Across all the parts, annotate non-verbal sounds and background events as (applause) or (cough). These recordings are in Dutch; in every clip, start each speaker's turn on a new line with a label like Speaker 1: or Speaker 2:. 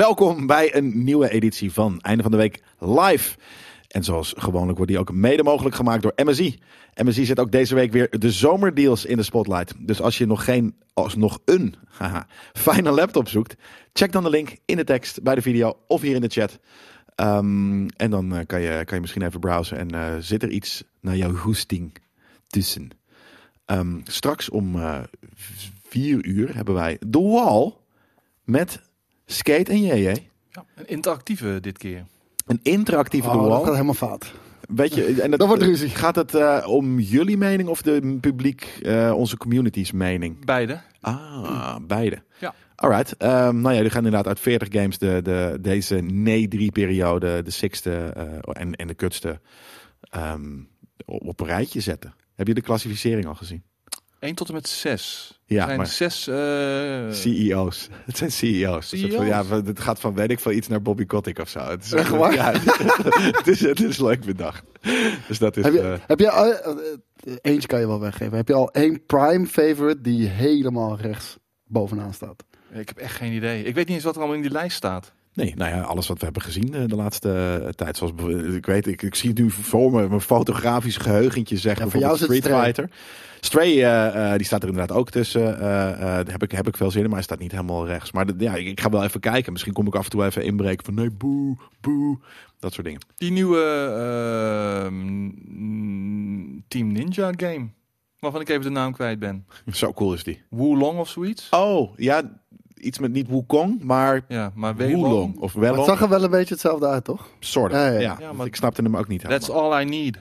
Speaker 1: Welkom bij een nieuwe editie van Einde van de Week Live. En zoals gewoonlijk wordt die ook mede mogelijk gemaakt door MSI. MSI zet ook deze week weer de zomerdeals in de spotlight. Dus als je nog geen, als nog een (laughs) haha, fijne laptop zoekt, check dan de link in de tekst bij de video of hier in de chat. Ehm, en dan eh, kan, je, kan je misschien even browsen en eh, zit er iets naar jouw hoesting tussen. Ehm, straks om eh, vier uur hebben wij The Wall met Skate en JJ.
Speaker 2: Ja, een interactieve dit keer.
Speaker 1: Een interactieve
Speaker 3: Oh,
Speaker 1: The
Speaker 3: dat
Speaker 1: Wall.
Speaker 3: gaat helemaal fout.
Speaker 1: Weet je, en
Speaker 3: (laughs)
Speaker 1: dat,
Speaker 3: Dat wordt ruzie.
Speaker 1: Gaat het eh, om jullie mening of de publiek, eh, onze community's mening?
Speaker 2: Beide.
Speaker 1: Ah, beide.
Speaker 2: Ja.
Speaker 1: Alright. Ehm, nou ja, jullie gaan inderdaad uit 40 games de, de, deze nee 3 periode, de sixte eh, en, en de kutste, ehm, op op een rijtje zetten. Heb je de klassificering al gezien?
Speaker 2: 1 tot en met 6.
Speaker 1: Ja,
Speaker 2: er zijn
Speaker 1: maar-
Speaker 2: zes. eh,
Speaker 1: CEO's. E (laughs) Het zijn CEO's. Dus het, van- ja,
Speaker 2: CEO's?
Speaker 1: van- het gaat van, weet ik van iets naar Bobby Kotick of zo. Het is,
Speaker 3: E Echt waar?
Speaker 1: Ja, (laughs) het, is, het is leuk bedacht. Dus dat is...
Speaker 3: heb je,
Speaker 1: eh,
Speaker 3: heb je al- eh, eh, eentje kan je wel weggeven. Heb je al één prime favorite die helemaal rechts bovenaan staat?
Speaker 2: Ik heb echt geen idee. Ik weet niet eens wat er allemaal in die lijst staat.
Speaker 1: Nee, nou ja, alles wat we hebben gezien eh, de laatste eh, tijd. Zoals bijvoorbeeld- ik weet, ik, ik zie het nu voor me, mijn fotografisch geheugentje zeggen.
Speaker 3: Ja,
Speaker 1: voor
Speaker 3: voor jou
Speaker 1: Street
Speaker 3: is het
Speaker 1: Fighter. Stray, eh, eh, die staat er inderdaad ook tussen. Eh, eh, daar heb ik, heb ik veel zin in, maar hij staat niet helemaal rechts. Maar de- ja, ik, ik ga wel even kijken. Misschien kom ik af en toe even inbreken van nee, boe, boe. Dat soort dingen. (laughs)
Speaker 2: Die nieuwe ehm, mm, Team Ninja game. Waarvan ik even de naam kwijt ben.
Speaker 1: Zo cool is die.
Speaker 2: Wulong of zoiets.
Speaker 1: Oh, ja, iets met niet Wukong, maar
Speaker 2: Ja, maar
Speaker 1: Wulong.
Speaker 2: Wulong.
Speaker 1: Of
Speaker 3: Maar het
Speaker 1: Wellong,
Speaker 3: zag er wel een beetje hetzelfde uit, toch?
Speaker 1: soort. Ja,
Speaker 3: Ja, ja.
Speaker 2: Ja, maar-
Speaker 1: ik snapte hem ook niet helemaal.
Speaker 2: That's all I need.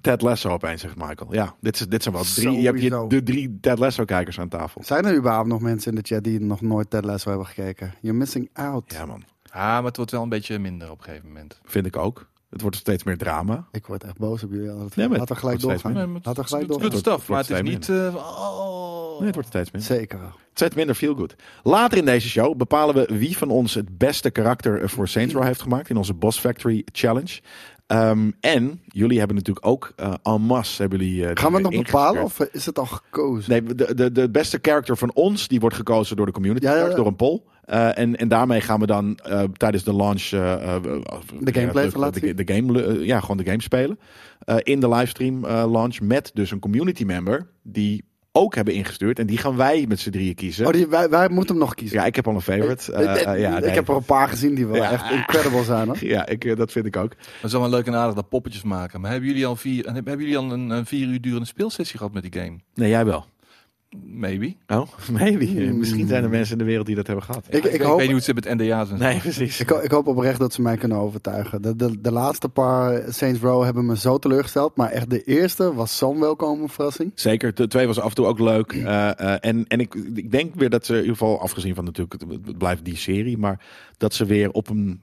Speaker 1: Ted Lasso opeens, zegt Michael. Ja, dit, is, dit zijn wel drie. Je hebt je
Speaker 3: Sowieso.
Speaker 1: de drie Ted Lasso-kijkers aan tafel.
Speaker 3: Zijn er überhaupt nog mensen in de chat die nog nooit Ted Lasso hebben gekeken? You're missing out.
Speaker 1: Ja, man.
Speaker 2: Ah, maar het wordt wel een beetje minder op een gegeven moment.
Speaker 1: Vind ik ook. Het wordt steeds meer drama.
Speaker 3: Ik word echt boos op jullie. altijd.
Speaker 1: Nee, maar
Speaker 3: Laten we gelijk
Speaker 1: het wordt steeds minder.
Speaker 3: doorgaan.
Speaker 2: maar het-
Speaker 3: Laten we gelijk
Speaker 2: het is
Speaker 3: doorgaan.
Speaker 2: Good stuff,
Speaker 1: Het wordt
Speaker 2: maar het is
Speaker 1: steeds
Speaker 2: niet... eh, oh.
Speaker 1: Nee, het wordt steeds minder.
Speaker 3: Zeker.
Speaker 1: Steeds minder feel good. Later in deze show bepalen we wie van ons het beste karakter eh, voor Saints Row heeft gemaakt in onze Boss Factory Challenge. Ehm, en jullie hebben natuurlijk ook eh en masse hebben jullie. eh,
Speaker 3: Gaan we het nog
Speaker 1: dingen
Speaker 3: bepalen
Speaker 1: ingestuurd.
Speaker 3: of eh, is het al gekozen?
Speaker 1: Nee, de, de, de beste character van ons die wordt gekozen door de community,
Speaker 3: Ja, ja, ja.
Speaker 1: door een poll. Eh, en, en daarmee gaan we dan eh, tijdens de launch eh, eh, eh,
Speaker 3: De gameplay
Speaker 1: eh,
Speaker 3: even laten
Speaker 1: de,
Speaker 3: zien.
Speaker 1: de game, eh, ja, gewoon de game spelen. Eh, in de livestream eh, launch met dus een community member die ook hebben ingestuurd. En die gaan wij met z'n drieën kiezen.
Speaker 3: Oh, die, wij, wij moeten hem nog kiezen.
Speaker 1: Ja, ik heb al een favorite. Eh,
Speaker 3: Ik-
Speaker 1: eh, ja,
Speaker 3: ik
Speaker 1: nee.
Speaker 3: heb er een paar gezien die wel
Speaker 1: Ja.
Speaker 3: echt incredible zijn. Hoor.
Speaker 1: Ja, ik, eh, dat vind ik ook.
Speaker 2: Dat is allemaal leuk en aardig dat poppetjes maken. Maar hebben jullie al, vier, hebben jullie al een, een vier uur durende speelsessie gehad met die game?
Speaker 1: Nee, jij wel.
Speaker 2: Maybe.
Speaker 1: Oh, (laughs) maybe. Misschien zijn er mensen in de wereld die dat hebben gehad.
Speaker 3: Hmm. Ik,
Speaker 2: Ik,
Speaker 3: ik hoop
Speaker 2: weet niet hoe het zit met NDA's. en zo.
Speaker 1: Nee, precies.
Speaker 3: Ik, ho- ik hoop oprecht dat ze mij kunnen overtuigen. De, de, de laatste paar Saints Row hebben me zo teleurgesteld. Maar echt de eerste was zo'n welkome verrassing.
Speaker 1: Zeker, de twee was af en toe ook leuk. Eh, eh, en en ik, ik denk weer dat ze, in ieder geval afgezien van natuurlijk, het, het blijft die serie, maar dat ze weer op een,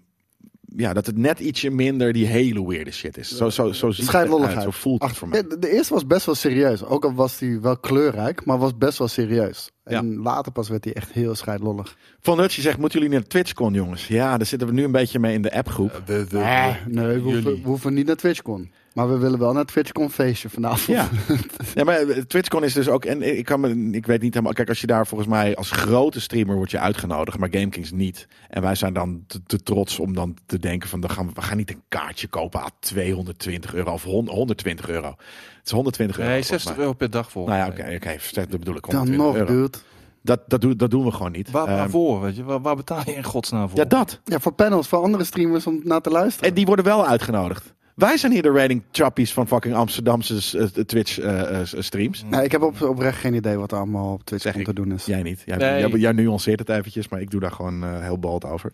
Speaker 1: ja, dat het net ietsje minder die hele weirde shit is. Zo, zo, zo ziet het
Speaker 3: Schijnlolligheid.
Speaker 1: eruit, zo voelt het voor
Speaker 3: Ja,
Speaker 1: mij.
Speaker 3: de, de eerste was best wel serieus. Ook al was die wel kleurrijk, maar was best wel serieus. En later pas werd die echt heel scheidlollig.
Speaker 1: Van Hutje zegt, moeten jullie naar TwitchCon jongens? Ja, daar zitten we nu een beetje mee in de appgroep.
Speaker 3: Eh, nee, we hoeven,
Speaker 2: jullie.
Speaker 3: we hoeven niet naar TwitchCon. Maar we willen wel naar TwitchCon feestje vanavond. (laughs)
Speaker 1: Ja. (laughs) ja, maar eh, TwitchCon is dus ook, en ik, kan me, ik weet niet helemaal, kijk als je daar volgens mij als grote streamer wordt je uitgenodigd, maar GameKings niet. En wij zijn dan te, te trots om dan te denken van, dan gaan we, we gaan niet een kaartje kopen aan 220 euro of hon- 120 euro. Het is 120 euro.
Speaker 2: Nee,
Speaker 1: volgens
Speaker 2: 60
Speaker 1: mij.
Speaker 2: euro per dag voor.
Speaker 1: Nou ja, oké, oké, dat bedoel ik.
Speaker 3: Dan
Speaker 1: 120
Speaker 3: nog,
Speaker 1: euro.
Speaker 3: dude.
Speaker 1: Dat, dat, doen, dat doen we gewoon niet.
Speaker 2: Waar,
Speaker 1: Ehm,
Speaker 2: waarvoor, weet je? Waar, waar betaal je in godsnaam voor?
Speaker 1: ja, dat.
Speaker 3: Ja, voor panels, voor andere streamers om naar te luisteren.
Speaker 1: En die worden wel uitgenodigd. Wij zijn hier de rating chappies van fucking Amsterdamse eh, Twitch eh, eh, streams.
Speaker 3: Nou, ik heb op, oprecht geen idee wat er allemaal op
Speaker 1: Zeg
Speaker 3: TwitchCon
Speaker 1: ik.
Speaker 3: te doen is.
Speaker 1: Jij niet. Jij,
Speaker 2: Nee.
Speaker 1: jij, jij nuanceert het eventjes, maar ik doe daar gewoon eh, heel bald over.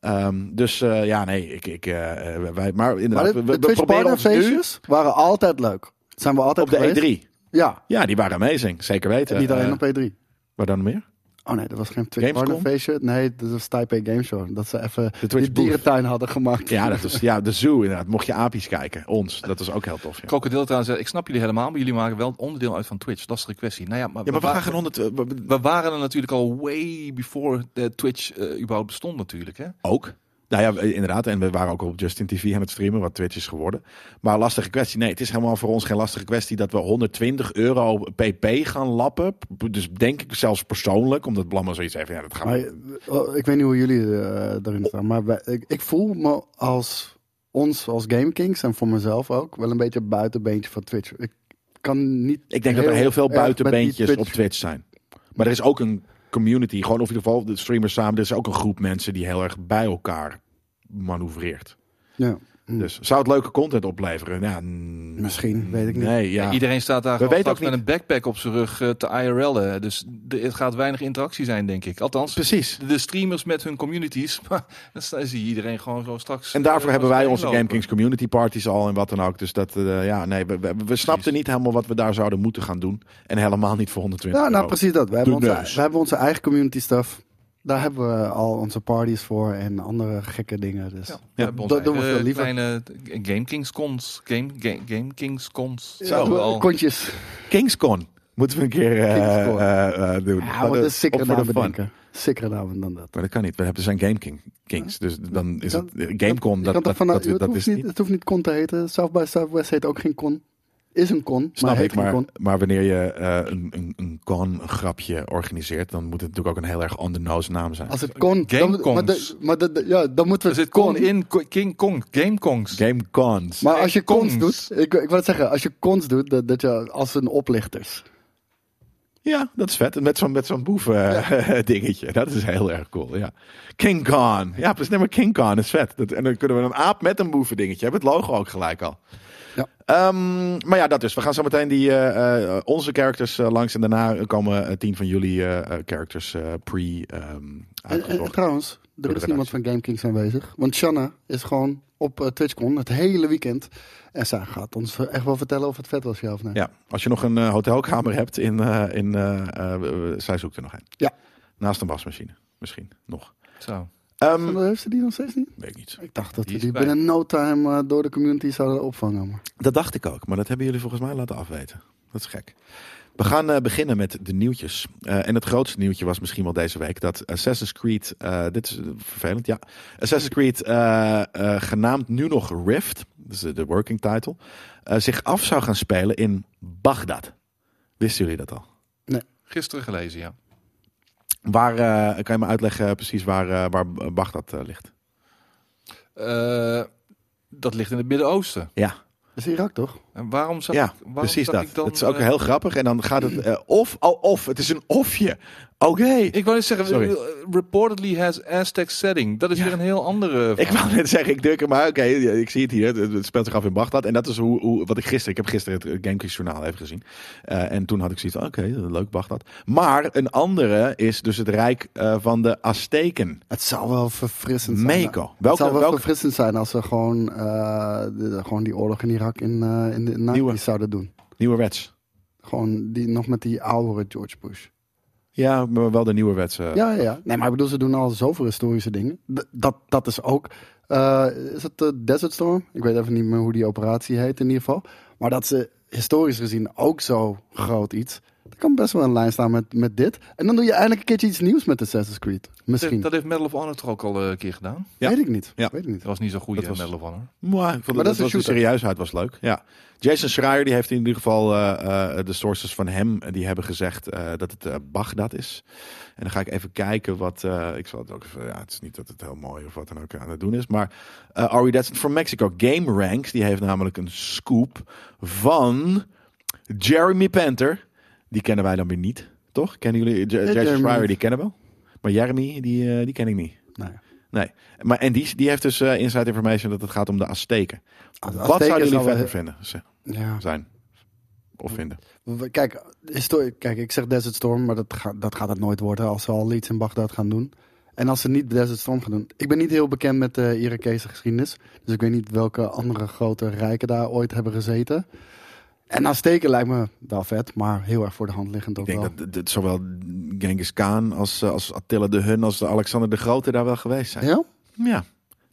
Speaker 1: Ehm, dus eh, ja, nee, ik, ik, eh, eh, wij, maar
Speaker 3: Maar
Speaker 1: inderdaad, we-
Speaker 3: de, de
Speaker 1: we, we
Speaker 3: Twitch
Speaker 1: proberen ons nu
Speaker 3: partnerfeestjes waren altijd leuk. Zijn we altijd
Speaker 1: op de E
Speaker 3: geweest.
Speaker 1: E3.
Speaker 3: Ja,
Speaker 1: Ja, die waren amazing, zeker weten.
Speaker 3: niet alleen
Speaker 1: Eh,
Speaker 3: op E3.
Speaker 1: waar dan meer?
Speaker 3: Oh nee, dat was geen Twitch
Speaker 1: Gamescom?
Speaker 3: partnerfeestje. Nee, dat was Taipei Game Show. Dat ze even
Speaker 1: De Twitch
Speaker 3: die
Speaker 1: booth.
Speaker 3: dierentuin hadden gemaakt.
Speaker 1: Ja, dat was, ja, de zoo inderdaad. Mocht je apies kijken, ons, dat was ook heel tof. Ja.
Speaker 2: Krokodil trouwens, eh, ik snap jullie helemaal, maar jullie maken wel onderdeel uit van Twitch. Lastige kwestie. Nou ja, maar,
Speaker 1: Ja, maar we gaan
Speaker 2: wa-
Speaker 1: geen honderd... eh, we- we-
Speaker 2: we waren er natuurlijk al way before eh, Twitch eh, überhaupt bestond natuurlijk, hè?
Speaker 1: Ook. Nou ja, eh, inderdaad. En we waren ook op Justin TV aan het streamen, wat Twitch is geworden. Maar lastige kwestie. Nee, het is helemaal voor ons geen lastige kwestie dat we 120 euro pp gaan lappen. P- Dus denk ik zelfs persoonlijk, omdat Blammer zoiets heeft. van, Ja, dat gaan
Speaker 3: Maar,
Speaker 1: we.
Speaker 3: eh, oh, ik weet niet hoe jullie eh, daarin staan, maar wij- ik, ik voel me als ons, als Game Kings en voor mezelf ook, wel een beetje een buitenbeentje van Twitch. Ik kan niet.
Speaker 1: Ik denk dat er heel veel
Speaker 3: erg met die
Speaker 1: buitenbeentjes
Speaker 3: Twitch-
Speaker 1: op Twitch zijn. Maar er is ook een community, gewoon of in ieder geval de streamers samen. Er is ook een groep mensen die heel erg bij elkaar manoeuvreert.
Speaker 3: Ja, hm,
Speaker 1: Dus zou het leuke content opleveren? Ja, mm,
Speaker 3: misschien, weet ik niet.
Speaker 1: Nee, ja.
Speaker 2: Iedereen staat daar
Speaker 1: We
Speaker 2: gewoon
Speaker 1: weten
Speaker 2: straks
Speaker 1: ook
Speaker 2: met een backpack op zijn rug eh, te IRL'en. Dus de- het gaat weinig interactie zijn, denk ik. Althans,
Speaker 1: Precies.
Speaker 2: de streamers met hun communities. (laughs) Maar dan sta- zie je iedereen gewoon zo straks.
Speaker 1: En daarvoor
Speaker 2: eh,
Speaker 1: hebben
Speaker 2: langs
Speaker 1: wij
Speaker 2: de
Speaker 1: onze
Speaker 2: heen
Speaker 1: Game
Speaker 2: lopen.
Speaker 1: Kings community parties al en wat dan ook. Dus dat, eh, ja, nee, we, we, we snapten niet helemaal wat we daar zouden moeten gaan doen. En helemaal niet voor 120
Speaker 3: Ja, nou
Speaker 1: euro.
Speaker 3: precies dat. We hebben, onze,
Speaker 1: neus.
Speaker 3: we hebben onze eigen community stuff. Daar hebben we al onze parties voor en andere gekke dingen. Dus.
Speaker 2: Ja,
Speaker 3: Ja.
Speaker 2: we hebben ons
Speaker 3: dat doen we
Speaker 2: eigen
Speaker 3: veel liever.
Speaker 2: Kleine Game Kings cons. Game, game, game Kings cons.
Speaker 1: Zo,
Speaker 2: we
Speaker 3: we-
Speaker 2: al.
Speaker 3: eh, kontjes.
Speaker 1: Kingscon moeten we een keer eh,
Speaker 3: Kingscon.
Speaker 1: eh, eh, doen.
Speaker 3: Ja,
Speaker 1: Maar
Speaker 3: wat
Speaker 1: dat-
Speaker 3: een sikkere
Speaker 1: op voor de
Speaker 3: naam
Speaker 1: fun.
Speaker 3: bedenken. Sikkere naam dan dat.
Speaker 1: Maar dat kan niet. We hebben zijn Game King, Kings. Dus dan is het eh, Gamecon.
Speaker 3: Je
Speaker 1: Dat, dat,
Speaker 3: kan toch vanuit-
Speaker 1: dat-
Speaker 3: het,
Speaker 1: dat
Speaker 3: hoeft
Speaker 1: is
Speaker 3: niet,
Speaker 1: niet.
Speaker 3: het hoeft niet con te heten. South by Southwest heet ook geen con. Is een con,
Speaker 1: Snap
Speaker 3: maar heet
Speaker 1: ik,
Speaker 3: geen
Speaker 1: maar,
Speaker 3: con.
Speaker 1: maar wanneer je eh, een, een, een con, een grapje organiseert, dan moet het natuurlijk ook een heel erg on the nose naam zijn.
Speaker 3: Als het con... dan-
Speaker 2: Gamecons.
Speaker 3: maar de- maar de- de- ja, dan moeten
Speaker 2: Er
Speaker 3: we
Speaker 2: zit con in Ko- King Kong. Game Kongs.
Speaker 1: Gamecons.
Speaker 3: Maar als je cons
Speaker 2: Cons.
Speaker 3: doet... Ik, ik wil het zeggen, als je cons doet, dat, dat je als een oplichters.
Speaker 1: Ja, dat is vet. En Met zo'n met zo'n boef eh, (laughs) dingetje. Dat is heel erg cool, ja. King Khan. Ja, precies. Nee, maar King Khan is vet. Dat, en dan kunnen we een aap met een boeven dingetje hebben. Het logo ook gelijk al.
Speaker 3: Ja.
Speaker 1: Ehm, maar ja, dat dus. We gaan zo meteen die, eh, eh, onze characters eh, langs. En daarna komen eh, tien van jullie eh, eh, characters eh, pre ehm
Speaker 3: En, en- en
Speaker 1: uitgezocht.
Speaker 3: trouwens,
Speaker 1: de
Speaker 3: er is iemand
Speaker 1: redactie.
Speaker 3: van GameKings aanwezig. Want Shanna is gewoon op eh, TwitchCon het hele weekend. En zij gaat ons eh, echt wel vertellen of het vet was, ja of nee.
Speaker 1: Ja, als je nog een eh, hotelkamer hebt in... eh, in eh, eh, zij zoekt er nog een.
Speaker 3: Ja.
Speaker 1: Naast een wasmachine. Misschien nog.
Speaker 2: Zo.
Speaker 1: Ehm,
Speaker 3: Maar Heeft ze die nog steeds niet?
Speaker 1: weet ik niet.
Speaker 3: Ik dacht dat
Speaker 2: Die
Speaker 3: we
Speaker 2: is
Speaker 3: die
Speaker 2: bij.
Speaker 3: binnen no time eh, door de community zouden opvangen. Maar.
Speaker 1: Dat dacht ik ook, maar dat hebben jullie volgens mij laten afweten. Dat is gek. We gaan eh, beginnen met de nieuwtjes. Eh, en het grootste nieuwtje was misschien wel deze week dat Assassin's Creed, eh, dit is eh, vervelend, ja. Assassin's Creed, eh, eh, genaamd nu nog Rift, dat is de- de working title, eh, zich af zou gaan spelen in Bagdad. Wisten jullie dat al?
Speaker 2: Gisteren gelezen, ja.
Speaker 1: Waar, eh, kan je me uitleggen precies waar, eh, waar Bagdad eh, ligt?
Speaker 2: Eh, dat ligt in het Midden-Oosten.
Speaker 1: Ja.
Speaker 3: Dat is Irak toch?
Speaker 2: En waarom zou
Speaker 1: Ja,
Speaker 2: ik, waarom
Speaker 1: Precies
Speaker 2: zou
Speaker 1: dat.
Speaker 2: Ik dan,
Speaker 1: dat is ook
Speaker 2: eh,
Speaker 1: heel grappig. En dan gaat het eh, of, oh, of, het is een ofje. Oké.
Speaker 2: Ik wou net zeggen,
Speaker 1: Sorry.
Speaker 2: eh, reportedly has Aztec setting. Dat is
Speaker 1: Ja.
Speaker 2: weer een heel andere...
Speaker 1: Ik wou net zeggen, ik druk hem maar. Oké, ik zie het hier. Het- Het speelt zich af in Bagdad. En dat is hoe, hoe wat ik gisteren... Ik heb gisteren het Gamekings journaal even gezien. Eh, en toen had ik zoiets van, oké, eh, leuk Bagdad. Maar een andere is dus het rijk eh, van de Azteken.
Speaker 3: Het zou wel verfrissend zijn.
Speaker 1: Mexico.
Speaker 3: Het
Speaker 1: Welke-
Speaker 3: zou wel
Speaker 1: welke-
Speaker 3: verfrissend zijn als ze gewoon, eh, de- gewoon die oorlog in Irak in, eh, in de 90's
Speaker 1: Nieuwe.
Speaker 3: zouden doen.
Speaker 1: Nieuwe wets.
Speaker 3: Gewoon die, nog met die oude George Bush.
Speaker 1: Ja, maar wel de nieuwe wets. eh.
Speaker 3: Ja, ja, ja. Nee, maar ik bedoel, ze doen al zoveel historische dingen. D- dat, dat is ook. eh, is het eh, Desert Storm? Ik weet even niet meer hoe die operatie heet in ieder geval. Maar dat ze historisch gezien ook zo groot iets. Dat kan best wel een lijn staan met, met dit. En dan doe je eindelijk een keertje iets nieuws met Assassin's Creed. Misschien.
Speaker 2: Dat, dat heeft Medal of Honor toch ook al eh, een keer gedaan?
Speaker 1: ja.
Speaker 3: Weet ik niet.
Speaker 1: Ja.
Speaker 3: Weet ik niet.
Speaker 2: Dat was niet zo goed,
Speaker 1: Dat
Speaker 2: hè,
Speaker 1: was-
Speaker 2: Medal of Honor.
Speaker 1: Maar, ik vond
Speaker 3: Maar
Speaker 1: dat,
Speaker 3: dat
Speaker 1: dat
Speaker 3: is een
Speaker 1: was de
Speaker 3: shooter.
Speaker 1: serieusheid was leuk. Ja. Jason Schreier die heeft in ieder geval eh, eh, de sources van hem eh, die hebben gezegd eh, dat het eh Bagdad is. En dan ga ik even kijken wat. eh, ik zal het ook even. Ja, het is niet dat het heel mooi of wat dan ook aan het doen is. Maar eh Ari Datson from Mexico Game Ranks die heeft namelijk een scoop van Jeremy Panther. Die kennen wij dan weer niet, toch? Kennen jullie Ja- Jason
Speaker 3: Jeremy.
Speaker 1: Schreier? Die kennen we wel. Maar Jeremy die, eh, die ken ik niet.
Speaker 3: Nou ja.
Speaker 1: Nee, maar en die, die heeft dus eh, inside information dat het gaat om de Azteken.
Speaker 3: Als- als
Speaker 1: Wat
Speaker 3: teken
Speaker 1: zouden jullie
Speaker 3: zou wel-
Speaker 1: verder vinden ze-
Speaker 3: Ja.
Speaker 1: zijn? Of vinden?
Speaker 3: We- Kijk, histori- kijk, ik zeg Desert Storm, maar dat, ga- dat gaat het nooit worden als ze al iets in Bagdad gaan doen. En als ze niet Desert Storm gaan doen. Ik ben niet heel bekend met de Irakese geschiedenis. Dus ik weet niet welke andere grote rijken daar ooit hebben gezeten. En Azteken lijkt me wel vet, maar heel erg voor de hand liggend ook
Speaker 1: Ik denk
Speaker 3: wel.
Speaker 1: dat, dat zowel Genghis Khan als, eh, als Attila de Hun als de Alexander de Grote daar wel geweest zijn. Ja,
Speaker 3: Ja?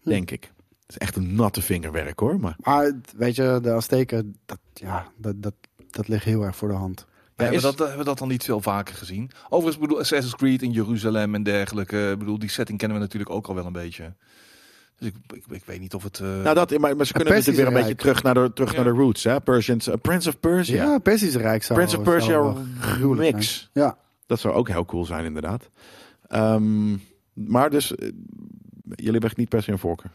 Speaker 3: Hm.
Speaker 1: denk ik. Het is echt een natte vingerwerk hoor. Maar
Speaker 3: Maar het- weet je, de Azteken, dat, ja, dat, dat, dat ligt heel erg voor de hand.
Speaker 1: Ja,
Speaker 2: hebben,
Speaker 1: is-
Speaker 2: we dat, eh, hebben we dat dan niet veel vaker gezien? Overigens, eh, bedoel, Assassin's Creed in Jeruzalem en dergelijke. Ik bedoel, die setting kennen we natuurlijk ook al wel een beetje. Dus ik, ik, ik weet niet of het... eh,
Speaker 1: Nou, dat, maar, maar ze kunnen
Speaker 3: Persie
Speaker 1: natuurlijk weer een
Speaker 3: is
Speaker 1: beetje terug naar de, terug
Speaker 2: Ja.
Speaker 1: naar de roots. Hè? Persians, eh, Prince of Persia.
Speaker 3: Ja, Persie is rijk. Zou,
Speaker 1: Prince of
Speaker 3: zou
Speaker 1: Persia
Speaker 3: wel gruwelijk
Speaker 1: mix.
Speaker 3: zijn. Ja,
Speaker 1: Dat zou ook heel cool zijn, inderdaad. Ehm, maar dus, eh, jullie hebben echt niet per se een voorkeur.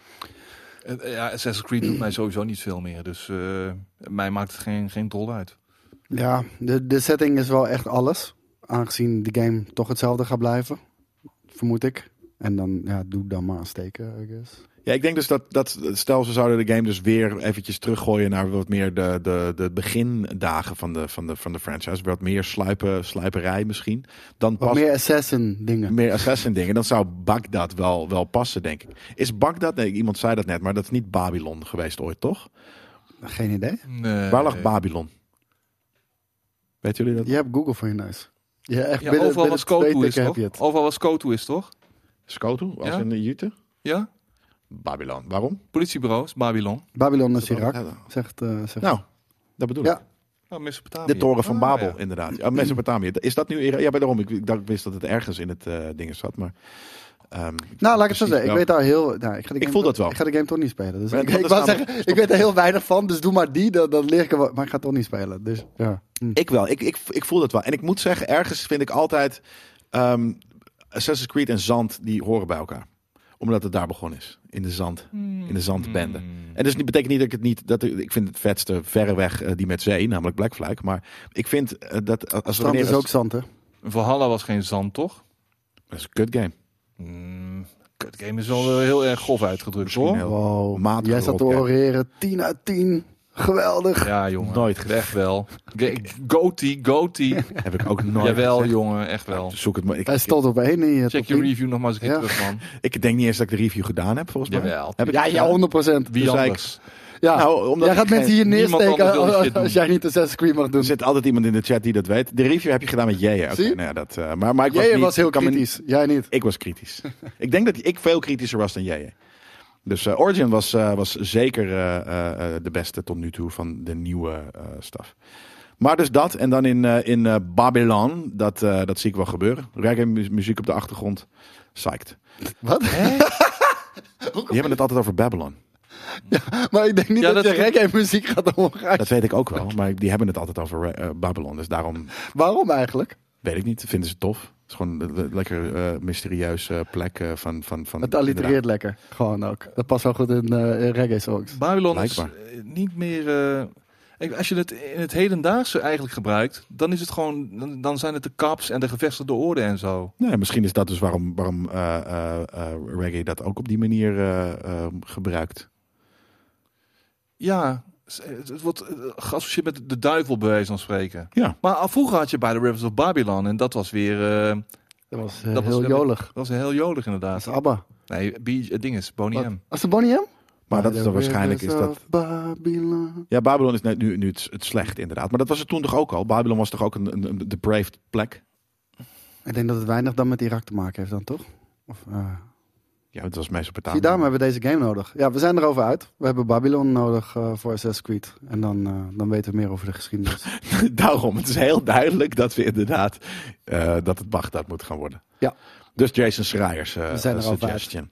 Speaker 2: eh, ja, Assassin's Creed doet mij sowieso niet veel meer. Dus eh, mij maakt het geen, geen dol uit.
Speaker 3: ja de, de setting is wel echt alles. Aangezien de game toch hetzelfde gaat blijven. Vermoed ik. En dan, ja, doe dan maar steken, I guess.
Speaker 1: Ja, ik denk dus dat, dat stel ze zouden de game dus weer eventjes teruggooien naar wat meer de, de, de begindagen van de, van, de, van de franchise. Wat meer sluipen, sluiperij misschien. Dan
Speaker 3: Wat
Speaker 1: past
Speaker 3: meer assassin dingen.
Speaker 1: meer assassin dingen. Dan zou Bagdad wel, wel passen, denk ik. Is Bagdad, nee, iemand zei dat net, maar dat is niet Babylon geweest ooit, toch?
Speaker 3: Geen idee.
Speaker 2: Nee.
Speaker 1: Waar lag Babylon? Weten jullie dat?
Speaker 3: Je hebt Google voor je neus. Ja, echt
Speaker 2: Ja,
Speaker 3: binnen,
Speaker 2: overal
Speaker 3: binnen
Speaker 2: was
Speaker 3: twee
Speaker 2: Kotu is,
Speaker 3: tikken heb
Speaker 2: toch?
Speaker 3: je het.
Speaker 2: Overal was Kotu is, toch?
Speaker 1: Skotu, als
Speaker 2: Ja.
Speaker 1: in de Jute?
Speaker 2: Ja?
Speaker 1: Babylon. Waarom?
Speaker 2: Politiebureaus, Babylon.
Speaker 3: Babylon is Irak,
Speaker 1: Ja,
Speaker 3: zegt... eh, zegt
Speaker 1: Nou, dat bedoel ik.
Speaker 3: Ja.
Speaker 2: Oh, Mesopotamië.
Speaker 1: De toren van
Speaker 2: Ah,
Speaker 1: Babel,
Speaker 2: ja.
Speaker 1: inderdaad. Ja, Mesopotamië. Is dat nu... Irak? Ja, bij daarom. Ik, ik dacht, ik wist dat het ergens in het eh ding zat, maar... ehm,
Speaker 3: Nou, laat ik het zo
Speaker 1: precies
Speaker 3: zeggen. Ik
Speaker 1: wel.
Speaker 3: weet daar heel... Nou, ik, ga de
Speaker 1: Ik
Speaker 3: game
Speaker 1: voel
Speaker 3: toch-
Speaker 1: dat wel.
Speaker 3: Ik ga de game toch niet spelen. Dus
Speaker 1: Maar
Speaker 3: ik,
Speaker 1: dat
Speaker 3: ik
Speaker 1: is
Speaker 3: wou
Speaker 1: namelijk-
Speaker 3: zeggen, ik weet er heel weinig van, dus doe maar die. Dan, dan leer ik er wat. Maar ik ga het toch niet spelen. Dus ja. Hm.
Speaker 1: Ik wel. Ik, ik, ik voel dat wel. En ik moet zeggen, ergens vind ik altijd... ehm, Assassin's Creed en Zand, die horen bij elkaar. Omdat het daar begonnen is. In de Zand.
Speaker 2: Hmm.
Speaker 1: In de Zandbende. En dus niet- betekent niet dat ik het niet... Dat, ik ik vind het vetste verreweg eh, die met zee, namelijk Black Flag. Maar ik vind eh, dat... Als, als
Speaker 3: Strand is ook zand, hè?
Speaker 2: Valhalla was geen zand, toch?
Speaker 1: Dat is een kut game.
Speaker 2: Mm, Kut game is wel eh, heel erg grof uitgedrukt,
Speaker 1: Misschien eh, heel-
Speaker 2: hoor.
Speaker 3: Wow.
Speaker 1: matige
Speaker 3: Jij zat te
Speaker 1: rotkijk.
Speaker 3: oreren. 10 uit 10. Geweldig.
Speaker 2: Ja, jongen.
Speaker 1: Nooit
Speaker 2: Echt wel. Ge- Goatee, goatee.
Speaker 1: Heb ik ook (laughs) nooit
Speaker 2: Jawel,
Speaker 1: gezegd.
Speaker 2: jongen. Echt wel.
Speaker 1: Zoek het maar. Ik,
Speaker 3: Hij stond op één in je top
Speaker 2: Check je
Speaker 3: 10.
Speaker 2: review nog maar eens een keer
Speaker 3: Ja.
Speaker 2: terug,
Speaker 1: (laughs)
Speaker 2: man.
Speaker 1: ik denk niet eens dat ik de review gedaan heb, volgens mij.
Speaker 2: Jawel.
Speaker 1: Heb ik
Speaker 3: Ja,
Speaker 1: het
Speaker 3: ja,
Speaker 1: gedaan?
Speaker 3: 100 procent.
Speaker 2: Wie
Speaker 1: Dus
Speaker 2: anders?
Speaker 3: Ja.
Speaker 1: Nou, omdat
Speaker 3: jij
Speaker 1: ik
Speaker 3: gaat mensen
Speaker 1: geen-
Speaker 3: hier
Speaker 2: niemand
Speaker 3: neersteken
Speaker 2: anders wil
Speaker 3: als,
Speaker 2: dit shit
Speaker 3: als
Speaker 2: doen.
Speaker 3: jij niet de Assassin's Creed mag doen.
Speaker 1: Er zit altijd iemand in de chat die dat weet. De review heb je gedaan met jij.
Speaker 3: Zie je?
Speaker 1: nou ja, dat, eh, maar, maar ik was,
Speaker 3: Jij
Speaker 1: niet-
Speaker 3: was heel
Speaker 1: kan me
Speaker 3: kritisch. Jij niet.
Speaker 1: niet- ik was
Speaker 3: (laughs)
Speaker 1: kritisch. ik denk dat ik veel kritischer was dan jij. Dus eh, Origin was, eh, was zeker eh, eh, eh, de beste tot nu toe van de nieuwe eh, staf. Maar dus dat. En dan in, eh, in eh, Babylon. Dat, eh, dat zie ik wel gebeuren. Reggae mu- muziek op de achtergrond. Psyched.
Speaker 3: Wat? (laughs)
Speaker 1: Die hebben het altijd over Babylon.
Speaker 3: Maar ik denk niet
Speaker 2: Ja,
Speaker 3: dat,
Speaker 2: dat
Speaker 3: je
Speaker 2: is-
Speaker 3: reggae muziek gaat omgaan.
Speaker 1: Dat weet ik ook wel, maar die hebben het altijd over eh, Babylon. Dus daarom
Speaker 3: Waarom eigenlijk?
Speaker 1: weet ik niet. Vinden ze tof. Het is gewoon een le- lekker eh, mysterieuze plek eh, van, van, van.
Speaker 3: Het allitereert lekker. Gewoon ook. Dat past wel goed in eh, in reggae songs.
Speaker 2: Babylon is
Speaker 1: Blijkbaar.
Speaker 2: eh, niet meer... eh, ik- als je het in het hedendaagse eigenlijk gebruikt, dan is het gewoon, dan, dan zijn het de kaps en de gevestigde orde en zo.
Speaker 1: Inderdaad. Nee, misschien is dat dus waarom, waarom eh, eh, eh, reggae dat ook op die manier eh, eh, gebruikt.
Speaker 2: Ja, s- het het wordt eh, geassocieerd met de duivel bij wijze van spreken.
Speaker 1: Ja.
Speaker 2: Maar al vroeger had je bij de Rivers of Babylon en dat was weer, eh,
Speaker 3: Dat was eh,
Speaker 2: Dat was
Speaker 3: heel
Speaker 2: wel-
Speaker 3: jolig.
Speaker 2: dat was heel jolig
Speaker 3: Dat is
Speaker 2: inderdaad.
Speaker 3: ABBA.
Speaker 2: Nee, Bee- het ding is, Boney
Speaker 3: Wat?
Speaker 2: M.
Speaker 3: Als de Bonnie M?
Speaker 1: Maar dat
Speaker 3: By
Speaker 1: is
Speaker 3: the
Speaker 1: dan waarschijnlijk is
Speaker 3: rivers
Speaker 1: dat.
Speaker 3: of Babylon.
Speaker 1: Ja, Babylon is net nu, nu het, het slecht inderdaad. Maar dat was het toen toch ook al. Babylon was toch ook een, een, een depraved plek.
Speaker 3: Ik denk dat het weinig dan met Irak te maken heeft dan, toch? Of, eh,
Speaker 1: Ja, het was Mesopotamië.
Speaker 3: Zie, daarom hebben we deze game nodig. Ja, we zijn erover uit. We hebben Babylon nodig eh, voor Assassin's Creed. En dan, eh, dan weten we meer over de
Speaker 1: (laughs)
Speaker 3: geschiedenis.
Speaker 1: Daarom, het is heel duidelijk dat we inderdaad eh, dat het Bagdad moet gaan worden.
Speaker 3: Ja.
Speaker 1: Dus Jason Schreier's eh,
Speaker 3: We zijn er al
Speaker 1: suggestion.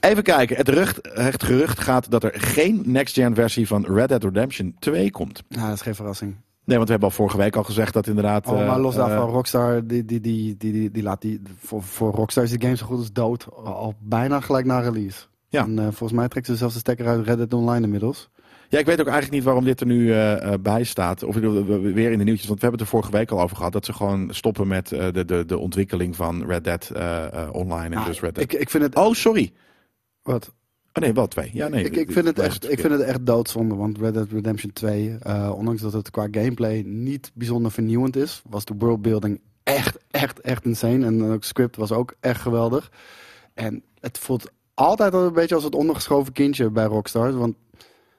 Speaker 1: Even kijken, het, gerucht- het gerucht gaat dat er geen next-gen versie van Red Dead Redemption 2 komt.
Speaker 3: nou, dat is geen verrassing.
Speaker 1: Nee, want we hebben al vorige week al gezegd dat inderdaad...
Speaker 3: Oh, maar
Speaker 1: eh,
Speaker 3: los daarvan,
Speaker 1: eh,
Speaker 3: Rockstar, die, die, die, die, die, die laat die... Voor, voor Rockstar is die game zo goed als dood. Al- Al bijna gelijk na release.
Speaker 1: Ja.
Speaker 3: En eh, volgens mij trekt ze zelfs de stekker uit Red Dead Online inmiddels.
Speaker 1: Ja, ik weet ook eigenlijk niet waarom dit er nu eh, eh, bij staat. Of ik bedoel, we- we- weer in de nieuwtjes. Want we hebben het er vorige week al over gehad. Dat ze gewoon stoppen met eh, de, de, de ontwikkeling van Red Dead eh, eh, online. En
Speaker 3: Ah,
Speaker 1: dus Red Dead...
Speaker 3: ik, ik vind het...
Speaker 1: Oh, sorry.
Speaker 3: Wat?
Speaker 1: Oh nee, wel twee. Ja, nee.
Speaker 3: ik, ik, vind het echt, ik vind het echt doodzonde, want Red Dead Redemption 2, eh, ondanks dat het qua gameplay niet bijzonder vernieuwend is, was de worldbuilding echt, echt, echt insane. En het script was ook echt geweldig. En het voelt altijd al een beetje als het ondergeschoven kindje bij Rockstar. Want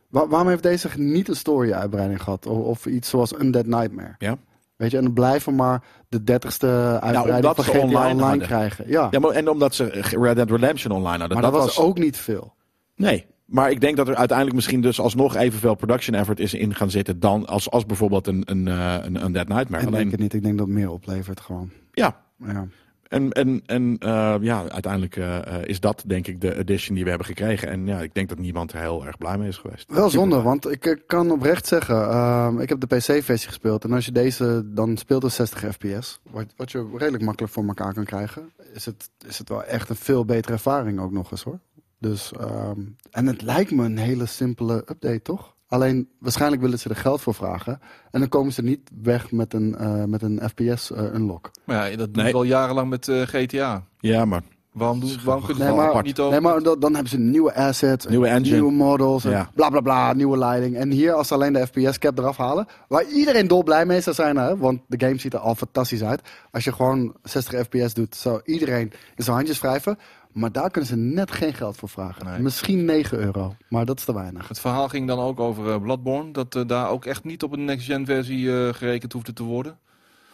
Speaker 3: wa- waarom heeft deze niet een story-uitbreiding gehad? Of, of iets zoals Undead Nightmare?
Speaker 1: Ja. Nou,
Speaker 3: Weet je, en dan blijven maar de dertigste uitbreiding
Speaker 1: omdat
Speaker 3: van
Speaker 1: ze
Speaker 3: GTA Online,
Speaker 1: online hadden.
Speaker 3: krijgen. Ja,
Speaker 1: Ja, maar, en omdat ze eh, Red Dead Redemption online hadden.
Speaker 3: maar dat, was ook niet veel.
Speaker 1: Nee. Maar ik denk dat er uiteindelijk misschien dus alsnog evenveel production effort is in gaan zitten dan als, als bijvoorbeeld een, een, eh, een, een Dead Nightmare.
Speaker 3: En ik denk
Speaker 1: Alleen,
Speaker 3: het niet. Ik denk dat het meer oplevert gewoon.
Speaker 1: ja,
Speaker 3: Ja.
Speaker 1: En, en, en eh, ja, uiteindelijk eh, eh, is dat denk ik de edition die we hebben gekregen. En ja, ik denk dat niemand er heel erg blij mee is geweest.
Speaker 3: Wel zonde, want ik eh, kan oprecht zeggen, ehm, ik heb de PC-versie gespeeld. En als je deze dan speelt op 60 fps, wat, wat je redelijk makkelijk voor elkaar kan krijgen, is het, is het wel echt een veel betere ervaring ook nog eens hoor. Dus, ehm, en het lijkt me een hele simpele update, toch? Alleen, waarschijnlijk willen ze er geld voor vragen. En dan komen ze niet weg met een, eh, met een FPS-unlock.
Speaker 2: Maar ja, dat doen
Speaker 1: Nee.
Speaker 2: we al jarenlang met eh, GTA.
Speaker 1: Ja, maar
Speaker 2: Waarom, doen, waarom kunnen
Speaker 3: Nee,
Speaker 2: we
Speaker 3: maar-
Speaker 2: het niet over?
Speaker 3: nee, maar dan, dan hebben ze nieuwe assets,
Speaker 1: Nieuwe engine.
Speaker 3: nieuwe models, en
Speaker 1: Ja.
Speaker 3: bla bla bla, nieuwe leiding. En hier, als ze alleen de FPS-cap eraf halen, waar iedereen dolblij mee zou zijn, hè, want de game ziet er al fantastisch uit. Als je gewoon 60 FPS doet, zou iedereen in zijn handjes wrijven. Maar daar kunnen ze net geen geld voor vragen.
Speaker 2: Nee.
Speaker 3: Misschien 9 euro, maar dat is te weinig.
Speaker 2: Het verhaal ging dan ook over eh, Bloodborne. Dat eh, daar ook echt niet op een next-gen versie eh, gerekend hoefde te worden.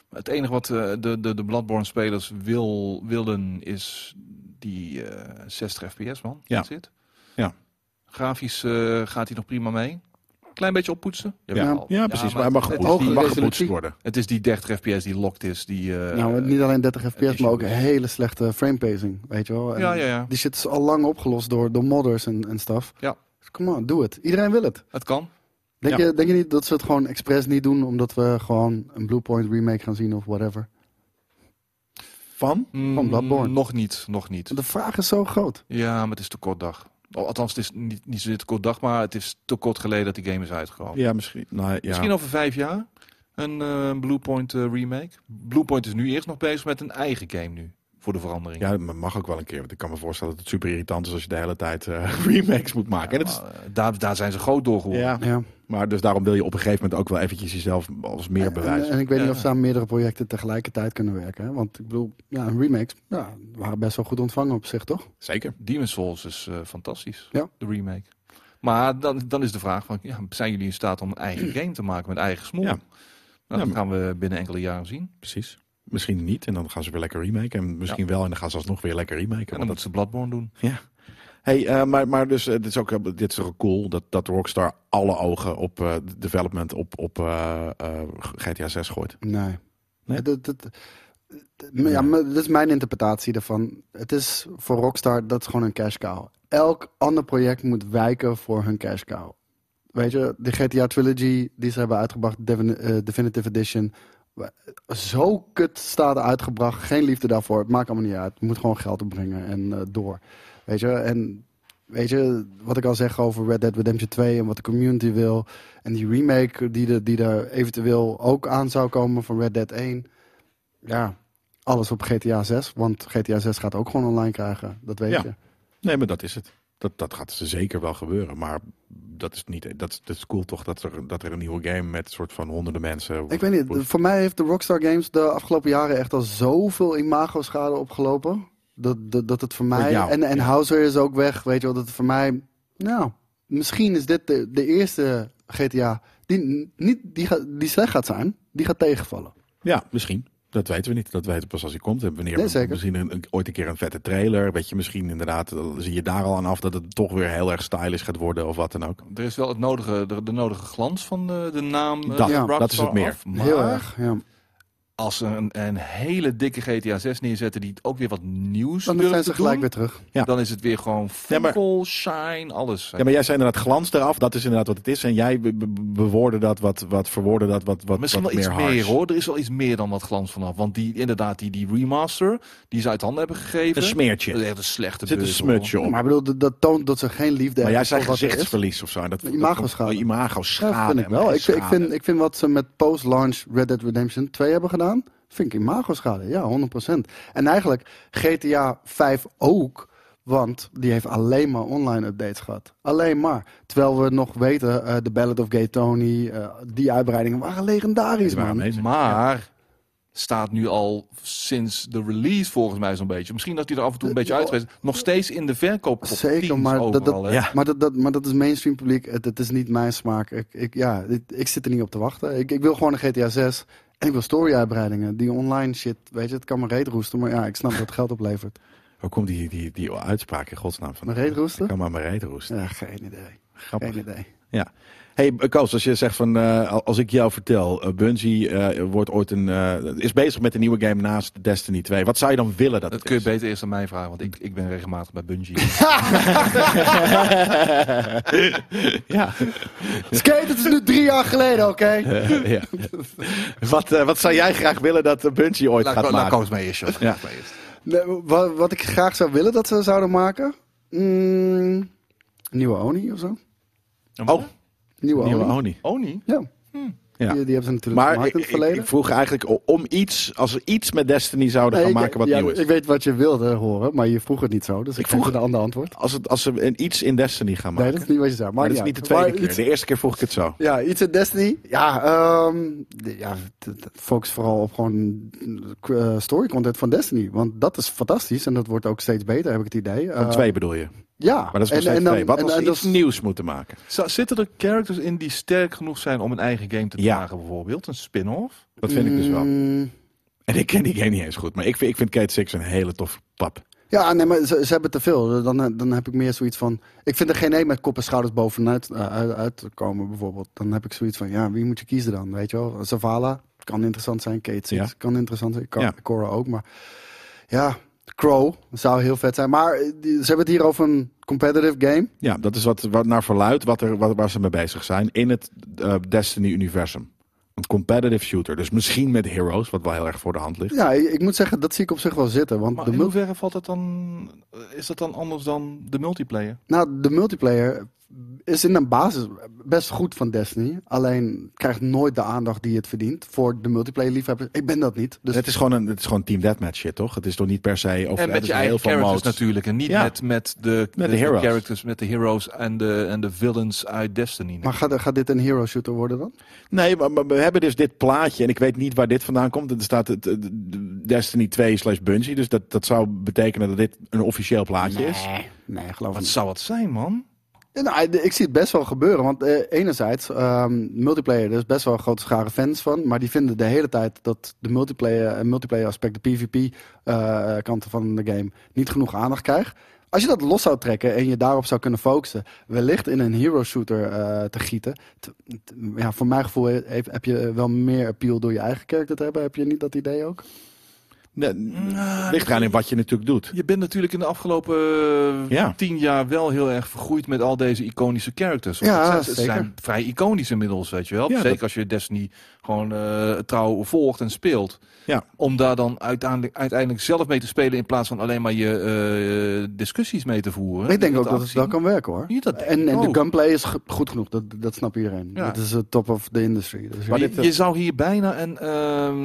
Speaker 2: Maar Het enige wat eh, de, de, de Bloodborne-spelers wil, wilden is die eh, 60 fps, man.
Speaker 1: Ja.
Speaker 2: That's it.
Speaker 1: Ja.
Speaker 2: Grafisch eh, gaat hij nog prima mee. Klein beetje oppoetsen.
Speaker 1: ja,
Speaker 2: Jawel.
Speaker 1: ja precies. maar hij mag,
Speaker 2: het is
Speaker 1: gepoetst-
Speaker 2: die-
Speaker 1: mag gepoetst
Speaker 3: resolutie.
Speaker 1: worden.
Speaker 2: Het is die 30 fps die locked is. Die, eh,
Speaker 3: nou, niet alleen 30 FPS,
Speaker 2: issue
Speaker 3: maar ook
Speaker 2: is-
Speaker 3: hele slechte frame pacing, weet je wel. En
Speaker 2: Ja, ja, ja.
Speaker 3: Die shit is al lang opgelost door, door modders en, en stuff.
Speaker 2: Ja.
Speaker 3: Dus Come on, doe het. Iedereen wil het.
Speaker 2: Het kan.
Speaker 3: Denk,
Speaker 1: Ja.
Speaker 3: je, denk je niet dat ze het gewoon expres niet doen omdat we gewoon een Blue Point remake gaan zien of whatever?
Speaker 1: Van?
Speaker 2: Mm,
Speaker 3: Van Bloodborne.
Speaker 2: Nog niet, nog niet.
Speaker 3: De vraag is zo groot.
Speaker 2: Ja, maar het is te kort dag. Al- Althans, het is niet, niet zozeer te kort dag, maar het is te kort geleden dat die game is uitgekomen.
Speaker 1: Ja, misschien. Nou, ja.
Speaker 2: Misschien over vijf jaar een eh Bluepoint eh, remake. Bluepoint is nu eerst nog bezig met een eigen game nu, voor de verandering.
Speaker 1: Ja, dat mag ook wel een keer. Want ik kan me voorstellen dat het super irritant is als je de hele tijd eh, (laughs) remakes moet maken. en het is,
Speaker 2: Maar, eh, daar, daar zijn ze groot door geworden.
Speaker 1: ja,
Speaker 3: Ja.
Speaker 1: maar dus daarom wil je op een gegeven moment ook wel eventjes jezelf als meer
Speaker 3: En,
Speaker 1: bewijzen.
Speaker 3: en ik weet niet
Speaker 2: Ja.
Speaker 3: of ze aan meerdere projecten tegelijkertijd kunnen werken. Hè? Want ik bedoel, ja, een remakes ja, waren best wel goed ontvangen op zich, toch?
Speaker 1: Zeker.
Speaker 2: Demon's Souls is eh, fantastisch,
Speaker 3: Ja.
Speaker 2: de remake. Maar dan, dan is de vraag, van, ja, zijn jullie in staat om een
Speaker 1: (clears throat)
Speaker 2: eigen game te maken met eigen smoel?
Speaker 1: Ja.
Speaker 2: Nou,
Speaker 1: Ja,
Speaker 2: dat
Speaker 1: maar-
Speaker 2: gaan we binnen enkele jaren zien.
Speaker 1: Precies. Misschien niet. En dan gaan ze weer lekker remaken. En misschien wel. En dan gaan ze alsnog weer lekker
Speaker 2: En
Speaker 1: remaken. Want dat,
Speaker 2: dan moeten ze Bloodborne doen.
Speaker 1: hey, eh, maar, maar dus, eh, dit is ook eh, dit is ook cool dat, dat Rockstar alle ogen op eh, development op, op eh, eh, GTA 6 gooit.
Speaker 3: Nee.
Speaker 1: Nee?
Speaker 3: Dat, dat, dat- maar ja, maar dat is mijn interpretatie daarvan. Het is voor Rockstar, dat is gewoon een cash cow. Elk ander project moet wijken voor hun cash cow. Weet je, de GTA Trilogy die ze hebben uitgebracht, Devin- eh, Definitive Edition. wa- Zo kut staat uitgebracht. Geen liefde daarvoor. Het maakt allemaal niet uit. Je moet gewoon geld opbrengen en eh, door. Weet je, en weet je, wat ik al zeg over Red Dead Redemption 2 en wat de community wil. En die remake die, de, die er eventueel ook aan zou komen van Red Dead 1. Ja, alles op GTA 6. Want GTA 6 gaat ook gewoon online krijgen. Dat weet
Speaker 1: Ja.
Speaker 3: je.
Speaker 1: Nee, maar dat is het. Dat, dat gaat ze zeker wel gebeuren. Maar dat is niet. Dat, is- dat is cool toch dat er, dat er een nieuwe game met soort van honderden mensen.
Speaker 3: Ik weet niet, voor mij heeft de Rockstar Games de afgelopen jaren echt al zoveel imago-schade opgelopen. Dat, dat, dat het voor mij...
Speaker 1: jou,
Speaker 3: en en
Speaker 1: ja.
Speaker 3: Hauser is ook weg, weet je wel. Dat het voor mij... Nou, misschien is dit de, de eerste GTA die, n- niet, die, gaat- die slecht gaat zijn. Die gaat tegenvallen.
Speaker 1: Ja, misschien. Dat weten we niet. Dat weten we pas als hij komt. En wanneer
Speaker 3: Nee,
Speaker 1: we
Speaker 3: zeker.
Speaker 1: misschien een, een- ooit een keer een vette trailer. Weet je, misschien inderdaad eh, zie je daar al aan af dat het toch weer heel erg stylish gaat worden of wat dan ook.
Speaker 2: Er is wel het nodige, de, de nodige glans van de, de naam eh,
Speaker 1: Dat-
Speaker 3: ja,
Speaker 2: Rockstar
Speaker 1: dat is het meer.
Speaker 2: af, maar
Speaker 3: Heel erg, ja.
Speaker 2: als ze een, een hele dikke GTA 6 neerzetten die ook weer wat nieuws
Speaker 3: Dan
Speaker 2: durft
Speaker 3: zijn
Speaker 2: te
Speaker 3: ze gelijk
Speaker 2: doen,
Speaker 3: weer terug.
Speaker 1: Ja.
Speaker 2: dan is het weer gewoon
Speaker 1: Ja, maar-
Speaker 2: fonkel, shine, alles.
Speaker 1: Ja, maar jij zei inderdaad glans eraf. Dat is inderdaad wat het is. En jij be- be- bewoordde dat, wat, wat verwoordde dat, wat, wat,
Speaker 2: Misschien
Speaker 1: wat
Speaker 2: wel iets
Speaker 1: meer
Speaker 2: meer
Speaker 1: harsh.
Speaker 2: hoor. Er is wel iets meer dan wat glans vanaf. Want die, inderdaad, die, die remaster, die ze uit handen hebben gegeven.
Speaker 1: Een smeertje.
Speaker 2: dat is echt een slechte
Speaker 1: Er zit een
Speaker 2: beurt,
Speaker 1: smutje op.
Speaker 3: Maar ik bedoel, dat, dat toont dat ze geen liefde
Speaker 1: Maar jij
Speaker 3: hebben
Speaker 1: zei
Speaker 3: voor wat er is.
Speaker 1: gezichtsverlies of zo. en Dat, dat-
Speaker 3: Imago-schade.
Speaker 1: Imago-schade.
Speaker 3: Ja, vind ik wel. Ik, ik, vind, ik vind wat ze met post-launch Red Dead Redemption 2 hebben gedaan, vind ik imago-schade. Ja, 100%. En eigenlijk GTA 5 ook, want die heeft alleen maar online updates gehad. Alleen maar. Terwijl we nog weten, eh The Ballad of Gay Tony, eh, die uitbreidingen waren legendarisch,
Speaker 1: Die waren
Speaker 3: man.
Speaker 1: amazing.
Speaker 2: hoor. Maar staat nu al sinds de release volgens mij zo'n beetje. Misschien dat die er af en toe een beetje uitgeweest is. Nog steeds in de verkoop.
Speaker 3: Zeker, maar dat, dat,
Speaker 1: hè?
Speaker 3: maar, dat, dat, maar dat is mainstream publiek. Het, het is niet mijn smaak. Ik, ik, ja, ik, ik zit er niet op te wachten. Ik, ik wil gewoon een GTA 6. En ik wil story-uitbreidingen. Die online shit, weet je, het kan me reet roesten. Maar ja, ik snap dat het geld oplevert.
Speaker 1: Waar komt die, die, die uitspraak in godsnaam van?
Speaker 3: Mijn reet roesten?
Speaker 1: Ik kan maar mijn reet roesten.
Speaker 3: Ja, geen idee.
Speaker 1: Grappig.
Speaker 3: Geen idee.
Speaker 1: Hey eh, Koos, als je zegt van, eh, als ik jou vertel, eh, Bungie eh, wordt ooit een, eh, is bezig met een nieuwe game naast Destiny 2. Wat zou je dan willen dat
Speaker 2: Dat
Speaker 1: het
Speaker 2: kun je
Speaker 1: is?
Speaker 2: beter eerst aan mij vragen, want ik, ik ben regelmatig bij (laughs) Bungie.
Speaker 1: (laughs) ja,
Speaker 3: Skate, het is nu drie jaar geleden, oké?
Speaker 1: eh, ja. wat, eh, wat zou jij graag willen dat eh, Bungie ooit gaat maken?
Speaker 2: eens mee eerst.
Speaker 1: Ja.
Speaker 3: Nee, wat, wat ik graag zou willen dat ze zouden maken? Mm, nieuwe Oni of zo?
Speaker 1: Oh,
Speaker 3: Nieuwe,
Speaker 1: nieuwe
Speaker 3: Oni.
Speaker 1: Oni.
Speaker 2: Oni?
Speaker 3: Ja.
Speaker 1: Ja.
Speaker 3: Die, die hebben ze natuurlijk
Speaker 1: Maar
Speaker 3: gemaakt
Speaker 1: ik,
Speaker 3: in het
Speaker 1: ik-
Speaker 3: verleden.
Speaker 1: ik vroeg eigenlijk o- om iets, als ze iets met Destiny zouden
Speaker 3: Nee,
Speaker 1: gaan
Speaker 3: ik-
Speaker 1: maken wat
Speaker 3: ja,
Speaker 1: nieuw is.
Speaker 3: Ik weet wat je wilde horen, maar je vroeg het niet zo. Dus ik,
Speaker 1: Ik vroeg-
Speaker 3: vroeg een ander antwoord.
Speaker 1: Als, het, als ze een iets in Destiny gaan maken.
Speaker 3: Nee, dat is niet wat je zei. Maar,
Speaker 1: maar dat
Speaker 3: ja.
Speaker 1: is niet de tweede
Speaker 3: Maar
Speaker 1: keer.
Speaker 3: iets-
Speaker 1: De eerste keer vroeg ik het zo.
Speaker 3: Ja, iets in Destiny. Ja, ehm, de- ja d- d- focus vooral op gewoon eh, story content van Destiny. Want dat is fantastisch en dat wordt ook steeds beter, heb ik het idee.
Speaker 1: Van
Speaker 3: Eh,
Speaker 1: twee bedoel je.
Speaker 3: Ja.
Speaker 1: Maar dat is nog steeds
Speaker 3: dan- dus-
Speaker 1: twee. Wat
Speaker 3: en-
Speaker 1: als ze
Speaker 3: en dat
Speaker 1: iets nieuws moeten maken?
Speaker 2: Zitten er characters in die sterk genoeg zijn om een eigen game te
Speaker 1: Ja.
Speaker 2: dragen, bijvoorbeeld? Een spin-off?
Speaker 1: Dat vind ik dus wel.
Speaker 3: Mm,
Speaker 1: En ik ken die game niet eens goed. Maar ik vind, ik vind Kate Six een hele toffe pap.
Speaker 3: Ja, nee, maar ze, ze hebben te veel. Dan, dan heb ik meer zoiets van. Ik vind er geen één met kop en schouders bovenuit eh, uit, uitkomen, bijvoorbeeld. Dan heb ik zoiets van: ja, wie moet je kiezen dan? Weet je wel, Zavala kan interessant zijn, Kate Six
Speaker 1: Ja.
Speaker 3: kan interessant zijn, Ka-
Speaker 1: Ja.
Speaker 3: Cora ook. Maar ja, Crow zou heel vet zijn. Maar eh, die- ze hebben het hier over een competitive game.
Speaker 1: Ja, dat is wat, wat naar verluidt wat er, wat, waar ze mee bezig zijn in het eh, Destiny-universum. Een competitive shooter. Dus misschien met Heroes, wat wel heel erg voor de hand ligt.
Speaker 3: Ja, ik, ik moet zeggen, dat zie ik op zich wel zitten. Want
Speaker 2: Maar
Speaker 3: de
Speaker 2: in
Speaker 3: mul-
Speaker 2: hoeverre valt dat dan, is dat dan anders dan de multiplayer?
Speaker 3: Nou, de multiplayer is in de basis best goed van Destiny. Alleen krijgt nooit de aandacht die het verdient voor de multiplayer liefhebbers. Ik ben dat niet. Dus
Speaker 1: het, is gewoon een, het is gewoon Team Deathmatch shit, toch? Het is toch niet per se... Over,
Speaker 2: en
Speaker 1: het
Speaker 2: met
Speaker 1: is
Speaker 2: je eigen
Speaker 1: heel veel
Speaker 2: characters
Speaker 1: modes.
Speaker 2: natuurlijk. En niet
Speaker 1: Ja.
Speaker 2: met, met, de,
Speaker 1: de heroes.
Speaker 2: characters, met de heroes en de, en de villains uit Destiny.
Speaker 3: Maar gaat, gaat dit een hero shooter worden dan?
Speaker 1: Nee, maar, maar we hebben dus dit plaatje. En ik weet niet waar dit vandaan komt. Er staat het, eh, d- d- Destiny 2 slash Bungie. Dus dat, dat zou betekenen dat dit een officieel plaatje is.
Speaker 3: nee, geloof ik
Speaker 2: Wat
Speaker 3: niet.
Speaker 2: zou het zijn, man?
Speaker 3: Ja, nou, ik zie het best wel gebeuren. Want eh, enerzijds, ehm, multiplayer, er is best wel een grote schare fans van. Maar die vinden de hele tijd dat de multiplayer, en multiplayer aspect, de PvP-kanten eh, van de game, niet genoeg aandacht krijgt. Als je dat los zou trekken en je daarop zou kunnen focussen, wellicht in een hero shooter eh, te gieten. t- t- ja, voor mijn gevoel heb, heb je wel meer appeal door je eigen character te hebben. Heb je niet dat idee ook? Ah,
Speaker 1: Nee, ligt eraan in wat je natuurlijk doet.
Speaker 2: Je bent natuurlijk in de afgelopen eh,
Speaker 1: Ja.
Speaker 2: tien jaar wel heel erg vergroeid met al deze iconische characters. Want
Speaker 3: Ja,
Speaker 2: het zijn, het
Speaker 3: zeker.
Speaker 2: zijn vrij iconisch inmiddels, weet je wel.
Speaker 1: Ja,
Speaker 2: zeker
Speaker 1: dat-
Speaker 2: als je Destiny gewoon eh, trouw volgt en speelt.
Speaker 1: Ja.
Speaker 2: Om daar dan uiteindelijk, uiteindelijk zelf mee te spelen in plaats van alleen maar je eh, discussies mee te voeren.
Speaker 3: ik denk ook dat het
Speaker 2: afgezien.
Speaker 3: wel kan werken hoor.
Speaker 2: Ja, dat denk
Speaker 3: En,
Speaker 2: ik
Speaker 3: en de
Speaker 1: Oh.
Speaker 2: ook.
Speaker 3: gunplay is ge- goed genoeg, dat, dat snapt iedereen.
Speaker 2: Ja.
Speaker 3: Dat is de top of the industry. Dus ja.
Speaker 1: Maar
Speaker 2: je,
Speaker 1: dit, eh,
Speaker 2: je zou hier bijna een, ehm,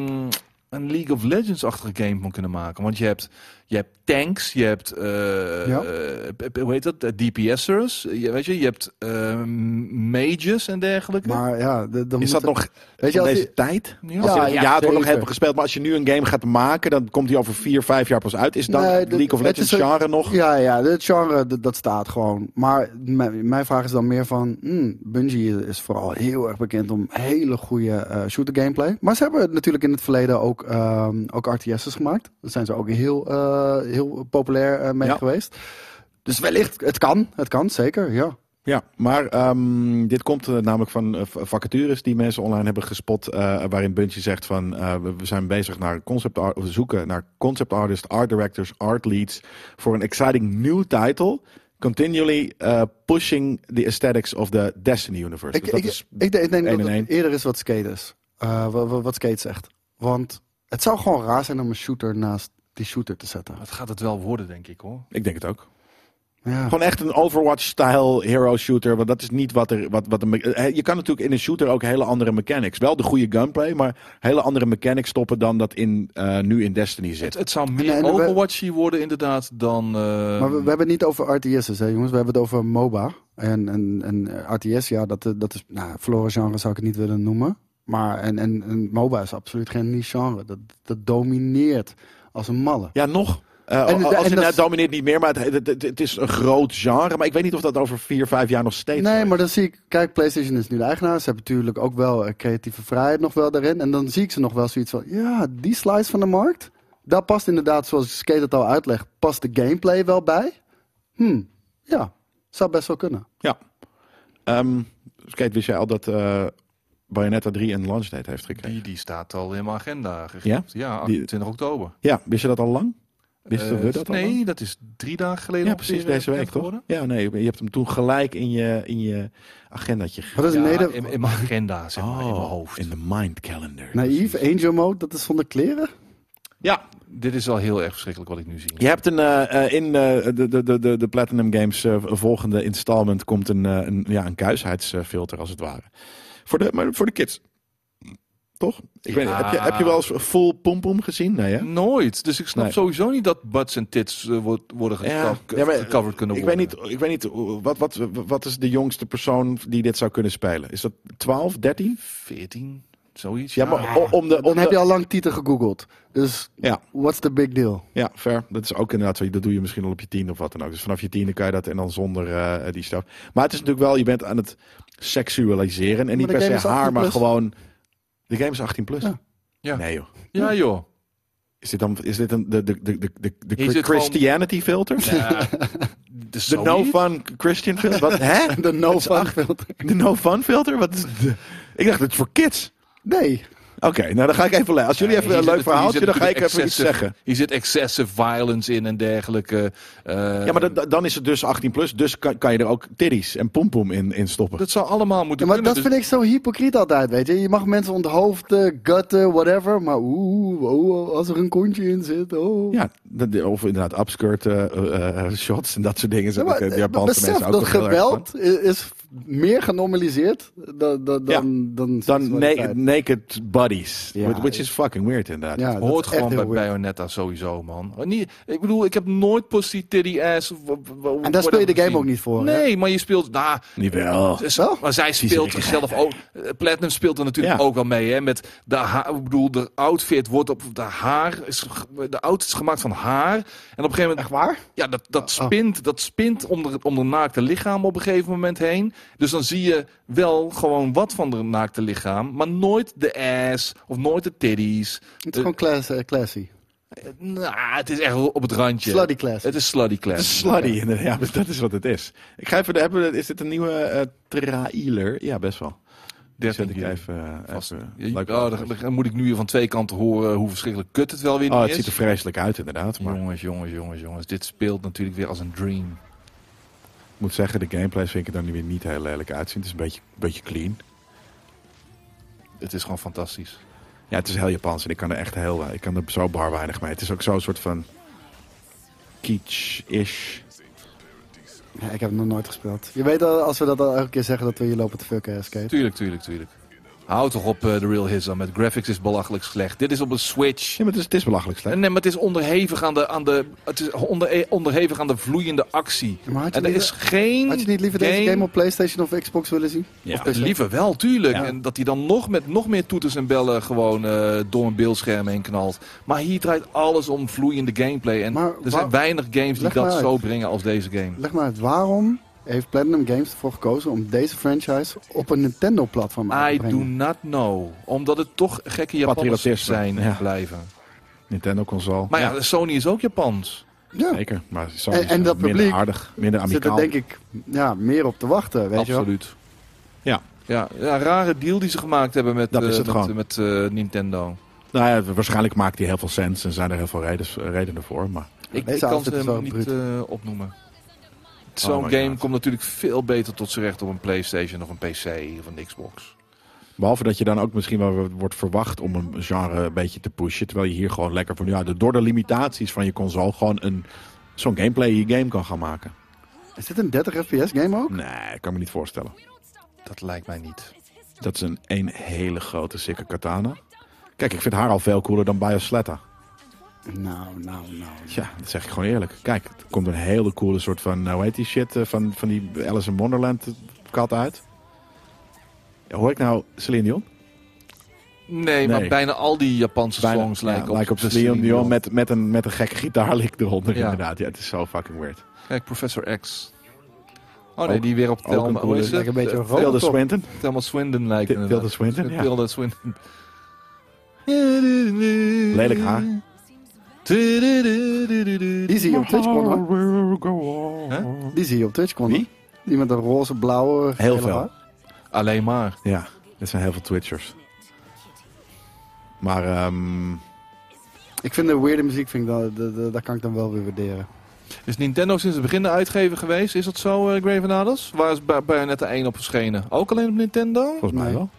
Speaker 2: een League of Legends-achtige game van kunnen maken. Want je hebt, je hebt tanks, je hebt, eh,
Speaker 3: Ja.
Speaker 2: eh, p- hoe heet dat, Eh, DPS'ers, je, weet je, je hebt eh, mages en dergelijke.
Speaker 3: Maar ja, de- dan
Speaker 1: Is
Speaker 3: moet
Speaker 1: dat nog
Speaker 3: Weet je,
Speaker 1: van
Speaker 3: als
Speaker 1: deze
Speaker 3: die-
Speaker 1: tijd?
Speaker 2: Ja.
Speaker 1: Als je- ja,
Speaker 3: ja,
Speaker 1: het wordt nog
Speaker 3: zeker.
Speaker 1: even gespeeld. Maar als je nu een game gaat maken, dan komt die over vier, vijf jaar pas uit. Is dan
Speaker 3: Nee, dat-
Speaker 1: League of
Speaker 3: het
Speaker 1: Legends
Speaker 3: is een-
Speaker 1: genre nog?
Speaker 3: Ja, ja, dit genre, d- dat staat gewoon. Maar m- mijn vraag is dan meer van... hmm, Bungie is vooral heel erg bekend om hele goede eh, shooter gameplay. Maar ze hebben natuurlijk in het verleden ook, ehm, ook RTS'ers gemaakt. Daar zijn ze ook heel, eh, heel populair eh, mee
Speaker 1: Ja.
Speaker 3: geweest. Dus wellicht, het kan. Het kan, zeker, ja.
Speaker 1: Ja, maar ehm, dit komt eh, namelijk van eh, v- vacatures die mensen online hebben gespot. eh, waarin Bungie zegt van eh, we we zijn bezig naar concept art, we zoeken naar concept artists, art directors, art leads. Voor een exciting new title. Continually eh, pushing the aesthetics of the Destiny universe.
Speaker 3: Ik,
Speaker 1: Dus dat
Speaker 3: ik,
Speaker 1: is
Speaker 3: ik, ik denk
Speaker 1: één
Speaker 3: dat
Speaker 1: en
Speaker 3: het
Speaker 1: één.
Speaker 3: eerder is wat skate is. Eh, wa- wa- wat skate zegt. Want het zou gewoon raar zijn om een shooter naast die shooter te zetten.
Speaker 2: Dat gaat het wel worden, denk ik hoor.
Speaker 1: ik denk het ook.
Speaker 3: Ja.
Speaker 1: Gewoon echt een Overwatch-style hero shooter. Want dat is niet wat er. Wat, wat een me- eh, je kan natuurlijk in een shooter ook hele andere mechanics. Wel de goede gunplay, maar hele andere mechanics stoppen dan dat in, eh, nu in Destiny zit.
Speaker 2: Het, het zou meer
Speaker 3: en we-
Speaker 2: Overwatchy worden inderdaad dan... eh,
Speaker 3: Maar
Speaker 1: ehm,
Speaker 3: we, we hebben het niet over RTS's, hè, jongens. We hebben het over MOBA. En, en, en eh, RTS, ja, dat, eh, dat is... Nou, verloren genre zou ik het niet willen noemen. Maar en, en, en MOBA is absoluut geen niche genre. Dat, dat domineert als een malle.
Speaker 1: Ja, nog. Eh,
Speaker 3: En-
Speaker 1: als
Speaker 3: en
Speaker 1: in,
Speaker 3: dat-
Speaker 1: het domineert niet meer, maar het, het, het- het is een groot genre. Maar ik weet niet of dat over vier, vijf jaar nog steeds. zo
Speaker 3: Nee,
Speaker 1: is.
Speaker 3: maar dan zie ik... Kijk, PlayStation is nu de eigenaar. Ze hebben natuurlijk ook wel eh, creatieve vrijheid nog wel daarin. En dan zie ik ze nog wel zoiets van... Ja, die slice van de markt... daar past inderdaad, zoals Skate het al uitlegt, past de gameplay wel bij. Hm, ja, zou best wel kunnen.
Speaker 1: Ja. Ehm Skate, wist jij al dat eh Bayonetta 3 een launchdate heeft gekregen?
Speaker 2: Die, die staat al in mijn agenda gegrift. Ja,
Speaker 1: Die-
Speaker 2: 28 oktober.
Speaker 1: Ja, wist je dat al lang? Wist
Speaker 2: Eh,
Speaker 1: je dat al
Speaker 2: nee,
Speaker 1: lang?
Speaker 2: dat is drie dagen geleden.
Speaker 1: Ja,
Speaker 2: ongeveer,
Speaker 1: precies
Speaker 2: eh,
Speaker 1: deze week
Speaker 2: bekend
Speaker 1: toch?
Speaker 2: geworden.
Speaker 1: Ja, nee, je hebt hem toen gelijk in je, in je agendatje ge- Ah,
Speaker 3: Wat is
Speaker 2: Ja,
Speaker 3: mede...
Speaker 2: in, in mijn agenda,
Speaker 1: Oh,
Speaker 2: zeg maar, in mijn hoofd.
Speaker 1: In de mind calendar.
Speaker 3: Naïef, Angel Mode, dat is zonder kleren?
Speaker 1: Ja,
Speaker 2: Dit is al heel erg verschrikkelijk wat ik nu zie.
Speaker 1: je hebt een, eh, eh, in eh, de, de, de- de, de Platinum Games eh, volgende installment komt een, eh, een, ja, een kuisheidsfilter als het ware. Voor de, maar voor de kids. Toch? Ik weet niet, heb je, heb je wel eens full pom-pom gezien? Nee, hè?
Speaker 2: Nooit. Dus ik snap
Speaker 1: Nee.
Speaker 2: sowieso niet dat butts en tits eh, wordt- worden
Speaker 1: Ja.
Speaker 2: geca- ge-
Speaker 1: Ja, maar
Speaker 2: gecoverd kunnen
Speaker 1: Ik
Speaker 2: worden.
Speaker 1: weet niet, ik weet niet eh, wat, wat, wat is de jongste persoon die dit zou kunnen spelen? Is dat 12, 13?
Speaker 2: 14, zoiets.
Speaker 1: Ja, maar o- om de... Om
Speaker 3: Dan heb
Speaker 1: de-
Speaker 3: je al lang tieten gegoogeld. Dus
Speaker 1: Ja.
Speaker 3: what's the big deal?
Speaker 1: Ja, fair. Dat is ook inderdaad zo. Dat doe je misschien al op je tiende of wat dan ook. Dus vanaf je tiende kan je dat en dan zonder eh, die staf. Maar het is natuurlijk wel, je bent aan het seksualiseren. En niet
Speaker 3: de
Speaker 1: per
Speaker 3: game
Speaker 1: se
Speaker 3: is
Speaker 1: haar,
Speaker 3: 18
Speaker 1: maar
Speaker 3: plus.
Speaker 1: gewoon... De game is 18 plus.
Speaker 3: Ja.
Speaker 2: Ja.
Speaker 1: Nee joh.
Speaker 2: Ja, joh.
Speaker 1: Is dit dan is dit een, de, de, de, de, de,
Speaker 2: Is
Speaker 1: de
Speaker 2: het gewoon-
Speaker 1: Christianity filter?
Speaker 2: Ja,
Speaker 1: (laughs) De no fun Christian filter? Wat, hè?
Speaker 3: De no
Speaker 1: Het is
Speaker 3: fun
Speaker 1: acht-
Speaker 3: filter.
Speaker 1: De no fun filter? Wat is de- Ik dacht, het is voor kids.
Speaker 3: Nee.
Speaker 1: Oké, nou dan ga ik even... le- Als jullie even een leuk verhaaltje, dan ga ik even iets zeggen.
Speaker 2: Hier zit excessive violence in en dergelijke. eh,
Speaker 1: Ja, maar dat- dat- dan is het dus 18 plus. Dus kan, kan je er ook titties en pompoem in, in stoppen.
Speaker 2: dat zou allemaal moeten
Speaker 3: Ja, maar
Speaker 2: kunnen. Dus
Speaker 3: dat vind ik zo hypocriet altijd, weet je. Je mag mensen onthoofden, gutten, whatever. Maar oeh, oh, als er een kontje in zit, oh.
Speaker 1: Ja, dat- of inderdaad upskirt eh, eh, eh, shots en dat soort dingen.
Speaker 3: Ja,
Speaker 1: zijn
Speaker 3: maar,
Speaker 1: de
Speaker 3: eh,
Speaker 1: Japanse
Speaker 3: besef
Speaker 1: mensen ook
Speaker 3: dat
Speaker 1: nog heel erg van.
Speaker 3: geweld i- is meer genormaliseerd dan, dan,
Speaker 1: Ja.
Speaker 3: dan, dan,
Speaker 1: Dan na-
Speaker 3: seksualiteit.
Speaker 1: naked buddies.
Speaker 3: Ja,
Speaker 1: which- which is fucking weird inderdaad.
Speaker 3: Ja, dat is
Speaker 2: Hoort
Speaker 3: echt
Speaker 2: gewoon
Speaker 3: heel
Speaker 2: bij
Speaker 3: weird.
Speaker 2: Bayonetta sowieso, man. Oh, Niet, ik bedoel, ik heb nooit pussy, titty, ass... of- of- of-
Speaker 3: En daar speel je de
Speaker 2: whatever
Speaker 3: game ook
Speaker 2: gezien.
Speaker 3: niet voor. hè?
Speaker 2: Nee, maar je speelt... Nou,
Speaker 1: Niet wel.
Speaker 2: Dus-
Speaker 3: Wel?
Speaker 2: Maar zij speelt
Speaker 1: Vieze
Speaker 2: zichzelf ook. eh, Platinum speelt er natuurlijk
Speaker 1: Ja.
Speaker 2: ook wel mee. Hè? Met de haar, ik bedoel, de outfit wordt op de haar. Is, ge- de outfit is gemaakt van haar. En op een gegeven moment.
Speaker 3: Echt waar?
Speaker 2: Ja, dat, dat
Speaker 3: Oh.
Speaker 2: spint, dat spint om, de, om de naakte lichaam op een gegeven moment heen. Dus dan zie je wel gewoon wat van de naakte lichaam. Maar nooit de ass of nooit de titties.
Speaker 3: Het is gewoon class- eh, classy.
Speaker 2: Eh, nou, het is echt op het randje.
Speaker 3: Slutty classy.
Speaker 2: Het is slutty
Speaker 1: Het
Speaker 2: class.
Speaker 1: is slutty inderdaad. Ja, maar dat is wat het is. Ik ga even... de- Hebben, we- is dit een nieuwe eh, trailer? Ja, best wel. Die zet ik even... eh,
Speaker 2: Vast.
Speaker 1: even
Speaker 2: Ja,
Speaker 1: leuk
Speaker 2: oh, dan, dan moet ik nu van twee kanten horen hoe verschrikkelijk kut het wel weer
Speaker 1: Oh,
Speaker 2: niet
Speaker 1: het
Speaker 2: is.
Speaker 1: ziet er vreselijk uit inderdaad. Maar
Speaker 2: Jongens, jongens, jongens, jongens. Dit speelt natuurlijk weer als een dream.
Speaker 1: ik moet zeggen, de gameplay vind ik er dan weer niet heel lelijk uitzien. Het is een beetje, beetje clean.
Speaker 2: Het is gewoon fantastisch.
Speaker 1: Ja, het is heel Japans en ik kan er echt heel ik kan er zo bar weinig mee. Het is ook zo'n soort van kitsch-ish.
Speaker 3: Ja, ik heb het nog nooit gespeeld. Je weet al, als we dat al elke keer zeggen, dat we hier lopen te fucken, eh, Skate.
Speaker 2: Tuurlijk, tuurlijk, tuurlijk. Houd toch op eh, de real hism. Het graphics is belachelijk slecht. Dit is op een Switch.
Speaker 1: Ja, maar het is, het is belachelijk slecht.
Speaker 2: En, nee, maar het is onderhevig aan de, aan de, het is onder, eh, onderhevig aan de vloeiende actie.
Speaker 3: Maar had je,
Speaker 2: En er
Speaker 3: liever,
Speaker 2: is geen.
Speaker 3: had je niet liever deze
Speaker 2: game-
Speaker 3: game op PlayStation of Xbox willen zien?
Speaker 1: Ja.
Speaker 2: Of liever wel, tuurlijk.
Speaker 1: Ja.
Speaker 2: En dat hij dan nog met nog meer toeters en bellen gewoon eh, door een beeldscherm heen knalt. Maar hier draait alles om vloeiende gameplay. En
Speaker 3: Maar
Speaker 2: er
Speaker 3: waar-
Speaker 2: zijn weinig games die
Speaker 3: Leg maar
Speaker 2: dat
Speaker 3: uit.
Speaker 2: zo brengen als deze game.
Speaker 3: Leg maar uit, waarom heeft Platinum Games ervoor gekozen om deze franchise op een Nintendo-platform uit te
Speaker 2: I do
Speaker 3: brengen?
Speaker 2: not know. Omdat het toch gekke Japanners
Speaker 1: Patriotisme,
Speaker 2: zijn
Speaker 1: ja.
Speaker 2: blijven.
Speaker 1: Nintendo-console.
Speaker 2: Maar ja, Sony is ook Japans.
Speaker 3: Ja,
Speaker 1: Zeker, maar zo
Speaker 3: En-
Speaker 1: is
Speaker 3: en dat
Speaker 1: minder
Speaker 3: publiek
Speaker 1: aardig, minder
Speaker 3: zit er
Speaker 1: amicaal.
Speaker 3: denk ik ja, meer op te wachten, weet je wel.
Speaker 2: Absoluut.
Speaker 1: Ja.
Speaker 2: Ja, ja, rare deal die ze gemaakt hebben met,
Speaker 1: Dat
Speaker 2: eh,
Speaker 1: is het
Speaker 2: met,
Speaker 1: gewoon.
Speaker 2: met eh, Nintendo.
Speaker 1: Nou ja, waarschijnlijk maakt die heel veel sens en zijn er heel veel redens, redenen voor. Maar
Speaker 2: Ik
Speaker 3: Deze
Speaker 2: kan
Speaker 3: outfit
Speaker 2: ze
Speaker 3: is wel
Speaker 2: helemaal niet eh, opnoemen. Zo'n
Speaker 1: Oh my
Speaker 2: game
Speaker 1: God.
Speaker 2: komt natuurlijk veel beter tot zijn recht op een PlayStation of een PC of een Xbox.
Speaker 1: behalve dat je dan ook misschien wel wordt verwacht om een genre een beetje te pushen. Terwijl je hier gewoon lekker van, ja, de- door de limitaties van je console gewoon een, zo'n gameplay je game kan gaan maken.
Speaker 3: Is dit een 30 fps game ook?
Speaker 1: Nee, ik kan me niet voorstellen.
Speaker 2: Dat lijkt mij niet.
Speaker 1: Dat is een, een hele grote sikke katana. Kijk, ik vind haar al veel cooler dan Biosletta.
Speaker 3: Nou, nou, nou.
Speaker 1: Ja, dat zeg ik gewoon eerlijk. Kijk, er komt een hele coole soort van, hoe heet die shit, eh, van, van die Alice in Wonderland eh, kat uit. Ja, hoor ik nou Celine Dion?
Speaker 2: Nee, maar
Speaker 1: Nee.
Speaker 2: bijna al die Japanse
Speaker 1: Bijna,
Speaker 2: songs
Speaker 1: ja,
Speaker 2: lijken op,
Speaker 1: lijken op
Speaker 2: de
Speaker 1: Celine
Speaker 2: Celine
Speaker 1: Dion
Speaker 2: Dion.
Speaker 1: met, met, een, met een gekke gitaarlik eronder
Speaker 2: Ja. Oh,
Speaker 1: inderdaad. Ja, het is zo fucking weird.
Speaker 2: Kijk, Professor X. Oh nee,
Speaker 1: Ook-
Speaker 2: die weer op
Speaker 1: een
Speaker 2: Thelma.
Speaker 1: coole-
Speaker 2: Hoe is het?
Speaker 3: Lijkt een beetje
Speaker 2: Eh,
Speaker 3: rood.
Speaker 1: Tilda
Speaker 3: top.
Speaker 1: Swinton.
Speaker 2: Thelma Swinton lijkt
Speaker 1: Tilda
Speaker 2: inderdaad.
Speaker 1: Swinton, ja.
Speaker 2: Tilda Swinton.
Speaker 1: Lelijk haar.
Speaker 3: Die zie je op Twitch, man.
Speaker 1: Oh.
Speaker 3: hoor.
Speaker 2: Hè?
Speaker 3: Die zie je op Twitch, man.
Speaker 1: Wie?
Speaker 3: Die met een roze, blauwe...
Speaker 1: Heel
Speaker 3: gele
Speaker 1: veel.
Speaker 3: haar.
Speaker 2: Alleen maar.
Speaker 1: Ja, dat zijn heel veel Twitchers. Maar ehm,
Speaker 3: Ik vind de weirde muziek, vind ik dat, dat, dat- dat kan ik dan wel weer waarderen.
Speaker 2: Is Nintendo sinds het begin de uitgever geweest? Is dat zo, eh Graven Adels? Waar is Ba- Bayonetta 1 op verschenen? Ook alleen op Nintendo?
Speaker 1: volgens mij
Speaker 3: Nee.
Speaker 1: wel.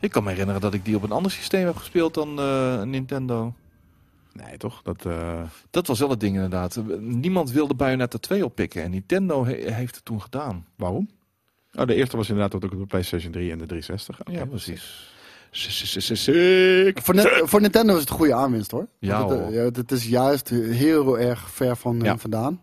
Speaker 2: Ik kan me herinneren dat ik die op een ander systeem heb gespeeld dan eh, Nintendo.
Speaker 1: Nee, toch? Dat, eh,
Speaker 2: Dat was wel het ding inderdaad. Eh, Niemand wilde Bayonetta 2 oppikken en Nintendo he- heeft het toen gedaan.
Speaker 1: waarom? Oh, de eerste was inderdaad ook op de PlayStation 3 en de 360. Oké. Sick.
Speaker 3: Voor, net- voor Nintendo is het een goede aanwinst, hoor.
Speaker 2: Ja,
Speaker 3: Want
Speaker 2: hoor.
Speaker 3: het, ja, het is juist heel erg ver van hun
Speaker 1: Ja.
Speaker 3: vandaan.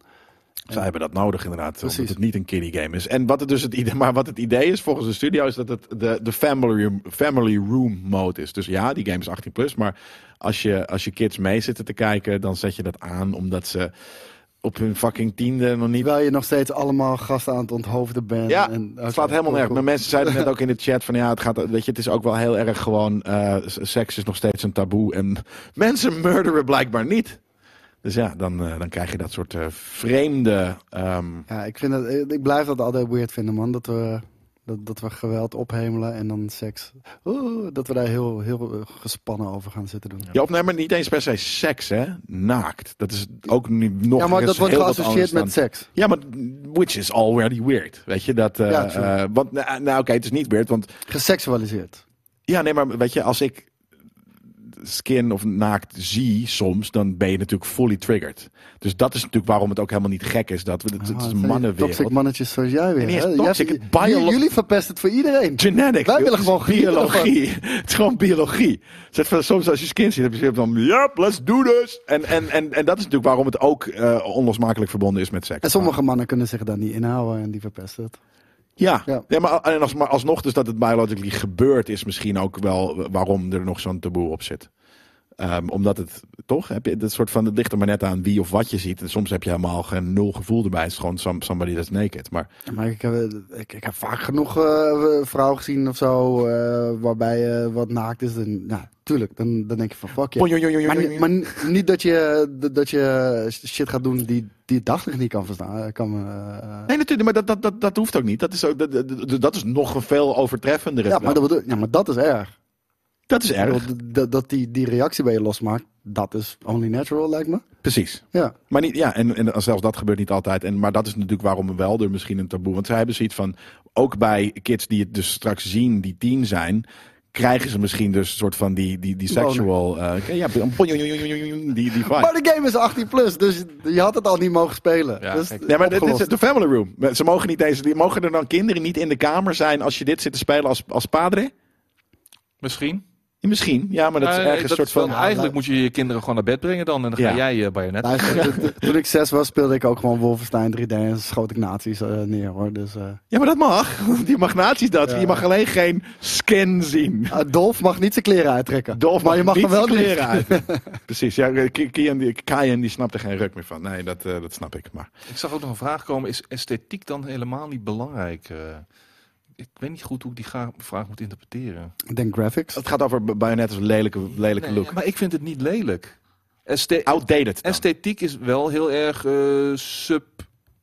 Speaker 1: Zij hebben dat nodig inderdaad, omdat
Speaker 3: Precies.
Speaker 1: het niet een kiddie game is. En wat het, dus het idee, maar wat het idee is volgens de studio is dat het de, de family, room- family room mode is. Dus ja, die game is 18 plus, maar als je, als je kids mee zitten te kijken, dan zet je dat aan omdat ze op hun fucking tiende nog niet...
Speaker 3: Terwijl je nog steeds allemaal gasten aan het onthoofden bent.
Speaker 1: Ja,
Speaker 3: en,
Speaker 1: Het slaat helemaal nergens. Maar mensen zeiden net ook in de chat van ja, het gaat, weet je, het is ook wel heel erg gewoon, eh, s- seks is nog steeds een taboe en (laughs) mensen murderen blijkbaar niet. Dus ja, dan, eh, dan krijg je dat soort eh, vreemde ehm,
Speaker 3: Ja, ik, vind dat, ik blijf dat altijd weird vinden, man. Dat we, dat, dat we geweld ophemelen en dan seks. Oeh, dat we daar heel, heel eh, gespannen over gaan zitten doen. Ja,
Speaker 1: Ja, of nee, maar niet eens per se seks, hè? Naakt. Dat is ook nu nog
Speaker 3: maar
Speaker 1: eens
Speaker 3: dat wordt
Speaker 1: heel wat
Speaker 3: geassocieerd
Speaker 1: anders
Speaker 3: met
Speaker 1: dan-
Speaker 3: seks.
Speaker 1: Ja, maar which is already weird. Weet je dat? eh,
Speaker 3: Ja, true.
Speaker 1: eh, want nou, nou, oké, het is niet weird. Want
Speaker 3: Geseksualiseerd.
Speaker 1: ja, nee, maar weet je, als ik skin of naakt zie soms, dan ben je natuurlijk fully triggered. Dus dat is natuurlijk waarom het ook helemaal niet gek is dat we
Speaker 3: Ah,
Speaker 1: het, het is een
Speaker 3: Toxic
Speaker 1: mannenwereld.
Speaker 3: mannetjes zoals jij weer.
Speaker 1: En niet eens
Speaker 3: hè?
Speaker 1: toxic,
Speaker 3: Jij-
Speaker 1: het bio-
Speaker 3: jullie- jullie verpest het voor iedereen.
Speaker 1: Genetics.
Speaker 3: Wij
Speaker 1: joh.
Speaker 3: willen
Speaker 1: Het
Speaker 3: gewoon
Speaker 1: is
Speaker 3: genieten
Speaker 1: biologie. (laughs) Het is gewoon biologie. Zet van, soms als je skin ziet, heb je zoiets van, yep, let's do this. En, en, en, en dat is natuurlijk waarom het ook eh, onlosmakelijk verbonden is met seks.
Speaker 3: En sommige mannen kunnen zich daar niet inhouden en die verpesten het.
Speaker 1: Ja, ja.
Speaker 3: Ja.
Speaker 1: maar, en als, maar alsnog dus dat het biologically gebeurt, is misschien ook wel waarom er nog zo'n taboe op zit. Ehm, omdat het toch, heb je dat soort van, het ligt er maar net aan wie of wat je ziet. En soms heb je helemaal geen nul gevoel erbij. Het is gewoon some- somebody that's naked. Maar
Speaker 3: Maar ik heb, ik, ik heb vaak genoeg eh, vrouwen gezien of zo, eh, waarbij eh, wat naakt is. En, nou, tuurlijk, dan, dan denk je van fuck je. Maar, ni- maar ni- niet dat je, dat- dat je shit gaat doen die, die het daglicht niet kan verstaan. Kan, eh,
Speaker 1: nee, natuurlijk, maar dat, dat, dat, dat hoeft ook niet. Dat is, ook, dat, dat, dat is nog een veel overtreffendere.
Speaker 3: ja, maar
Speaker 1: dat,
Speaker 3: dat bedoel, ja, maar dat is erg.
Speaker 1: is
Speaker 3: Ik
Speaker 1: erg.
Speaker 3: bedoel, d- Dat, dat die, die reactie bij je losmaakt, dat is only natural, lijkt me.
Speaker 1: Precies.
Speaker 3: Ja,
Speaker 1: Maar niet, ja, en, en zelfs dat gebeurt niet altijd. En, maar dat is natuurlijk waarom wel er misschien een taboe. Want zij hebben zoiets van, ook bij kids die het dus straks zien, die tien zijn, krijgen ze misschien dus een soort van die, die, die sexual. eh ja, die, die vibe.
Speaker 3: maar de game is 18 plus, dus je had het al niet mogen spelen.
Speaker 2: Ja,
Speaker 3: dus,
Speaker 2: gek.
Speaker 1: Nee, maar dit is
Speaker 3: opgelost.
Speaker 1: de family room. Ze mogen, niet eens, die mogen er dan kinderen niet in de kamer zijn als je dit zit te spelen als, als padre?
Speaker 2: Misschien.
Speaker 1: Misschien, ja, maar dat is
Speaker 2: Maar, eh,
Speaker 1: ergens een soort
Speaker 2: is wel-
Speaker 1: van...
Speaker 2: eigenlijk moet je je kinderen gewoon naar bed brengen dan. En dan
Speaker 1: Ja. Nou.
Speaker 2: ga jij eh Bayonetta.
Speaker 3: Luister, t- t- toen ik zes was, speelde ik ook gewoon Wolfenstein 3D en schoot ik nazi's eh, neer hoor. Dus, eh
Speaker 1: Ja, maar dat mag. (laughs) Je mag nazi's dat.
Speaker 3: Ja.
Speaker 1: Je mag alleen geen scan zien.
Speaker 3: Ah, Dolf mag niet zijn kleren uittrekken.
Speaker 1: Dolf
Speaker 3: maar je mag
Speaker 1: niet
Speaker 3: hem wel
Speaker 1: zijn kleren
Speaker 3: leren
Speaker 1: uit. (laughs) Precies, ja, Ki- Kian, die, Kian die snapt er geen ruk meer van. Nee, dat, eh, dat snap ik. Maar
Speaker 2: Ik zag ook nog een vraag komen. Is esthetiek dan helemaal niet belangrijk? Eh, ik weet niet goed hoe ik die ga- vraag moet interpreteren.
Speaker 3: Ik denk graphics.
Speaker 1: het gaat over Bayonetta's lelijke, lelijke
Speaker 2: Nee,
Speaker 1: look.
Speaker 2: Maar ik vind het niet lelijk. Este-
Speaker 1: Outdated. dan.
Speaker 2: esthetiek is wel heel erg eh, sub...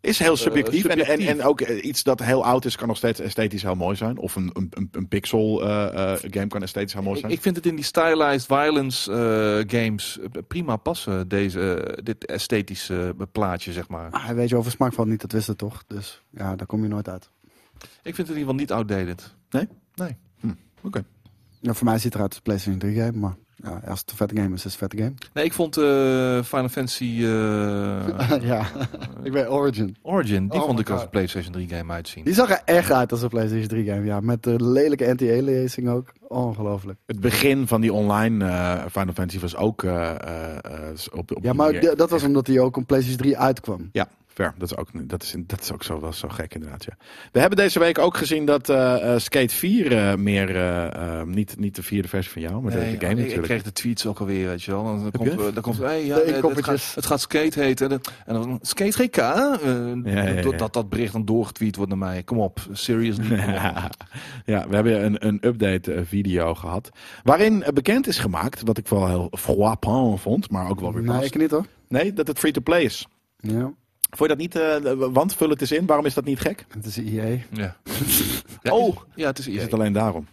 Speaker 1: Is heel subjectief. en- en, en,
Speaker 2: Eh, subjectief.
Speaker 1: ook eh, iets dat heel oud is, kan nog steeds esthetisch heel mooi zijn. Of een, een, een, een pixel eh, eh, game kan esthetisch heel mooi
Speaker 2: Ik,
Speaker 1: zijn.
Speaker 2: ik vind het in die stylized violence eh, games eh, prima passen. Deze, eh, dit esthetische eh, plaatje, zeg maar.
Speaker 3: Ah, weet je, over smaak valt niet, dat wist het toch? Dus ja, daar kom je nooit uit.
Speaker 2: Ik vind het in ieder geval niet outdated.
Speaker 3: Ja, Nou, voor mij ziet het eruit als een PlayStation 3 game, maar ja, als het een vette game is, is het een vette game.
Speaker 2: Nee, ik vond eh, Final Fantasy
Speaker 1: (laughs)
Speaker 2: eh,
Speaker 3: (laughs) ja, ik ben Origin.
Speaker 2: Origin, die
Speaker 3: Oh
Speaker 2: vond
Speaker 3: my
Speaker 2: ik als
Speaker 3: God.
Speaker 2: een PlayStation 3 game uitzien.
Speaker 3: Die zag er echt uit als een PlayStation 3 game, ja. Met de lelijke anti-aliasing ook. Ongelooflijk.
Speaker 1: Het begin van die online eh, Final Fantasy was ook eh, eh, eh, op, op
Speaker 3: Ja,
Speaker 1: die
Speaker 3: maar
Speaker 1: manier.
Speaker 3: d- dat was omdat hij ook op PlayStation 3 uitkwam.
Speaker 1: Ja, Ver, dat is ook, dat is, dat is ook zo, dat is zo gek inderdaad. Ja. We hebben deze week ook gezien dat eh, eh, Skate 4 eh, meer, eh, eh, niet, niet de vierde versie van jou, maar de-
Speaker 2: Nee,
Speaker 1: de,
Speaker 2: oh,
Speaker 1: game
Speaker 2: ik, ik
Speaker 1: natuurlijk.
Speaker 2: kreeg de tweets ook alweer, weet je wel. Dan, dan komt,
Speaker 1: je?
Speaker 2: eh, dan komt hey, ja,
Speaker 3: De
Speaker 2: eh, het,
Speaker 3: inkoppertjes.
Speaker 2: gaat, het gaat skate heten. En dan- En dan skate GK. eh,
Speaker 1: Ja, ja, ja.
Speaker 2: dat- Dat dat bericht dan doorgetweet wordt naar mij. Kom op, seriously. kom op.
Speaker 1: (laughs) Ja, ja, we hebben een, een update eh, video gehad. Waarin eh, bekend is gemaakt, wat ik wel heel frappant vond, maar ook wel weer
Speaker 3: Nee,
Speaker 1: past.
Speaker 3: ik niet hoor.
Speaker 1: Nee, dat het free-to-play is.
Speaker 3: Ja,
Speaker 1: Vond je dat niet, eh, want vul het eens in, waarom is dat niet gek?
Speaker 3: het is E EA.
Speaker 1: (laughs)
Speaker 2: Ja.
Speaker 1: Oh.
Speaker 2: is- Ja, het is
Speaker 1: Is het
Speaker 2: EA.
Speaker 1: alleen daarom?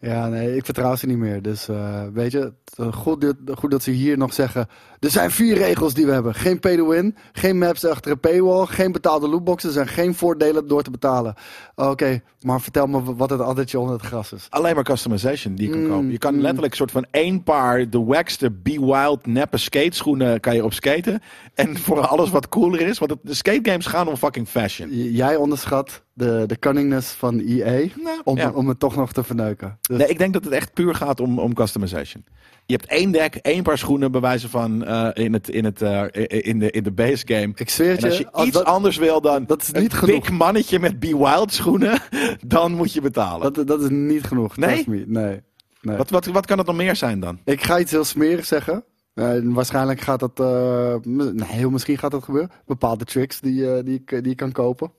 Speaker 3: Ja, nee, ik vertrouw ze niet meer. Dus eh, weet je, het, eh, goed, dat- goed dat ze hier nog zeggen... Er zijn vier regels die we hebben. Geen pay-to-win, geen maps achter een paywall... geen betaalde lootboxes en geen voordelen door te betalen. Oké, maar vertel me w- wat het addertje onder het gras is.
Speaker 1: Alleen maar customization die je kan
Speaker 3: Mm,
Speaker 1: kopen. Je kan
Speaker 3: mm.
Speaker 1: letterlijk soort van één paar de wackste Be Wild neppe skateschoenen kan je op skaten. En voor alles wat cooler is, want het, de skategames gaan om fucking fashion.
Speaker 3: J- jij onderschat de, de cunningness van EA...
Speaker 1: Nou,
Speaker 3: om,
Speaker 1: ja.
Speaker 3: om het toch nog te verneuken. Dus-
Speaker 1: Nee, ik denk dat het echt puur gaat om, om customization. Je hebt één deck, één paar schoenen bij wijze van eh, in, het, in, het, eh, in, de, in de base game.
Speaker 3: Ik zweer het
Speaker 1: En als je
Speaker 3: je, als
Speaker 1: iets
Speaker 3: dat,
Speaker 1: anders wil dan
Speaker 3: dat is niet
Speaker 1: een
Speaker 3: genoeg.
Speaker 1: dik mannetje met Be Wild schoenen, (laughs) dan moet je betalen.
Speaker 3: dat, dat is niet genoeg.
Speaker 1: Nee?
Speaker 3: trust me. Nee. nee.
Speaker 1: wat, wat, wat kan het nog meer zijn dan?
Speaker 3: Ik ga iets heel smerig zeggen. Eh, waarschijnlijk gaat dat... eh, m- nee, heel misschien gaat dat gebeuren. Bepaalde tricks die, eh, die, ik, die ik kan kopen.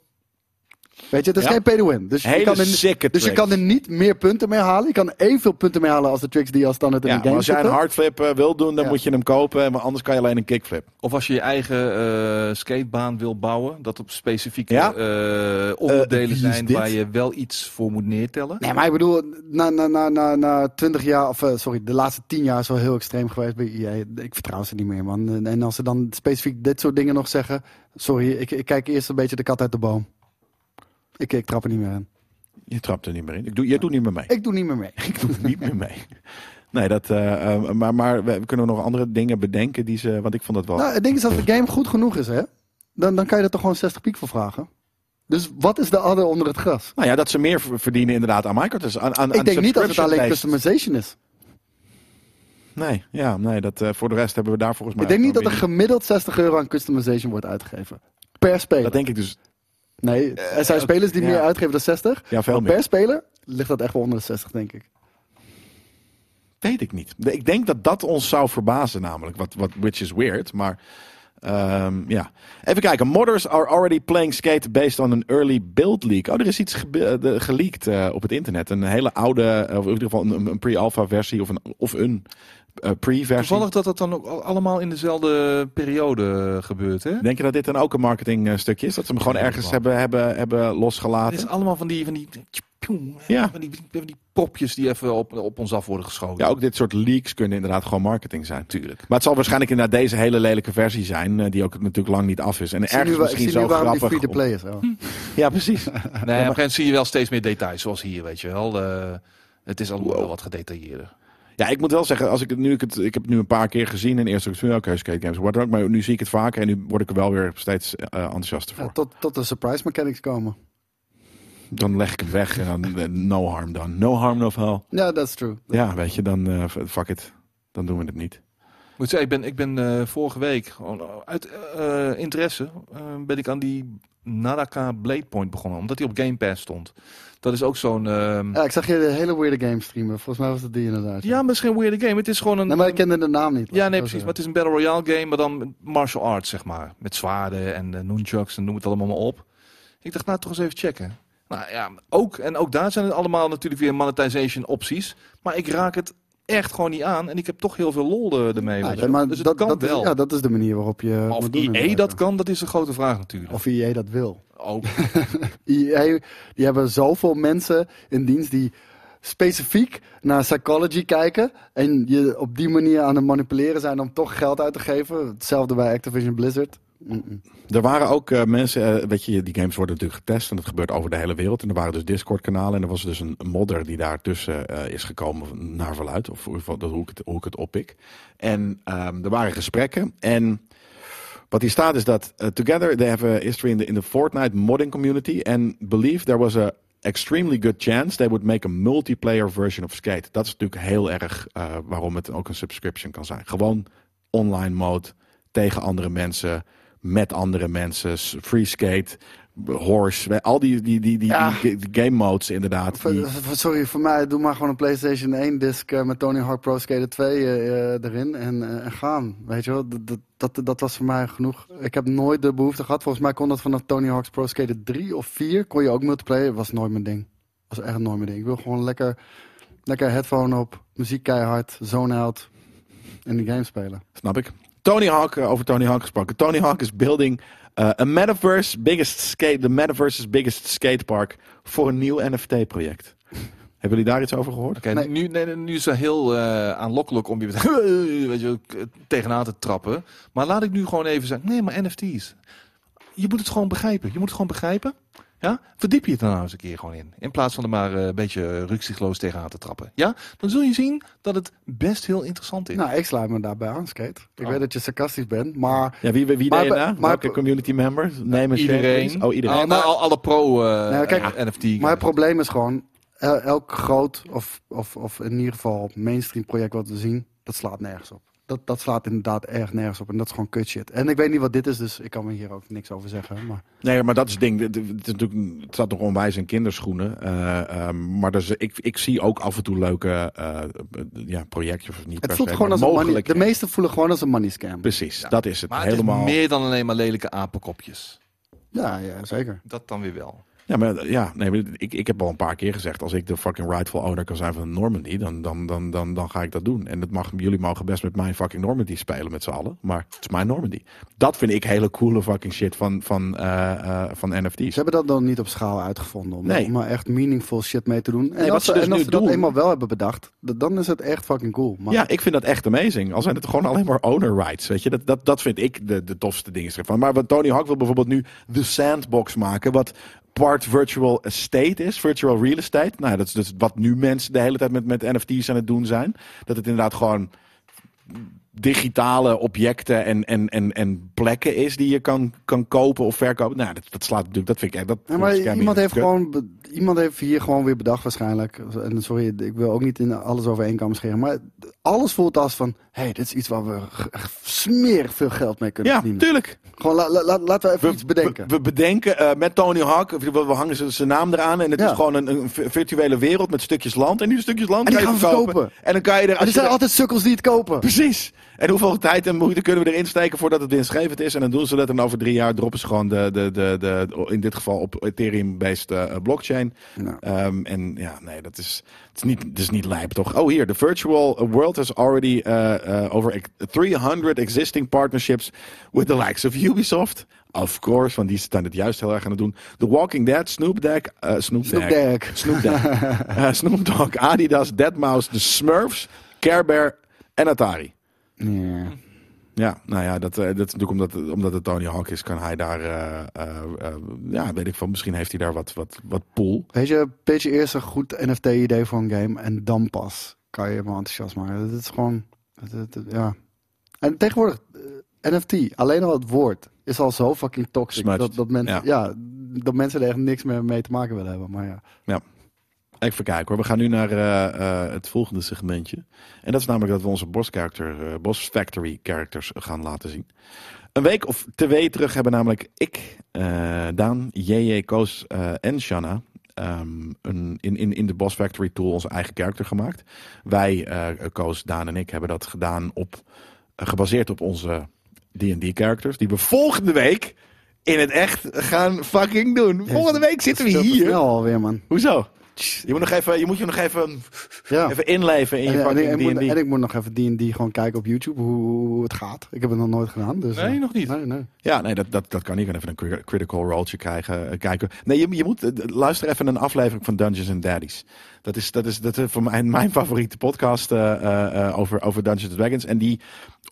Speaker 3: Weet je, het is
Speaker 1: Ja.
Speaker 3: geen pay-to-win. Dus, je
Speaker 1: Hele
Speaker 3: kan, er, ni-
Speaker 1: sikke
Speaker 3: dus je
Speaker 1: tricks.
Speaker 3: kan er niet meer punten mee halen. Je kan evenveel punten mee halen als de tricks die je als standaard in
Speaker 1: Ja,
Speaker 3: de game
Speaker 1: maar als jij een
Speaker 3: zitten.
Speaker 1: hardflip eh, wil doen, dan
Speaker 3: Ja.
Speaker 1: moet je hem kopen. Maar anders kan je alleen een kickflip.
Speaker 2: Of als je je eigen eh, skatebaan wil bouwen, dat op specifieke
Speaker 1: Ja.
Speaker 2: eh, onderdelen
Speaker 1: wie is
Speaker 2: zijn
Speaker 1: dit?
Speaker 2: waar je wel iets voor moet neertellen.
Speaker 3: Nee, maar ik bedoel, na, na, na, na, na 20 jaar, of eh, sorry, de laatste 10 jaar is wel heel extreem geweest bij EA. Ik vertrouw ze niet meer, man. En- En als ze dan specifiek dit soort dingen nog zeggen, sorry, ik, ik kijk eerst een beetje de kat uit de boom. Ik, ik trap er niet meer in.
Speaker 1: Je trapt er niet meer in. Ik doe, je doet niet meer mee.
Speaker 3: Ik doe niet meer mee.
Speaker 1: Ik doe niet meer mee. Nee, dat, eh, eh, maar, maar we, kunnen nog andere dingen bedenken die ze. Want ik vond dat wel.
Speaker 3: Nou, het ding is, als de game goed genoeg is, hè, dan, dan kan je er toch gewoon 60 piek voor vragen. Dus wat is de adder onder het gras?
Speaker 1: Nou ja, dat ze meer ver- verdienen inderdaad aan microtransacties. Aan, aan,
Speaker 3: ik denk niet dat het alleen
Speaker 1: customers.
Speaker 3: customization is.
Speaker 1: Nee, ja, nee dat, eh, voor de rest hebben we daar volgens mij.
Speaker 3: ik denk niet
Speaker 1: ook
Speaker 3: dat er
Speaker 1: weer
Speaker 3: gemiddeld 60 euro aan customization wordt uitgegeven. Per speler.
Speaker 1: Dat denk ik dus.
Speaker 3: Nee, er zijn spelers die
Speaker 1: ja.
Speaker 3: meer uitgeven dan 60.
Speaker 1: Ja, veel
Speaker 3: maar
Speaker 1: meer.
Speaker 3: per speler ligt dat echt wel onder de 60, denk ik.
Speaker 1: Weet ik niet. Ik denk dat dat ons zou verbazen, namelijk. Wat, wat, which is weird, maar. ehm, ja. Even kijken. Modders are already playing skate based on an early build leak. Oh, er is iets gebe- eh, de- geleakt eh, op het internet. Een hele oude, eh, of in ieder geval een, een pre-alpha versie of een, of een eh, pre-versie.
Speaker 2: Toevallig dat dat dan ook al- allemaal in dezelfde periode eh, gebeurt, hè?
Speaker 1: Denk je dat dit dan ook een marketingstukje is? Dat ze hem gewoon
Speaker 2: Ja, dat
Speaker 1: ergens
Speaker 2: wel.
Speaker 1: hebben, hebben, hebben
Speaker 2: Het is
Speaker 1: losgelaten?
Speaker 2: allemaal van die, van die,
Speaker 1: Ja.
Speaker 2: van die, van die popjes die even op, op ons af worden geschoten.
Speaker 1: Ja, ook dit soort leaks kunnen inderdaad gewoon marketing zijn. Tuurlijk. Maar het zal waarschijnlijk inderdaad deze hele lelijke versie zijn, eh, die ook natuurlijk lang niet af is. En
Speaker 3: Ik zie nu,
Speaker 1: ergens
Speaker 3: wa- ik
Speaker 1: misschien
Speaker 3: zie nu
Speaker 1: zo
Speaker 3: waarom
Speaker 1: grappig.
Speaker 3: die
Speaker 1: om-
Speaker 3: free-to-play is. hoor.
Speaker 1: Ja, precies. (laughs)
Speaker 2: Nee, op een gegeven moment zie je wel steeds meer details, zoals hier, weet je wel. Eh, het is allemaal
Speaker 1: Wow.
Speaker 2: wel wat gedetailleerder.
Speaker 1: Ja, ik moet wel zeggen, als ik het nu, ik, het, ik heb het nu een paar keer gezien en eerst ook oké, skate games, wat dan ook, maar nu zie ik het vaker en nu word ik er wel weer steeds eh, enthousiaster
Speaker 3: Ja,
Speaker 1: voor.
Speaker 3: tot, tot de surprise mechanics komen.
Speaker 1: Dan leg ik het weg en (laughs) dan eh, no harm dan. No harm, no foul.
Speaker 3: Ja, that's true.
Speaker 1: Ja, weet je, dan eh, fuck it. Dan doen we het niet.
Speaker 2: Ik moet zeggen, ik ben, ik ben eh, vorige week, gewoon uit eh, eh, interesse, eh, ben ik aan die Naraka Blade Point begonnen. Omdat die op Game Pass stond. Dat is ook zo'n... ehm,
Speaker 3: Ja, ik zag je de hele weirde game streamen. Volgens mij was het die inderdaad.
Speaker 2: ja, misschien weird game. Het is gewoon een...
Speaker 3: Nee, maar ik kende de naam niet.
Speaker 2: Ja, nee, precies. Maar het is een Battle Royale game, maar dan met martial arts, zeg maar. Met zwaarden en eh, nunchucks en noem het allemaal maar op. Ik dacht, nou, toch eens even checken. Nou ja, ook, en ook daar zijn het allemaal natuurlijk weer monetization opties. Maar ik raak het echt gewoon niet aan. En ik heb toch heel veel lol eh, ermee.
Speaker 3: Ja,
Speaker 2: weet je wel.
Speaker 3: nee, maar
Speaker 2: dus het
Speaker 3: Ah,
Speaker 2: kan
Speaker 3: dat, dat, is-
Speaker 2: wel.
Speaker 3: ja, dat is de manier waarop je.
Speaker 2: Maar of
Speaker 3: moet doen
Speaker 2: EA
Speaker 3: inderdaad,
Speaker 2: dat
Speaker 3: ja.
Speaker 2: kan, dat is de grote vraag natuurlijk.
Speaker 3: Of EA dat wil.
Speaker 2: ook.
Speaker 3: EA, die hebben zoveel mensen in dienst die specifiek naar psychology kijken. En je op die manier aan het manipuleren zijn om toch geld uit te geven. Hetzelfde bij Activision Blizzard. Mm-mm.
Speaker 1: Er waren ook eh, mensen, eh, weet je, die games worden natuurlijk getest en dat gebeurt over de hele wereld. En er waren dus Discord-kanalen en er was dus een modder die daartussen eh is gekomen, naar verluid, of hoe- van- hoe ik het, hoe ik het oppik. En ehm, er waren gesprekken en wat hier staat is dat, eh, together they have a history in the, in the Fortnite modding community and believe there was a extremely good chance they would make a multiplayer version of Skate. Dat is natuurlijk heel erg eh, waarom het ook een subscription kan zijn. Gewoon online mode tegen andere mensen met andere mensen. s- Free skate, horse, we- al die, die, die, die,
Speaker 3: Ja.
Speaker 1: die ga- game modes inderdaad.
Speaker 3: Voor-
Speaker 1: die-
Speaker 3: voor- Sorry, voor mij doe maar gewoon een PlayStation 1 disc eh, met Tony Hawk Pro Skater 2 eh, eh, erin en, eh, en gaan. Weet je wel, dat, dat- dat, dat was voor mij genoeg. Ik heb nooit de behoefte gehad. Volgens mij kon dat vanaf Tony Hawk's Pro Skater 3 of 4 kon je ook multiplayer. Was nooit mijn ding. Was echt nooit mijn ding. Ik wil gewoon lekker, lekker headphone op, muziek keihard, zone out en die game spelen.
Speaker 1: Snap ik. Tony Hawk, eh, over Tony Hawk gesproken. Tony Hawk is building eh, a metaverse biggest skate, the metaverse's biggest skatepark voor een nieuw
Speaker 2: (laughs)
Speaker 1: NFT-project. Hebben jullie daar iets over gehoord?
Speaker 2: Oké,
Speaker 3: Nee.
Speaker 2: nu, nee, nee, nu is het heel eh, aanlokkelijk om je meteen, (laughs) weet je, wel, k- tegenaan te trappen. Maar laat ik nu gewoon even zeggen, nee, maar NFT's. Je moet het gewoon begrijpen. Je moet het gewoon begrijpen. Ja? Verdiep je het er nou eens een keer gewoon in. In plaats van er maar eh, een beetje rukzichtloos tegenaan te trappen. Ja? Dan zul je zien dat het best heel interessant is.
Speaker 3: Nou, ik sluit me daarbij aan, Skate. Ik
Speaker 2: Oh.
Speaker 3: weet dat je sarcastisch bent, maar...
Speaker 1: Ja, wie, wie
Speaker 3: Maar-
Speaker 1: deed je na?
Speaker 3: maar-
Speaker 1: Welke community members? Name and share, please.
Speaker 2: iedereen.
Speaker 1: Oh, iedereen.
Speaker 2: Al- nou, al- alle pro eh
Speaker 3: Nou, kijk,
Speaker 2: eh, NFT.
Speaker 3: Maar het probleem is gewoon, el- elk groot of, of, of in ieder geval mainstream project wat we zien, dat slaat nergens op. Dat, dat slaat inderdaad erg nergens op en dat is gewoon kut shit. En ik weet niet wat dit is, dus ik kan me hier ook niks over zeggen. Maar
Speaker 1: Nee, maar dat is het ding. Het, het, is natuurlijk, het staat nog onwijs in kinderschoenen. Eh, ehm, maar dus, ik, ik zie ook af en toe leuke eh, ja, projectjes. Of niet
Speaker 3: het
Speaker 1: per
Speaker 3: voelt
Speaker 1: se,
Speaker 3: gewoon
Speaker 1: maar
Speaker 3: als een money. De
Speaker 1: mogelijkheden.
Speaker 3: meesten voelen gewoon als een money scam.
Speaker 1: Precies, dat is het.
Speaker 2: Maar het is
Speaker 1: Helemaal.
Speaker 2: meer dan alleen maar lelijke apenkopjes.
Speaker 3: Ja, ja, zeker.
Speaker 2: Dat dan weer wel.
Speaker 1: Ja, maar, eh, ja nee, maar ik, ik heb al een paar keer gezegd. Als ik de fucking rightful owner kan zijn van de Normandy, dan, dan, dan, dan, dan ga ik dat doen. En dat mag, jullie mogen best met mijn fucking Normandy spelen met z'n allen. Maar het is mijn Normandy. Dat vind ik hele coole fucking shit van, van, eh, eh, van NFT's.
Speaker 3: Ze hebben dat dan niet op schaal uitgevonden om,
Speaker 1: Nee.
Speaker 3: om er echt meaningful shit mee te doen. En
Speaker 1: wat
Speaker 3: als
Speaker 1: ze
Speaker 3: ze,
Speaker 1: dus
Speaker 3: en als
Speaker 1: nu
Speaker 3: ze dat
Speaker 1: doen-
Speaker 3: eenmaal wel hebben bedacht, d- dan is het echt fucking cool. Maar
Speaker 1: Ja, ik vind dat echt amazing. Al zijn het gewoon alleen maar owner rights. Weet je? Dat, dat, dat vind ik de, de tofste dingen. zeg. Van. Maar wat Tony Hawk wil bijvoorbeeld nu de sandbox maken. Wat part virtual estate is. Virtual real estate. Nou, ja, dat is dus wat nu mensen de hele tijd met, met NFT's aan het doen zijn. Dat het inderdaad gewoon digitale objecten en, en, en, en plekken is die je kan, kan kopen of verkopen. Nou, dat, dat slaat natuurlijk. Dat vind ik echt. Dat,
Speaker 3: Ja, maar
Speaker 1: dat is scammy.
Speaker 3: iemand heeft,
Speaker 1: Kut.
Speaker 3: gewoon, be- iemand heeft hier gewoon weer bedacht waarschijnlijk. En sorry, ik wil ook niet in alles over één kam scheren. Maar alles voelt als van... Hé, hey, dit is iets waar we g- g- smerig veel geld mee kunnen
Speaker 1: Ja,
Speaker 3: verdienen.
Speaker 1: tuurlijk.
Speaker 3: Gewoon la- la- la- laten we even iets bedenken.
Speaker 1: We, we bedenken eh, met Tony Hawk, we, we hangen z- zijn naam eraan. En het
Speaker 3: Ja.
Speaker 1: is gewoon een, een vi- virtuele wereld met stukjes land. En die stukjes land
Speaker 3: En die
Speaker 1: kan je
Speaker 3: gaan we
Speaker 1: verkopen.
Speaker 3: verkopen.
Speaker 1: En dan kan je er...
Speaker 3: Maar
Speaker 1: als
Speaker 3: er
Speaker 1: je
Speaker 3: zijn
Speaker 1: er-
Speaker 3: altijd sukkels die het kopen.
Speaker 1: Precies. En hoeveel tijd en moeite kunnen we erin steken voordat het winstgevend is? En dan doen ze dat en over drie jaar droppen ze gewoon de, de, de, de in dit geval op Ethereum-based eh, blockchain.
Speaker 3: Nou,
Speaker 1: Ehm, en ja, nee, dat is, het is, niet, het is niet lijp, toch? Oh, hier, the virtual world has already eh, eh, over 300 existing partnerships with the likes of Ubisoft. Of course, want die staan het juist heel erg aan het doen. The Walking Dead, Snoop Dogg, eh, Snoop
Speaker 3: Snoop
Speaker 1: Dogg,
Speaker 3: Dogg.
Speaker 1: Snoop Dogg, Eh, Snoop Dogg, Adidas, Deadmau5, The Smurfs, Care Bear en Atari.
Speaker 3: Ja.
Speaker 1: Ja, nou ja, dat, eh, dat is natuurlijk omdat, omdat het Tony Hawk is, kan hij daar, eh, eh, eh, ja, weet ik van, misschien heeft hij daar wat, wat, wat pool.
Speaker 3: Weet je, pitch eerst een goed NFT-idee voor een game. En dan pas kan je me enthousiast maken. Dat is gewoon... dat- dat- dat- ja. En tegenwoordig, eh, NFT, alleen al het woord, is al zo fucking toxic.
Speaker 1: Smudged.
Speaker 3: Dat, dat, mensen,
Speaker 1: Ja.
Speaker 3: ja. dat mensen er echt niks meer mee te maken willen hebben. Maar ja.
Speaker 1: Even kijken hoor. We gaan nu naar eh, eh, het volgende segmentje. En dat is namelijk dat we onze Boss, character, eh, Boss Factory characters gaan laten zien. Een week of twee terug hebben namelijk ik, eh, Daan, JJ, Koos eh, en Shanna... ehm, een, in, in, in de Boss Factory tool onze eigen character gemaakt. Wij, eh, Koos, Daan en ik, hebben dat gedaan op, eh, gebaseerd op onze D&D characters. Die we volgende week in het echt gaan fucking doen. Volgende week zitten we
Speaker 3: Dus Dat is veel te
Speaker 1: hier.
Speaker 3: snel alweer, man.
Speaker 1: Hoezo? Je moet, nog even, je moet je nog even,
Speaker 3: Ja.
Speaker 1: even inleven in
Speaker 3: En,
Speaker 1: je
Speaker 3: en- en
Speaker 1: fucking
Speaker 3: ik moet, en
Speaker 1: D&D.
Speaker 3: ik moet nog even D&D gewoon kijken op YouTube hoe, hoe het gaat. Ik heb het nog nooit gedaan. Dus,
Speaker 2: Nee,
Speaker 3: eh,
Speaker 2: nog niet.
Speaker 3: Nee, nee.
Speaker 1: Ja, nee, dat, dat, dat kan niet. Ik kan even een cri- critical rolltje krijgen, eh, kijken. Nee, je, je moet eh, luister even een aflevering van Dungeons and Daddies. Dat is, dat is, dat is voor mij mijn (laughs) favoriete podcast eh, eh, eh, over, over Dungeons and Dragons. En die,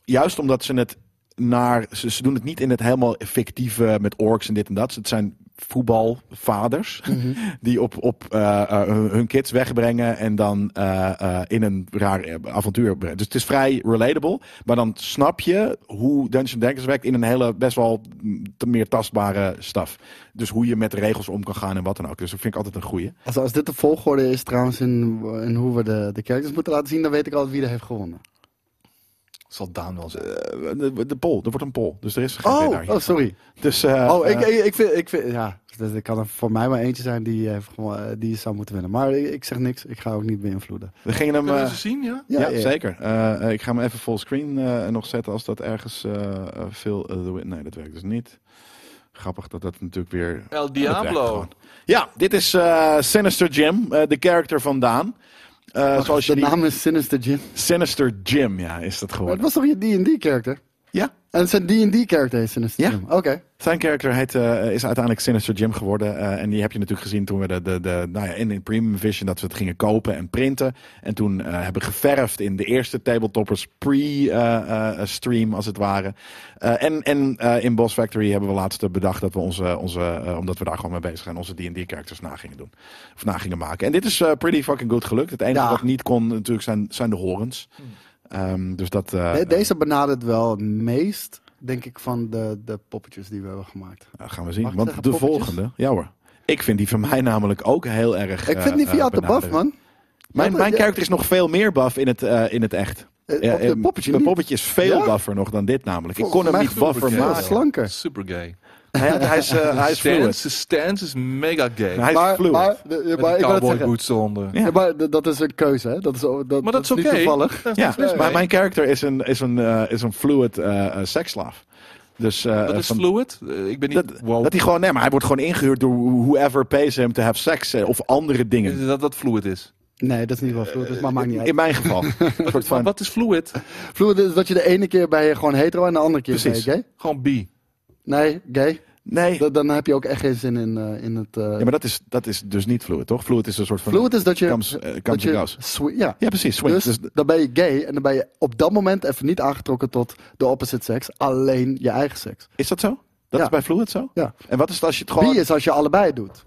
Speaker 1: juist omdat ze het naar... Ze, ze doen het niet in het helemaal fictieve eh, met orks en dit en dat. Het zijn voetbalvaders
Speaker 3: Mhm.
Speaker 1: die op, op eh, eh, hun- hun kids wegbrengen en dan eh, eh, in een raar eh, avontuur brengen. Dus het is vrij relatable, maar dan snap je hoe Dungeons Dragons werkt in een hele best wel mm, te- meer tastbare staf. Dus hoe je met de regels om kan gaan en wat dan ook. Dus dat vind ik altijd een goeie.
Speaker 3: Als, als dit de volgorde is trouwens in, in hoe we de, de characters moeten laten zien, dan weet ik altijd wie er heeft gewonnen.
Speaker 2: Zal Daan wel zijn.
Speaker 1: Eh, de, de poll, er wordt een poll. Dus er is geen
Speaker 3: Oh,
Speaker 1: winnaar hier.
Speaker 3: oh, sorry.
Speaker 1: Dus, eh,
Speaker 3: oh, ik,
Speaker 1: eh,
Speaker 3: ik, ik vind, ik vind, ja, dat er kan er voor mij maar eentje zijn die, eh, gewoon, eh, die zou moeten winnen. Maar ik, ik zeg niks, ik ga ook niet beïnvloeden.
Speaker 1: we gingen hem...
Speaker 2: Kunnen
Speaker 1: eh,
Speaker 2: ze zien, ja?
Speaker 1: ja, zeker. Eh, eh, ik ga hem even fullscreen eh, nog zetten als dat ergens eh, eh, veel... eh, de- nee, dat werkt dus niet. Grappig dat dat natuurlijk weer
Speaker 2: El
Speaker 1: Dat werkt
Speaker 2: Diablo.
Speaker 1: gewoon. Ja, dit is eh, Sinister Jim, eh, de character van Daan. Eh, zoals je
Speaker 3: de
Speaker 1: die...
Speaker 3: naam is Sinister Jim.
Speaker 1: Sinister Jim, ja, is dat
Speaker 3: Maar het
Speaker 1: geworden.
Speaker 3: was toch je D&D-character?
Speaker 1: Ja,
Speaker 3: En zijn D&D-character is Sinister
Speaker 1: Ja.
Speaker 3: Jim? Oké.
Speaker 1: zijn character heet, eh, is uiteindelijk Sinister Jim geworden. eh, en die heb je natuurlijk gezien toen we de, de, de, nou ja, in, in Premium Vision dat we het gingen kopen en printen. En toen eh, hebben geverfd in de eerste tabletoppers pre-stream als het ware. Eh, en en eh, in Boss Factory hebben we laatst eh, bedacht dat we onze, onze eh, omdat we daar gewoon mee bezig zijn, onze D&D-characters na gingen doen. Of na gingen maken. En dit is eh, pretty fucking good gelukt. Het enige
Speaker 3: Ja. Hmm.
Speaker 1: wat niet kon natuurlijk zijn, zijn de horens. Ehm, dus dat... eh,
Speaker 3: De- Deze benadert wel het meest, denk ik, van de, de poppetjes die we hebben gemaakt.
Speaker 1: Nou, gaan we zien.
Speaker 3: Mag ik
Speaker 1: Want de
Speaker 3: zeggen poppetjes?
Speaker 1: volgende, ja hoor. Ik vind die van mij namelijk ook heel erg.
Speaker 3: Ik vind die
Speaker 1: eh,
Speaker 3: via
Speaker 1: eh,
Speaker 3: te buff,
Speaker 1: benaderd.
Speaker 3: man.
Speaker 1: Mijn,
Speaker 3: Ja,
Speaker 1: mijn
Speaker 3: ja.
Speaker 1: karakter is nog veel meer buff in het, eh, in het echt.
Speaker 3: Eh,
Speaker 1: Ja,
Speaker 3: op de
Speaker 1: eh,
Speaker 3: poppetje
Speaker 1: mijn
Speaker 3: niet.
Speaker 1: poppetje is veel
Speaker 3: Ja?
Speaker 1: buffer nog dan dit namelijk. Ik kon
Speaker 3: Volgens
Speaker 1: hem
Speaker 3: mij
Speaker 1: niet buffer
Speaker 3: veel
Speaker 2: maar-
Speaker 1: maken.
Speaker 3: slanker.
Speaker 2: Super gay.
Speaker 1: Hij, hij is, eh, hij is fluid.
Speaker 2: Stance, Stance is mega gay.
Speaker 1: Hij is
Speaker 3: Maar,
Speaker 1: fluid.
Speaker 3: maar, de-
Speaker 2: Met
Speaker 3: maar
Speaker 2: die
Speaker 3: ik wil het
Speaker 2: cowboy
Speaker 3: zeggen.
Speaker 2: boots eronder.
Speaker 1: Ja.
Speaker 3: Ja, maar d- dat is een keuze, hè? Dat is, o- dat,
Speaker 2: Maar dat is
Speaker 3: niet
Speaker 2: oké.
Speaker 3: toevallig.
Speaker 2: Daar is
Speaker 1: ja,
Speaker 2: niks mis
Speaker 1: maar
Speaker 2: mee.
Speaker 1: mijn karakter is een, is een, eh, is een fluid eh, eh, seksslaaf. Dus, eh,
Speaker 2: Dat is
Speaker 1: van-
Speaker 2: fluid. Eh, Ik ben niet...
Speaker 1: dat,
Speaker 2: wow.
Speaker 1: dat hij gewoon, nee, maar hij wordt gewoon ingehuurd door whoever pays him to have sex eh, of andere dingen.
Speaker 2: Is dat dat fluid is.
Speaker 3: Nee, dat is niet wel fluid, dus maar maakt niet uit.
Speaker 1: In mijn geval. Een
Speaker 3: (laughs)
Speaker 1: soort
Speaker 2: Maar
Speaker 1: van,
Speaker 2: wat is fluid?
Speaker 3: Fluid is dat je de ene keer ben je gewoon hetero en de andere keer ben je
Speaker 1: Precies.
Speaker 3: gay.
Speaker 2: Gewoon bi.
Speaker 3: Nee, gay.
Speaker 1: nee,
Speaker 3: Da- dan heb je ook echt geen zin in, eh, in het... eh
Speaker 1: Ja, maar dat is, dat is dus niet fluid, toch? Fluid is een soort van...
Speaker 3: fluid is dat je...
Speaker 1: Comes, eh, comes
Speaker 3: dat
Speaker 1: and
Speaker 3: je
Speaker 1: goes.
Speaker 3: swi- ja.
Speaker 1: Ja, precies. Swing.
Speaker 3: Dus
Speaker 1: Dus,
Speaker 3: dan ben je gay en dan ben je op dat moment even niet aangetrokken tot de opposite seks. Alleen je eigen seks.
Speaker 1: is dat zo? Dat
Speaker 3: Ja.
Speaker 1: is bij fluid zo?
Speaker 3: Ja.
Speaker 1: En wat is het als je het
Speaker 3: Bi
Speaker 1: gewoon...
Speaker 3: is als je allebei doet.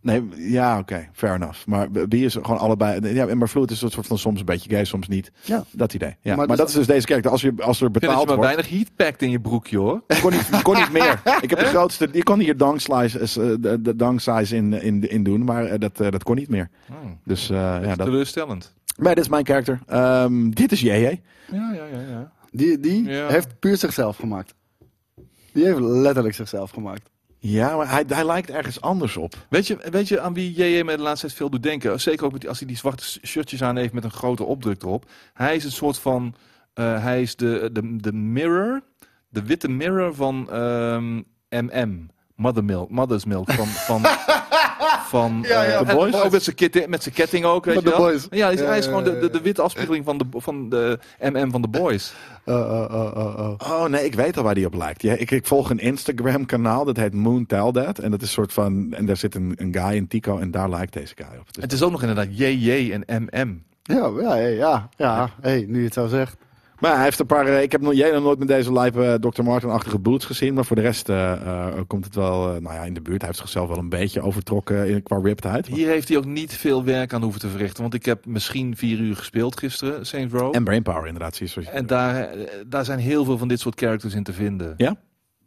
Speaker 1: Nee, ja, oké. fair enough. Maar b- bi is gewoon allebei... Ja, maar fluid is een soort van soms een beetje gay, soms niet.
Speaker 3: Ja.
Speaker 1: Dat idee. Ja. Maar,
Speaker 3: Maar dus-
Speaker 1: dat is dus deze kerk. Als, je, als er
Speaker 2: Ik vind dat je
Speaker 1: betaald
Speaker 2: maar
Speaker 1: wordt...
Speaker 2: weinig heat packt in je broekje, hoor.
Speaker 1: Ik kon niet, kon niet meer.
Speaker 3: (laughs)
Speaker 1: Ik heb de grootste... Je kon hier dunk slice, eh, de, de dunk size in, in, in doen, maar eh, dat, eh, dat kon niet meer.
Speaker 2: Hmm.
Speaker 1: Dus eh, ja, dat...
Speaker 2: Teleurstellend.
Speaker 1: Maar dit is mijn karakter. Ehm, dit is JJ.
Speaker 2: Ja, ja, ja, ja.
Speaker 3: Die, die
Speaker 2: Ja.
Speaker 3: heeft puur zichzelf gemaakt. Die heeft letterlijk zichzelf gemaakt.
Speaker 1: Ja, maar hij, hij lijkt ergens anders op.
Speaker 2: Weet je, weet je aan wie JJ me de laatste tijd veel doet denken? Zeker ook met die, als hij die zwarte s- shirtjes aan heeft met een grote opdruk erop. Hij is een soort van... eh, hij is de, de, de mirror. De witte mirror van ehm, MM. Mother milk, mother's milk. Van, (laughs) van, van
Speaker 3: Ja, ja,
Speaker 2: eh,
Speaker 3: The
Speaker 2: en
Speaker 1: Boys.
Speaker 2: Ook met zijn kitting- met zijn ketting ook, weet
Speaker 3: Van
Speaker 2: je
Speaker 3: The
Speaker 2: wel.
Speaker 3: Boys.
Speaker 2: Ja, hij is, hij is
Speaker 3: Ja,
Speaker 2: gewoon de,
Speaker 3: ja,
Speaker 2: de,
Speaker 3: ja.
Speaker 2: de witte afspiegeling van de, van de MM van de boys.
Speaker 3: Eh, eh, eh, eh, eh.
Speaker 1: Oh nee, ik weet al waar die op lijkt. Ja, ik, ik volg een Instagram kanaal, dat heet Moon Tell That. En dat is een soort van, en daar zit een, een guy in Tico en daar lijkt deze guy op. Dus-
Speaker 2: Het is ook nog inderdaad JJ en MM.
Speaker 3: Ja, ja, hey, ja, ja. Hey, nu je het zo zegt.
Speaker 1: maar hij heeft een paar, eh, ik heb nog, jij nog nooit met deze lijpe eh, Dr. Martin-achtige boots gezien. Maar voor de rest eh, eh, komt het wel, eh, nou ja, in de buurt. Hij heeft zichzelf wel een beetje overtrokken in, qua rippedheid. Maar-
Speaker 2: Hier heeft hij ook niet veel werk aan hoeven te verrichten. Want ik heb misschien vier uur gespeeld gisteren, Saints Row. En,
Speaker 1: En brainpower inderdaad, zie je zoals je-
Speaker 2: daar, eh, daar zijn heel veel van dit soort characters in te vinden.
Speaker 1: Ja?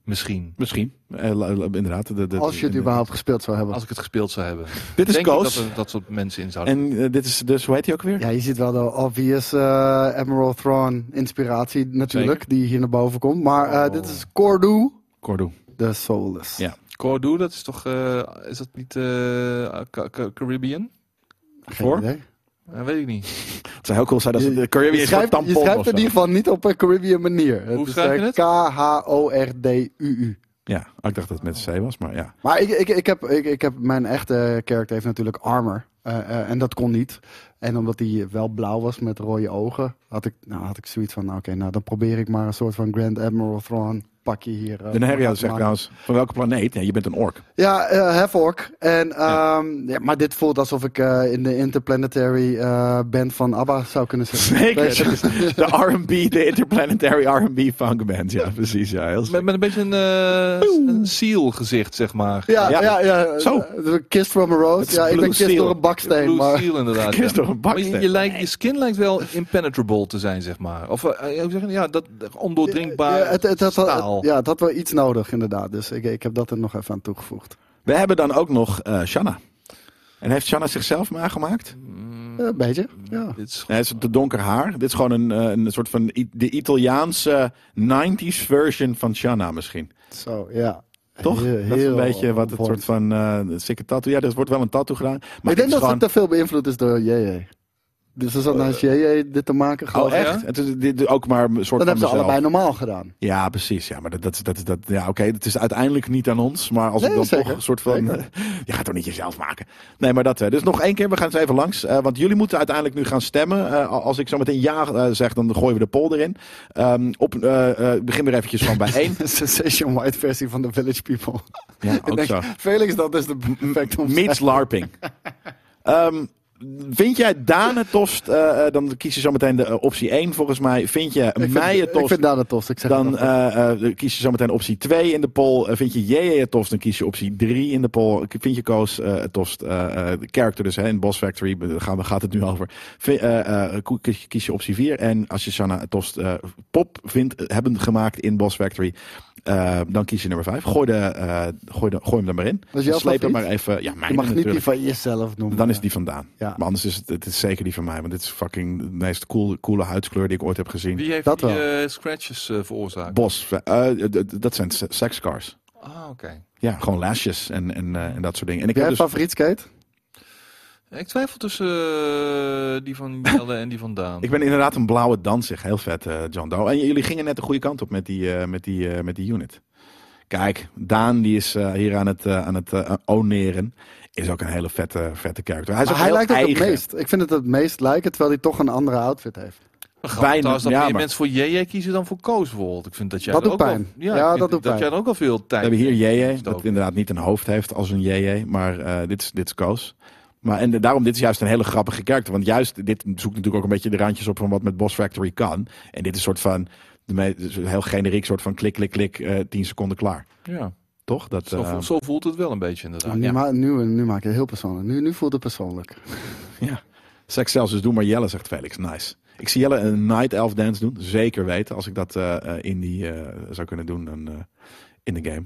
Speaker 2: Misschien.
Speaker 1: Misschien, Eh, la- la- inderdaad. De, de-
Speaker 3: Als je het
Speaker 1: de-
Speaker 3: überhaupt gespeeld zou hebben.
Speaker 2: Als ik het gespeeld zou hebben.
Speaker 1: Dit is
Speaker 2: Denk ik
Speaker 1: Koos.
Speaker 2: dat er dat soort mensen in zouden.
Speaker 1: En eh, dit is dus, hoe heet hij ook weer?
Speaker 3: Ja, je ziet wel de obvious eh Emerald Thrawn inspiratie natuurlijk, die hier naar boven komt. Maar eh,
Speaker 2: Oh.
Speaker 3: dit is Cordu,
Speaker 1: Cordo.
Speaker 3: de Soulless.
Speaker 1: Ja.
Speaker 2: Cordu, dat is toch... eh, is dat niet eh, Ca- Ca- Caribbean?
Speaker 3: Geen
Speaker 1: Hoor.
Speaker 3: idee.
Speaker 2: Eh, weet ik niet.
Speaker 1: Het zou heel cool zijn als het de Caribbean
Speaker 3: Je
Speaker 1: is voor
Speaker 3: schrijft, je
Speaker 1: tampon
Speaker 3: schrijft
Speaker 1: of
Speaker 3: het
Speaker 1: zo.
Speaker 3: in ieder geval niet op een Caribbean manier. eh,
Speaker 2: Hoe schrijf je het?
Speaker 3: K-H-O-R-D-U-U.
Speaker 1: Ja, oh, ik dacht dat het met een C was, maar ja.
Speaker 3: Maar ik, ik, ik, heb, ik, ik heb mijn echte character heeft natuurlijk armor. Eh, eh, en dat kon niet. En omdat hij wel blauw was met rode ogen, had ik, nou, had ik zoiets van, nou, oké, nou dan probeer ik maar een soort van Grand Admiral Thrawn pakje hier. eh,
Speaker 1: De Nerio
Speaker 3: van te
Speaker 1: zegt
Speaker 3: maken.
Speaker 1: trouwens, van welke planeet? Ja, je bent een
Speaker 3: (laughs)
Speaker 1: ork.
Speaker 3: Ja, eh Havoc. En,
Speaker 1: Ja.
Speaker 3: ehm, ja, maar dit voelt alsof ik eh, in de Interplanetary eh, band van ABBA zou kunnen zitten.
Speaker 1: Zeker,
Speaker 3: Weet je?
Speaker 1: dat is de R&B, de interplanetary R&B funk band. Ja, precies. Ja, heel
Speaker 2: Met, met een beetje een, eh, s- een seal gezicht, zeg maar.
Speaker 3: Ja,
Speaker 1: Ja.
Speaker 3: ja, ja.
Speaker 1: Zo.
Speaker 3: Eh, Kissed from a Rose.
Speaker 1: is
Speaker 3: Ja, ik
Speaker 1: Blue
Speaker 3: ben kissed
Speaker 1: Steel.
Speaker 3: door een baksteen.
Speaker 2: Blue
Speaker 3: maar...
Speaker 2: seal
Speaker 3: (laughs)
Speaker 2: inderdaad.
Speaker 1: Kies
Speaker 2: ja.
Speaker 1: door een
Speaker 2: Maar je, je,
Speaker 1: baksteen.
Speaker 2: lijkt, je skin lijkt wel impenetrable te zijn, zeg maar. Of eh, eh, hoe zeg je, ja, dat ondoordringbaar
Speaker 3: Ja, het, het had wel-
Speaker 2: staal.
Speaker 3: ja, het had wel iets nodig, inderdaad. Dus ik, ik heb dat er nog even aan toegevoegd.
Speaker 1: We hebben dan ook nog eh Shanna. En heeft Shanna zichzelf maar gemaakt?
Speaker 2: Mm,
Speaker 3: Ja, Een beetje, ja.
Speaker 2: Dit is
Speaker 1: Nee, het is te donker haar. Dit is gewoon een, eh, een soort van I- de Italiaanse 90s version van Shanna misschien.
Speaker 3: Zo, ja.
Speaker 1: Toch?
Speaker 3: Heel-
Speaker 1: dat is een
Speaker 3: heel
Speaker 1: beetje wat het
Speaker 3: on-point.
Speaker 1: soort van eh sikke tattoo. Ja, er wordt wel een tattoo gedaan. Maar
Speaker 3: ik
Speaker 1: het
Speaker 3: denk dat
Speaker 1: is gewoon...
Speaker 3: het te veel beïnvloed is door JJ. Dus ze zat naast JJ dit te maken.
Speaker 1: Oh,
Speaker 3: geloof ik.
Speaker 1: echt?
Speaker 2: Ja?
Speaker 1: Het is dit, ook maar een soort
Speaker 3: Dat
Speaker 1: van
Speaker 3: hebben ze
Speaker 1: mezelf.
Speaker 3: allebei normaal gedaan.
Speaker 1: Ja, precies. Ja, maar dat, dat, is- dat, is- dat, ja, oké, het is uiteindelijk niet aan ons. Maar als ik
Speaker 3: Nee,
Speaker 1: dan toch
Speaker 3: zeker.
Speaker 1: een soort van... eh,
Speaker 3: Zeker.
Speaker 1: je gaat toch niet jezelf maken? Nee, maar dat. hè. Dus nog één keer, we gaan eens even langs. eh, want jullie moeten uiteindelijk nu gaan stemmen. Eh, als ik zo meteen ja eh, zeg, dan gooien we de poll erin. Ehm, op, eh, eh, ik begin weer eventjes van
Speaker 3: (laughs)
Speaker 1: bij één.
Speaker 3: Een sensation-wide versie van The Village People.
Speaker 1: Oh, (laughs) Ja,
Speaker 3: Ik
Speaker 1: ook
Speaker 3: denk,
Speaker 1: zo.
Speaker 3: Felix, dat is de perfecte omschrijving.
Speaker 1: Mits LARPing. Ehm, vind jij Daan het tofst? eh, eh, dan kies je zo meteen de eh, optie 1 volgens mij. Vind je
Speaker 3: Ik
Speaker 1: mij
Speaker 3: vind,
Speaker 1: het tofst?
Speaker 3: Ik vind daar het tofst. Ik zeg
Speaker 1: Dan
Speaker 3: het al.
Speaker 1: eh, eh, kies je zometeen optie 2 in de poll. Eh, vind je JJ het tofst, dan kies je optie 3 in de poll. K- Vind je Koos eh, het tofst? eh, eh, de character dus hè, in Boss Factory, eh, daar gaan we- gaat het nu over. Vind- eh, eh, ko- kies, kies je optie 4. En als je Sanna het tofst eh, pop vindt, eh, hebben gemaakt in Boss Factory... eh, dan kies je nummer 5. Gooi, de, eh, gooi, de, gooi hem er maar in.
Speaker 3: Dat is jouw
Speaker 1: Sleep hem maar
Speaker 3: favoriet?
Speaker 1: even. Ja,
Speaker 3: je
Speaker 1: mijn
Speaker 3: mag niet die
Speaker 1: eh, natuurlijk.
Speaker 3: van jezelf noemen.
Speaker 1: Dan is die vandaan.
Speaker 3: Ja.
Speaker 1: Maar anders is het, het is zeker die van mij. Want dit is fucking de meest coole, coole huidskleur die ik ooit heb gezien.
Speaker 2: Wie heeft
Speaker 3: Dat
Speaker 2: die
Speaker 3: wel.
Speaker 2: eh, scratches eh, veroorzaakt?
Speaker 1: Bos, eh, eh, d- d- dat zijn se- sekscars.
Speaker 2: ah, oké.
Speaker 1: Ja, gewoon lashes en, en, eh, en dat soort dingen. En ik
Speaker 3: Jij
Speaker 1: heb dus,
Speaker 3: favoriet skate?
Speaker 2: Ik twijfel tussen eh, die
Speaker 1: (laughs)
Speaker 2: van Jelle en die van Daan.
Speaker 1: ik ben inderdaad een blauwe danzig. Heel vet, eh, John Doe. En j- jullie gingen net de goede kant op met die, eh, met die, eh, met die unit. Kijk, Daan die is eh, hier aan het, eh, aan het eh, oneren. Is ook een hele vette, vette character. Hij, is
Speaker 3: Maar
Speaker 1: ook
Speaker 3: hij
Speaker 1: heel
Speaker 3: lijkt ook het
Speaker 1: eigen.
Speaker 3: meest. Ik vind het het meest lijken, terwijl hij toch een andere outfit heeft.
Speaker 2: Maar
Speaker 1: bijna,
Speaker 2: grappig trouwens dat
Speaker 1: ja,
Speaker 2: meer
Speaker 1: maar-
Speaker 2: mensen voor JJ kiezen dan voor Koos bijvoorbeeld. Ik vind dat jij
Speaker 3: Dat
Speaker 2: er
Speaker 3: doet
Speaker 2: ook wel-
Speaker 3: pijn.
Speaker 2: ja,
Speaker 3: Ja,
Speaker 2: ik vind
Speaker 3: dat doet
Speaker 2: dat
Speaker 3: pijn.
Speaker 2: jij er ook al veel tijd
Speaker 1: We hebben hier
Speaker 2: in
Speaker 1: JJ,
Speaker 2: stoken.
Speaker 1: dat inderdaad niet een hoofd heeft als een JJ. Maar eh, dit, is, dit is Koos. Maar en de- daarom, dit is juist een hele grappige karakter. Want juist, dit zoekt natuurlijk ook een beetje de randjes op van wat met Boss Factory kan. En dit is soort van, de me- dus een heel generiek soort van klik, klik, klik, eh 10 seconden klaar.
Speaker 2: Ja,
Speaker 1: Toch? Dat,
Speaker 2: zo,
Speaker 1: eh,
Speaker 2: voelt, zo voelt het wel een beetje inderdaad.
Speaker 3: nu,
Speaker 1: ja.
Speaker 3: ma- nu, nu maak je het heel persoonlijk. Nu, nu voelt het persoonlijk.
Speaker 1: Seks zelfs, dus doe maar Jelle, zegt Felix. Nice. Ik zie Jelle een Night Elf dance doen. Zeker weten. Als ik dat eh, eh, in die eh, zou kunnen doen dan, eh, in de game.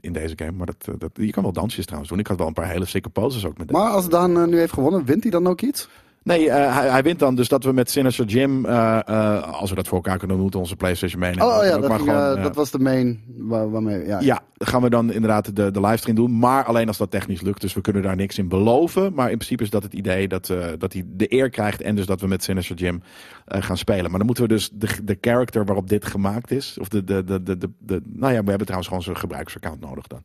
Speaker 1: In deze game. Maar dat, eh, dat, je kan wel dansjes trouwens doen. Ik had wel een paar hele sikke poses ook met
Speaker 3: Maar als Daan eh, nu heeft gewonnen, wint hij dan ook iets?
Speaker 1: Nee, eh, hij, hij wint dan. Dus dat we met Sinister Jim, eh, eh, als we dat voor elkaar kunnen, doen, moeten we onze PlayStation meenemen.
Speaker 3: oh ja,
Speaker 1: Ook
Speaker 3: dat, ging, eh,
Speaker 1: eh,
Speaker 3: dat was de main waar- waarmee... Ja.
Speaker 1: ja, dan gaan we dan inderdaad de, de livestream doen. Maar alleen als dat technisch lukt. Dus we kunnen daar niks in beloven. Maar in principe is dat het idee dat, eh, dat hij de eer krijgt. En dus dat we met Sinister Jim eh, gaan spelen. Maar dan moeten we dus de, de character waarop dit gemaakt is. Of de, de, de, de, de, de- Nou ja, we hebben trouwens gewoon zijn gebruikersaccount nodig dan.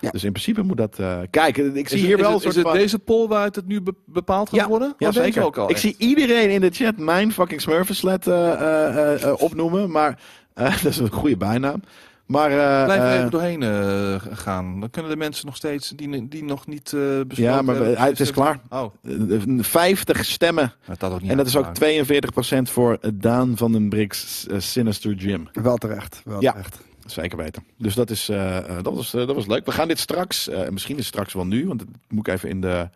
Speaker 3: Ja.
Speaker 1: Dus in principe moet dat. eh kijk, ik zie
Speaker 2: Is het-
Speaker 1: hier wel
Speaker 2: is
Speaker 1: een
Speaker 2: het,
Speaker 1: soort
Speaker 2: is het
Speaker 1: van-
Speaker 2: deze poll waaruit het nu be- bepaald gaat worden? Of
Speaker 1: ja,
Speaker 2: deze
Speaker 1: zeker.
Speaker 2: Ook al
Speaker 1: ik
Speaker 2: echt?
Speaker 1: zie iedereen in de chat mijn fucking Smurfenslet eh eh, eh, eh, opnoemen. Maar eh, (laughs) dat is een goede bijnaam. Maar eh,
Speaker 2: Blijf er
Speaker 1: eh,
Speaker 2: even doorheen eh, gaan. Dan kunnen de mensen nog steeds die, die nog niet eh besproken
Speaker 1: ja, maar we-
Speaker 2: hebben,
Speaker 1: hij- het is
Speaker 2: even-
Speaker 1: klaar.
Speaker 2: Oh,
Speaker 1: Eh, 50 stemmen.
Speaker 2: maar dat ook niet
Speaker 1: en dat is ook
Speaker 2: uitgemaakt.
Speaker 1: 42% voor eh, Daan van den Brix eh, Sinister Jim.
Speaker 3: Wel terecht. Wel
Speaker 1: Ja.
Speaker 3: terecht.
Speaker 1: Zeker weten. Dus dat, is, eh, eh, dat, was, eh, dat was leuk. We gaan dit straks, eh, misschien is het straks wel nu, want dat moet ik even in de,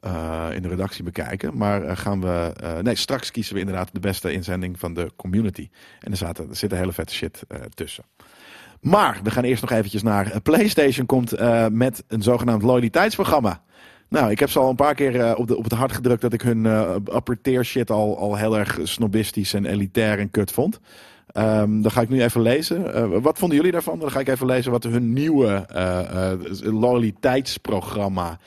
Speaker 1: eh, in de redactie bekijken. Maar eh, gaan we, eh, nee, straks kiezen we inderdaad de beste inzending van de community. En er, zaten, er zit een hele vette shit eh, tussen. Maar we gaan eerst nog eventjes naar eh, PlayStation komt eh, met een zogenaamd loyaliteitsprogramma. Nou, ik heb ze al een paar keer eh, op, de, op het hart gedrukt dat ik hun eh upper tier shit al, al heel erg snobistisch en elitair en kut vond. Ehm, dan ga ik nu even lezen. Eh, wat vonden jullie daarvan? Dan ga ik even lezen wat hun nieuwe eh, eh, loyaliteitsprogramma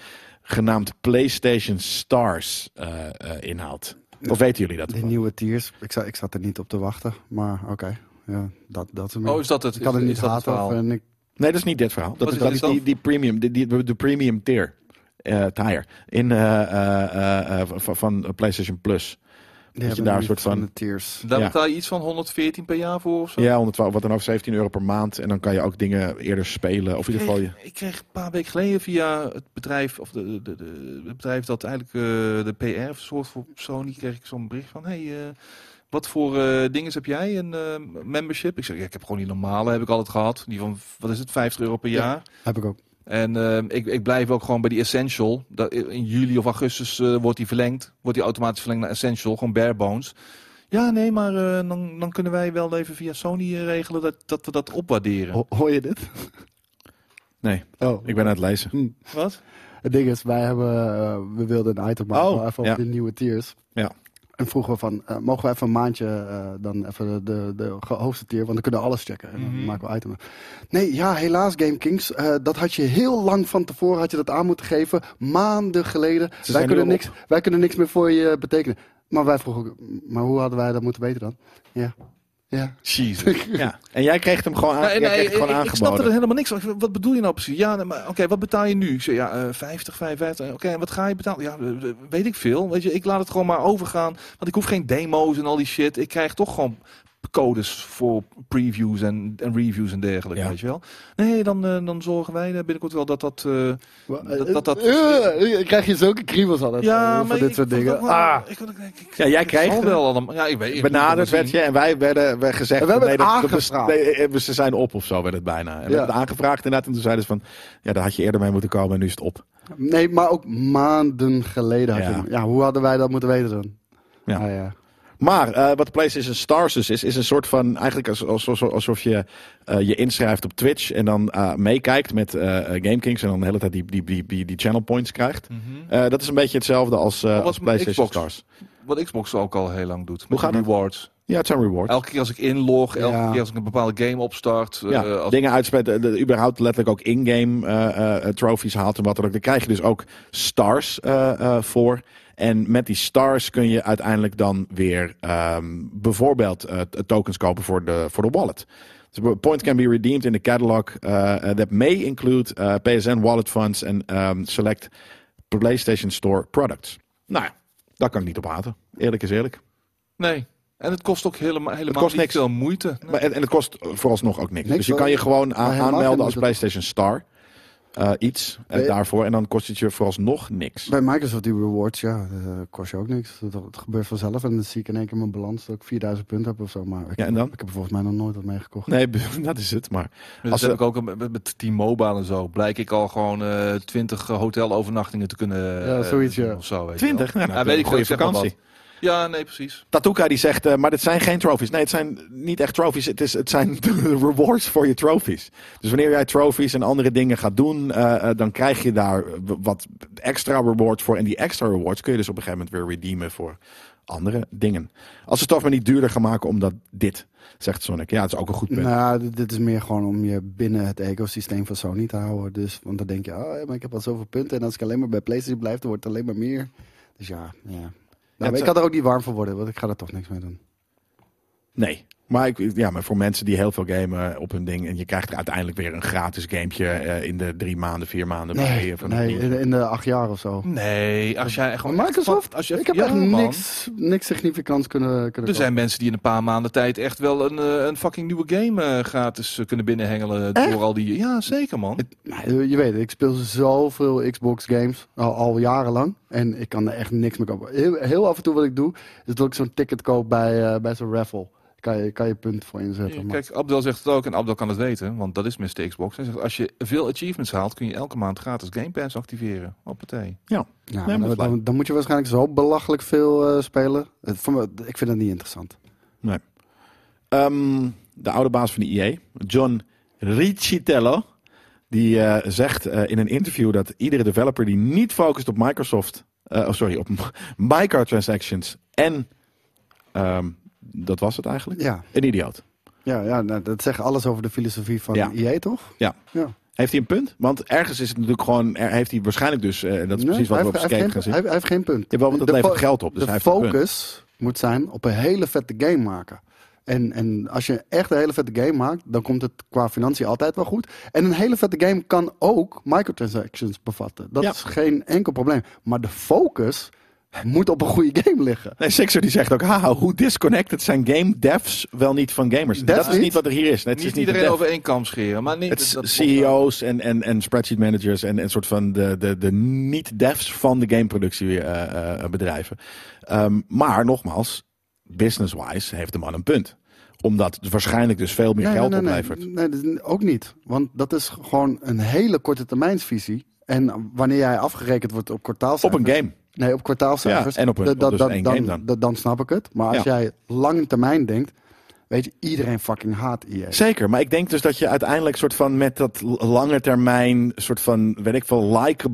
Speaker 1: genaamd PlayStation Stars eh, eh, inhoudt. Of weten jullie dat?
Speaker 3: Die
Speaker 1: ervan?
Speaker 3: nieuwe tiers. Ik, zou, ik zat er niet op te wachten. Maar oké. Ja, dat, dat is een
Speaker 2: Oh, is dat het?
Speaker 3: Dus Ik kan
Speaker 2: is,
Speaker 3: het niet
Speaker 2: is dat het
Speaker 3: haten.
Speaker 2: verhaal?
Speaker 3: of, en ik-
Speaker 1: Nee, dat is niet dit verhaal. Dat
Speaker 2: Wat
Speaker 1: is,
Speaker 2: is
Speaker 1: dat
Speaker 2: dit
Speaker 1: is
Speaker 2: dan?
Speaker 1: die, die premium, die, die, de premium tier. eh tire. In, eh, eh, eh, van, van PlayStation Plus.
Speaker 3: die
Speaker 1: je
Speaker 3: hebben
Speaker 1: daar
Speaker 3: nu
Speaker 1: een soort
Speaker 3: van
Speaker 1: van-
Speaker 3: de tiers.
Speaker 2: Daar
Speaker 1: Ja.
Speaker 2: betaal je iets van 114 per jaar voor of zo?
Speaker 1: Ja, 112, wat dan ook, 17 euro per maand. En dan kan je ook dingen eerder spelen. Of in ieder geval je.
Speaker 2: Ik kreeg een paar weken geleden via het bedrijf, of de, de, de, het bedrijf dat eigenlijk eh, de PR verzorgt voor Sony, kreeg ik zo'n bericht van, hey, eh, wat voor eh dingen heb jij, een eh, membership? Ik zeg, ja, ik heb gewoon die normale, heb ik altijd gehad. Die van, wat is het, 50 euro per
Speaker 3: Ja.
Speaker 2: jaar?
Speaker 3: Heb ik ook.
Speaker 2: En eh, ik, ik blijf ook gewoon bij die Essential. Dat, in juli of augustus eh, wordt die verlengd. Wordt die automatisch verlengd naar Essential, gewoon bare bones. Ja, nee, maar eh, dan, dan kunnen wij wel even via Sony eh, regelen dat, dat we dat opwaarderen.
Speaker 3: Ho- hoor je dit?
Speaker 1: Nee,
Speaker 3: Oh.
Speaker 1: ik ben aan het lezen.
Speaker 2: Wat?
Speaker 3: hm. Het ding is, wij hebben, eh, we wilden een item maken
Speaker 1: Oh,
Speaker 3: maar even
Speaker 1: ja.
Speaker 3: op de nieuwe tiers.
Speaker 1: Ja.
Speaker 3: En vroegen we van, eh, mogen we even een maandje eh, dan even de, de, de hoogste tier, want dan kunnen we alles checken. En dan
Speaker 2: Mhm.
Speaker 3: maken we items. Nee, ja, helaas Game Kings, eh, dat had je heel lang van tevoren had je dat aan moeten geven, maanden geleden.
Speaker 1: zijn
Speaker 3: Wij
Speaker 1: nu
Speaker 3: kunnen,
Speaker 1: al
Speaker 3: niks, wij kunnen niks meer voor je betekenen. Maar wij vroegen, ook, maar hoe hadden wij dat moeten weten dan? Ja, ja.
Speaker 2: Jezus.
Speaker 1: Ja. En jij kreeg hem gewoon, aan, jij
Speaker 2: Nee, nee,
Speaker 1: kreeg Ah, het
Speaker 2: ik,
Speaker 1: gewoon
Speaker 2: ik, ik snapte
Speaker 1: aangeboden.
Speaker 2: er helemaal niks van. Ik zei, Wat bedoel je nou precies? Ja, nee, maar oké, wat betaal je nu? Ik zei, ja, eh, 50, 55. Oké, en wat ga je betalen? Ja, eh, eh, weet ik veel. Weet je, ik laat het gewoon maar overgaan. Want ik hoef geen demo's en al die shit. Ik krijg toch gewoon codes voor previews en, en reviews en dergelijke,
Speaker 1: Ja.
Speaker 2: weet je wel. Nee, dan, eh, dan zorgen wij eh, binnenkort wel dat dat... eh, Dat- dat- dat-
Speaker 3: Eh, eh, krijg je zulke kriebels altijd eh, van dit soort dingen. Ah.
Speaker 2: Ik, ik, ik, ik-
Speaker 1: Ja, jij
Speaker 2: het
Speaker 1: kreeg
Speaker 2: zal
Speaker 1: het.
Speaker 2: wel allemaal. Ja, ik weet ik moet
Speaker 1: Benaderd
Speaker 2: het maar
Speaker 1: werd je en wij werden we gezegd...
Speaker 3: En we hebben
Speaker 1: nee,
Speaker 3: het
Speaker 1: dat- dat bes-
Speaker 3: aangevraagd.
Speaker 1: nee, eh, ze zijn op of zo werd het bijna. En we
Speaker 3: Ja.
Speaker 1: hebben het aangevraagd inderdaad. En toen zeiden ze van... Ja, daar had je eerder mee moeten komen en nu is het op.
Speaker 3: Nee, maar ook maanden geleden had je
Speaker 1: Ja.
Speaker 3: hem. Ja, hoe hadden wij dat moeten weten dan?
Speaker 1: Ja.
Speaker 3: Ah, ja.
Speaker 1: Maar eh, wat PlayStation Stars dus is, is een soort van eigenlijk als- als- als- alsof je eh, je inschrijft op Twitch en dan eh, meekijkt met eh GameKings en dan de hele tijd die, die, die, die, die channel points krijgt.
Speaker 2: zien. Mhm.
Speaker 1: Eh, dat is een beetje hetzelfde als, eh,
Speaker 2: was
Speaker 1: als
Speaker 2: met
Speaker 1: PlayStation
Speaker 2: Xbox?
Speaker 1: Stars.
Speaker 2: Wat Xbox ook al heel lang doet. Met
Speaker 1: Hoe
Speaker 2: die
Speaker 1: gaat het?
Speaker 2: rewards.
Speaker 1: Ja, het zijn rewards.
Speaker 2: Elke keer als ik inlog, elke
Speaker 3: Ja.
Speaker 2: keer als ik een bepaalde game opstart. eh,
Speaker 1: ja,
Speaker 2: als-
Speaker 1: dingen uitspreken, de- de- überhaupt letterlijk ook in-game eh, eh, trophies haalt en wat dan ook. Dan krijg je dus ook stars eh, eh, voor. En met die stars kun je uiteindelijk dan weer ehm, bijvoorbeeld eh, t- tokens kopen voor de, voor de wallet. Dus a point can be redeemed in the catalog eh, eh, that may include eh, PSN wallet funds en ehm, select PlayStation Store products. Nou ja, daar kan ik niet op haten. Eerlijk is eerlijk.
Speaker 2: Nee. En het kost ook helemaal, helemaal
Speaker 1: kost
Speaker 2: niet
Speaker 1: niks.
Speaker 2: veel moeite. Nee.
Speaker 1: Maar, en, en het kost vooralsnog ook niks.
Speaker 3: Niks,
Speaker 1: dus je
Speaker 3: wel.
Speaker 1: kan je gewoon aan-
Speaker 3: Maar helemaal
Speaker 1: aanmelden
Speaker 3: geen
Speaker 1: als
Speaker 3: moeite.
Speaker 1: PlayStation Star. eh, iets eh,
Speaker 3: Nee.
Speaker 1: daarvoor. En dan kost het je vooralsnog niks.
Speaker 3: Bij Microsoft, die rewards, ja, eh, kost je ook niks. Dat, dat gebeurt vanzelf. En dan zie ik in één keer mijn balans dat ik 4000 punten heb of zo. Maar ik,
Speaker 1: Ja, en dan?
Speaker 3: ik heb er volgens mij nog nooit wat meegekocht.
Speaker 1: Nee, (laughs) b- dat is het. Maar als
Speaker 2: Dus dat
Speaker 1: ze-
Speaker 2: heb ik ook met, met- met T-Mobile en zo. Blijk ik al gewoon eh 20 hotelovernachtingen te kunnen. eh,
Speaker 3: Ja, zoiets, ja.
Speaker 2: doen Of zo, weet je wel.
Speaker 1: 20? Nou, dan heb
Speaker 2: Ja,
Speaker 1: je
Speaker 2: weet
Speaker 1: een
Speaker 2: ik
Speaker 1: goede
Speaker 2: veel, ik zeg maar
Speaker 1: vakantie.
Speaker 2: Ja, nee, precies.
Speaker 1: Tatuka die zegt, eh, maar dit zijn geen trophies. Nee, het zijn niet echt trophies. Het, is, het zijn (laughs) rewards voor je trophies. Dus wanneer jij trophies en andere dingen gaat doen, eh, eh, dan krijg je daar w- wat extra rewards voor. En die extra rewards kun je dus op een gegeven moment weer redeemen voor andere dingen. Als ze het toch maar niet duurder gaan maken, omdat dit, zegt Sonic. Ja, het is ook een goed punt.
Speaker 3: Nou, dit, dit is meer gewoon om je binnen het ecosysteem van Sony te houden. Dus, want dan denk je, oh, ja, maar ik heb al zoveel punten. En als ik alleen maar bij PlayStation blijf, dan wordt het alleen maar meer. Dus ja, ja. Nou, maar
Speaker 1: het
Speaker 3: ik
Speaker 1: zou-
Speaker 3: kan er ook niet warm voor worden, want ik ga er toch niks mee doen.
Speaker 1: Nee. Maar, ik, ja, maar voor mensen die heel veel gamen op hun ding. En je krijgt er uiteindelijk weer een gratis gamepje eh, in de drie maanden, vier maanden.
Speaker 3: Nee,
Speaker 1: van
Speaker 3: nee in, in de acht jaar of zo.
Speaker 2: Nee, als jij
Speaker 3: Oh,
Speaker 2: gewoon. echt
Speaker 3: Microsoft,
Speaker 2: van- als je,
Speaker 3: ik heb
Speaker 2: ja,
Speaker 3: echt
Speaker 2: man.
Speaker 3: niks, niks significants kunnen, kunnen
Speaker 2: Er zijn mensen die in een paar maanden tijd echt wel een, eh, een fucking nieuwe game eh, gratis eh, kunnen binnenhengelen. Door al die. Ja, zeker man.
Speaker 3: kopen. Nee, eh, Je weet, ik speel zoveel Xbox games al, al jarenlang. En ik kan er echt niks mee kopen. Heel, heel af en toe wat ik doe, is dat ik zo'n ticket koop bij, eh, bij zo'n raffle. Kan je, kan je punt voor inzetten. maar-
Speaker 2: Eh, Kijk, Abdel zegt het ook en Abdel kan het weten, want dat is Mr. Xbox. Hij zegt, als je veel achievements haalt, kun je elke maand gratis Game Pass activeren. Hoppatee.
Speaker 3: Ja,
Speaker 1: Nee, maar
Speaker 3: dan,
Speaker 1: dat is
Speaker 3: dan, dan moet je waarschijnlijk zo belachelijk veel eh, spelen. Het, voor me- ik vind dat niet interessant.
Speaker 1: Ehm, de oude baas van de EA, John Ricitello, die eh, zegt eh, in een interview dat iedere developer die niet focust op Microsoft, eh, oh sorry, op (laughs) microtransactions en ehm, dat was het eigenlijk,
Speaker 3: Ja,
Speaker 1: een idioot.
Speaker 3: ja, ja nou, dat zegt alles over de filosofie van
Speaker 1: Ja.
Speaker 3: EA, toch?
Speaker 1: Heeft hij een punt? Want ergens is het natuurlijk gewoon, er, heeft hij waarschijnlijk dus, eh, en dat is
Speaker 3: Nee,
Speaker 1: precies wat
Speaker 3: hij
Speaker 1: we op
Speaker 3: heeft- hij
Speaker 1: Escape
Speaker 3: heeft
Speaker 1: gaan
Speaker 3: geen-
Speaker 1: zien.
Speaker 3: Hij, hij heeft geen punt.
Speaker 1: Ja, wel, want dat
Speaker 3: De
Speaker 1: levert
Speaker 3: fo-
Speaker 1: geld op, dus hij
Speaker 3: de
Speaker 1: heeft een punt.
Speaker 3: focus moet zijn op een hele vette game maken. En, en als je echt een hele vette game maakt, dan komt het qua financiën altijd wel goed. En een hele vette game kan ook microtransactions bevatten. Dat
Speaker 1: Ja.
Speaker 3: is geen enkel probleem. Maar de focus moet op een goede game liggen.
Speaker 1: Nee, Sixer die zegt ook, haha, hoe disconnected zijn game devs wel niet van gamers?
Speaker 3: Dev
Speaker 1: dat is niet
Speaker 3: niet?
Speaker 1: wat er hier is. Nee, het
Speaker 2: niet
Speaker 1: is niet de
Speaker 2: iedereen
Speaker 1: dev.
Speaker 2: over één kam scheren, maar niet,
Speaker 1: Het is E
Speaker 2: dat- dat-
Speaker 1: CEO's en, en, en spreadsheet managers en een soort van de, de, de niet-devs van de gameproductiebedrijven. eh, bedrijven. Ehm, maar nogmaals, business-wise heeft de man een punt. Omdat het waarschijnlijk dus veel meer
Speaker 3: Nee,
Speaker 1: geld
Speaker 3: nee, nee,
Speaker 1: oplevert.
Speaker 3: Nee, nee, dat is ook niet. Want dat is gewoon een hele korte termijnsvisie. En wanneer jij afgerekend wordt op
Speaker 1: Op
Speaker 3: kwartaalcijfers...
Speaker 1: een game.
Speaker 3: Nee, op kwartaalcijfers.
Speaker 1: Ja, en op een-
Speaker 3: dat-
Speaker 1: op
Speaker 3: dat-
Speaker 1: dus
Speaker 3: dat-
Speaker 1: één
Speaker 3: dan,
Speaker 1: game dan.
Speaker 3: dat- dan snap ik het. Maar als
Speaker 1: Ja.
Speaker 3: jij lange termijn denkt... Weet je, iedereen fucking haat E EA.
Speaker 1: Zeker, maar ik denk dus dat je uiteindelijk soort van met dat l- lange termijn, soort van, weet ik veel,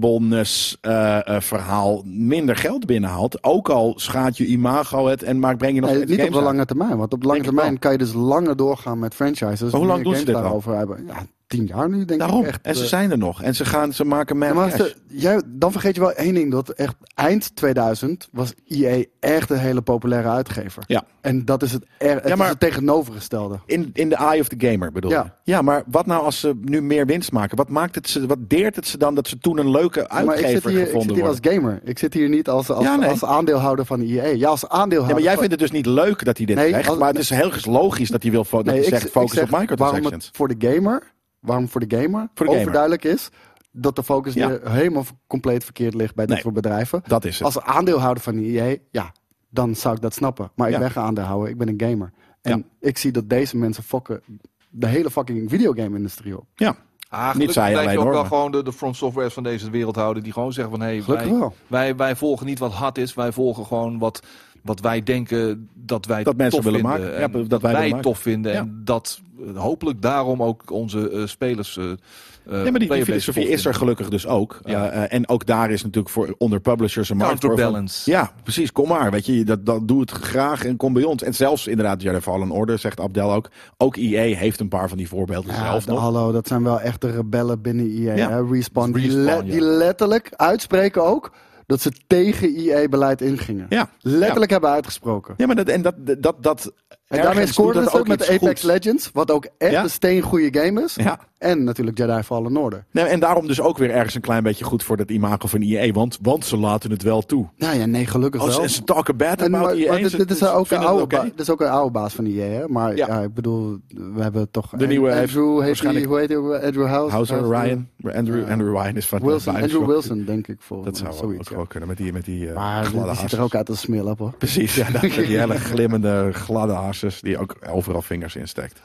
Speaker 1: likableness eh, eh, verhaal minder geld binnenhaalt. Ook al schaadt je imago het en maar breng je nog
Speaker 3: Nee,
Speaker 1: steeds
Speaker 3: niet op
Speaker 1: games
Speaker 3: de
Speaker 1: uit.
Speaker 3: lange termijn. Want op de lange
Speaker 1: Denk ik wel.
Speaker 3: termijn kan je dus langer doorgaan met franchises.
Speaker 1: hoe lang
Speaker 3: meer
Speaker 1: doen ze
Speaker 3: games
Speaker 1: dit al?
Speaker 3: daarover hebben. Ja, tien jaar nu denk
Speaker 1: Daarom.
Speaker 3: ik echt.
Speaker 1: en ze
Speaker 3: eh,
Speaker 1: zijn er nog. En ze gaan, ze maken
Speaker 3: Ja,
Speaker 1: mad
Speaker 3: maar
Speaker 1: cash.
Speaker 3: wacht, eh, jij, dan vergeet je wel één ding. Dat echt eind 2000 was EA echt een hele populaire uitgever.
Speaker 1: Ja.
Speaker 3: En dat is het, er, het,
Speaker 1: Ja, maar-
Speaker 3: is het tegenovergestelde.
Speaker 1: In, in de eye of the gamer bedoel
Speaker 3: Ja.
Speaker 1: je? Ja, maar wat nou als ze nu meer winst maken? Wat, maakt het ze, wat deert het ze dan dat ze toen een leuke
Speaker 3: maar ik
Speaker 1: uitgever
Speaker 3: zit hier, ik
Speaker 1: gevonden
Speaker 3: zit hier als
Speaker 1: worden?
Speaker 3: gamer. Ik zit hier niet als, als,
Speaker 1: Ja, nee.
Speaker 3: als aandeelhouder van EA. Ja, als aandeelhouder.
Speaker 1: Nee, maar jij
Speaker 3: van-
Speaker 1: vindt het dus niet leuk dat hij dit
Speaker 3: Nee,
Speaker 1: krijgt.
Speaker 3: als-
Speaker 1: maar het is heel logisch dat hij wil fo- dat
Speaker 3: Nee,
Speaker 1: hij
Speaker 3: ik-
Speaker 1: zegt
Speaker 3: ik
Speaker 1: focus
Speaker 3: zeg
Speaker 1: op microtransactions.
Speaker 3: Waarom het voor de gamer, waarom voor de gamer
Speaker 1: Voor de gamer.
Speaker 3: overduidelijk is dat de focus
Speaker 1: Ja.
Speaker 3: weer helemaal v- compleet verkeerd ligt bij
Speaker 1: Nee.
Speaker 3: dit soort bedrijven.
Speaker 1: Dat is het.
Speaker 3: Als aandeelhouder van EA, ja, dan zou ik dat snappen. Maar ik
Speaker 1: Ja.
Speaker 3: ben geen aandeelhouder, ik ben een gamer. En
Speaker 1: Ja.
Speaker 3: ik zie dat deze mensen fokken de hele fucking videogame-industrie op.
Speaker 1: Ja.
Speaker 2: Ah,
Speaker 1: Niet
Speaker 2: gelukkig
Speaker 1: zij
Speaker 2: blijf je
Speaker 1: alleen,
Speaker 2: ook
Speaker 1: hoor,
Speaker 2: wel
Speaker 1: maar-
Speaker 2: gewoon de, de front softwares van deze wereld houden. Die gewoon zeggen van, hé,
Speaker 3: Gelukkig
Speaker 2: wij,
Speaker 3: wel.
Speaker 2: wij, wij volgen niet wat hard is. Wij volgen gewoon wat, wat wij denken dat wij
Speaker 1: Dat mensen
Speaker 2: tof
Speaker 1: willen
Speaker 2: vinden.
Speaker 1: maken.
Speaker 2: En
Speaker 1: Ja, dat wij willen maken.
Speaker 2: tof vinden.
Speaker 1: Ja.
Speaker 2: En dat eh, hopelijk daarom ook onze eh, spelers... eh, eh,
Speaker 1: Ja, maar die- die,
Speaker 2: playerbase
Speaker 1: filosofie
Speaker 2: tof
Speaker 1: is er
Speaker 2: vinden.
Speaker 1: gelukkig dus ook.
Speaker 2: Ja.
Speaker 1: Eh, eh, en ook daar is natuurlijk voor onder publishers een markt voor.
Speaker 2: Counterbalance.
Speaker 1: Ja, precies. Kom maar. Weet je, dat, dat doe het graag en kom bij ons. En zelfs inderdaad, Jedi Fallen Order, zegt Abdel ook. Ook EA heeft een paar van die voorbeelden
Speaker 3: Ja,
Speaker 1: zelf
Speaker 3: de-
Speaker 1: nog.
Speaker 3: hallo, dat zijn wel echt de rebellen binnen EA.
Speaker 1: Ja.
Speaker 3: Hè? Respawn, die,
Speaker 2: Respawn,
Speaker 3: le-
Speaker 2: ja.
Speaker 3: die letterlijk uitspreken ook dat ze tegen EA-beleid ingingen.
Speaker 1: Ja,
Speaker 3: Letterlijk hebben uitgesproken.
Speaker 1: Ja, maar dat, en dat, dat, dat
Speaker 3: En
Speaker 1: ergens
Speaker 3: daarmee
Speaker 1: doet
Speaker 3: scoorden
Speaker 1: dat
Speaker 3: ze ook met
Speaker 1: iets
Speaker 3: Apex
Speaker 1: goeds.
Speaker 3: Legends, wat ook echt
Speaker 1: Ja.
Speaker 3: een steengoede game is.
Speaker 1: Ja.
Speaker 3: En natuurlijk Jedi Fallen Order.
Speaker 1: Nee, en daarom dus ook weer ergens een klein beetje goed voor dat imago van EA. Want, want ze laten het wel toe.
Speaker 3: Nou ja, nee, gelukkig
Speaker 1: Als
Speaker 3: wel.
Speaker 1: ze talken bad
Speaker 3: En,
Speaker 1: about
Speaker 3: maar,
Speaker 1: EA.
Speaker 3: maar dit,
Speaker 1: ze-
Speaker 3: dit is
Speaker 1: ze
Speaker 3: ook een
Speaker 1: vinden het
Speaker 3: oude
Speaker 1: oké.
Speaker 3: ba- dit is ook een oude baas van EA, hè? Maar
Speaker 1: Ja.
Speaker 3: ja. ik bedoel, we hebben toch...
Speaker 1: De nieuwe
Speaker 3: Andrew, heet die,
Speaker 1: waarschijnlijk-
Speaker 3: hoe heet die? ook wel? Andrew House?
Speaker 1: Houser,
Speaker 3: House-
Speaker 1: Ryan. Andrew,
Speaker 3: eh, Ja.
Speaker 1: Andrew Ryan is van
Speaker 3: Wilson,
Speaker 1: van
Speaker 3: Andrew
Speaker 1: Bioshock.
Speaker 3: Wilson, denk ik. Voor
Speaker 1: Dat zou wel, ook
Speaker 3: zoiets, ja.
Speaker 1: wel kunnen met die, met die eh
Speaker 3: Maar
Speaker 1: gladde
Speaker 3: die ziet er
Speaker 1: hasses.
Speaker 3: ook uit als een smil hoor.
Speaker 1: Precies, ja, dat- die
Speaker 3: (laughs)
Speaker 1: hele glimmende gladde hasses die ook overal vingers insteekt.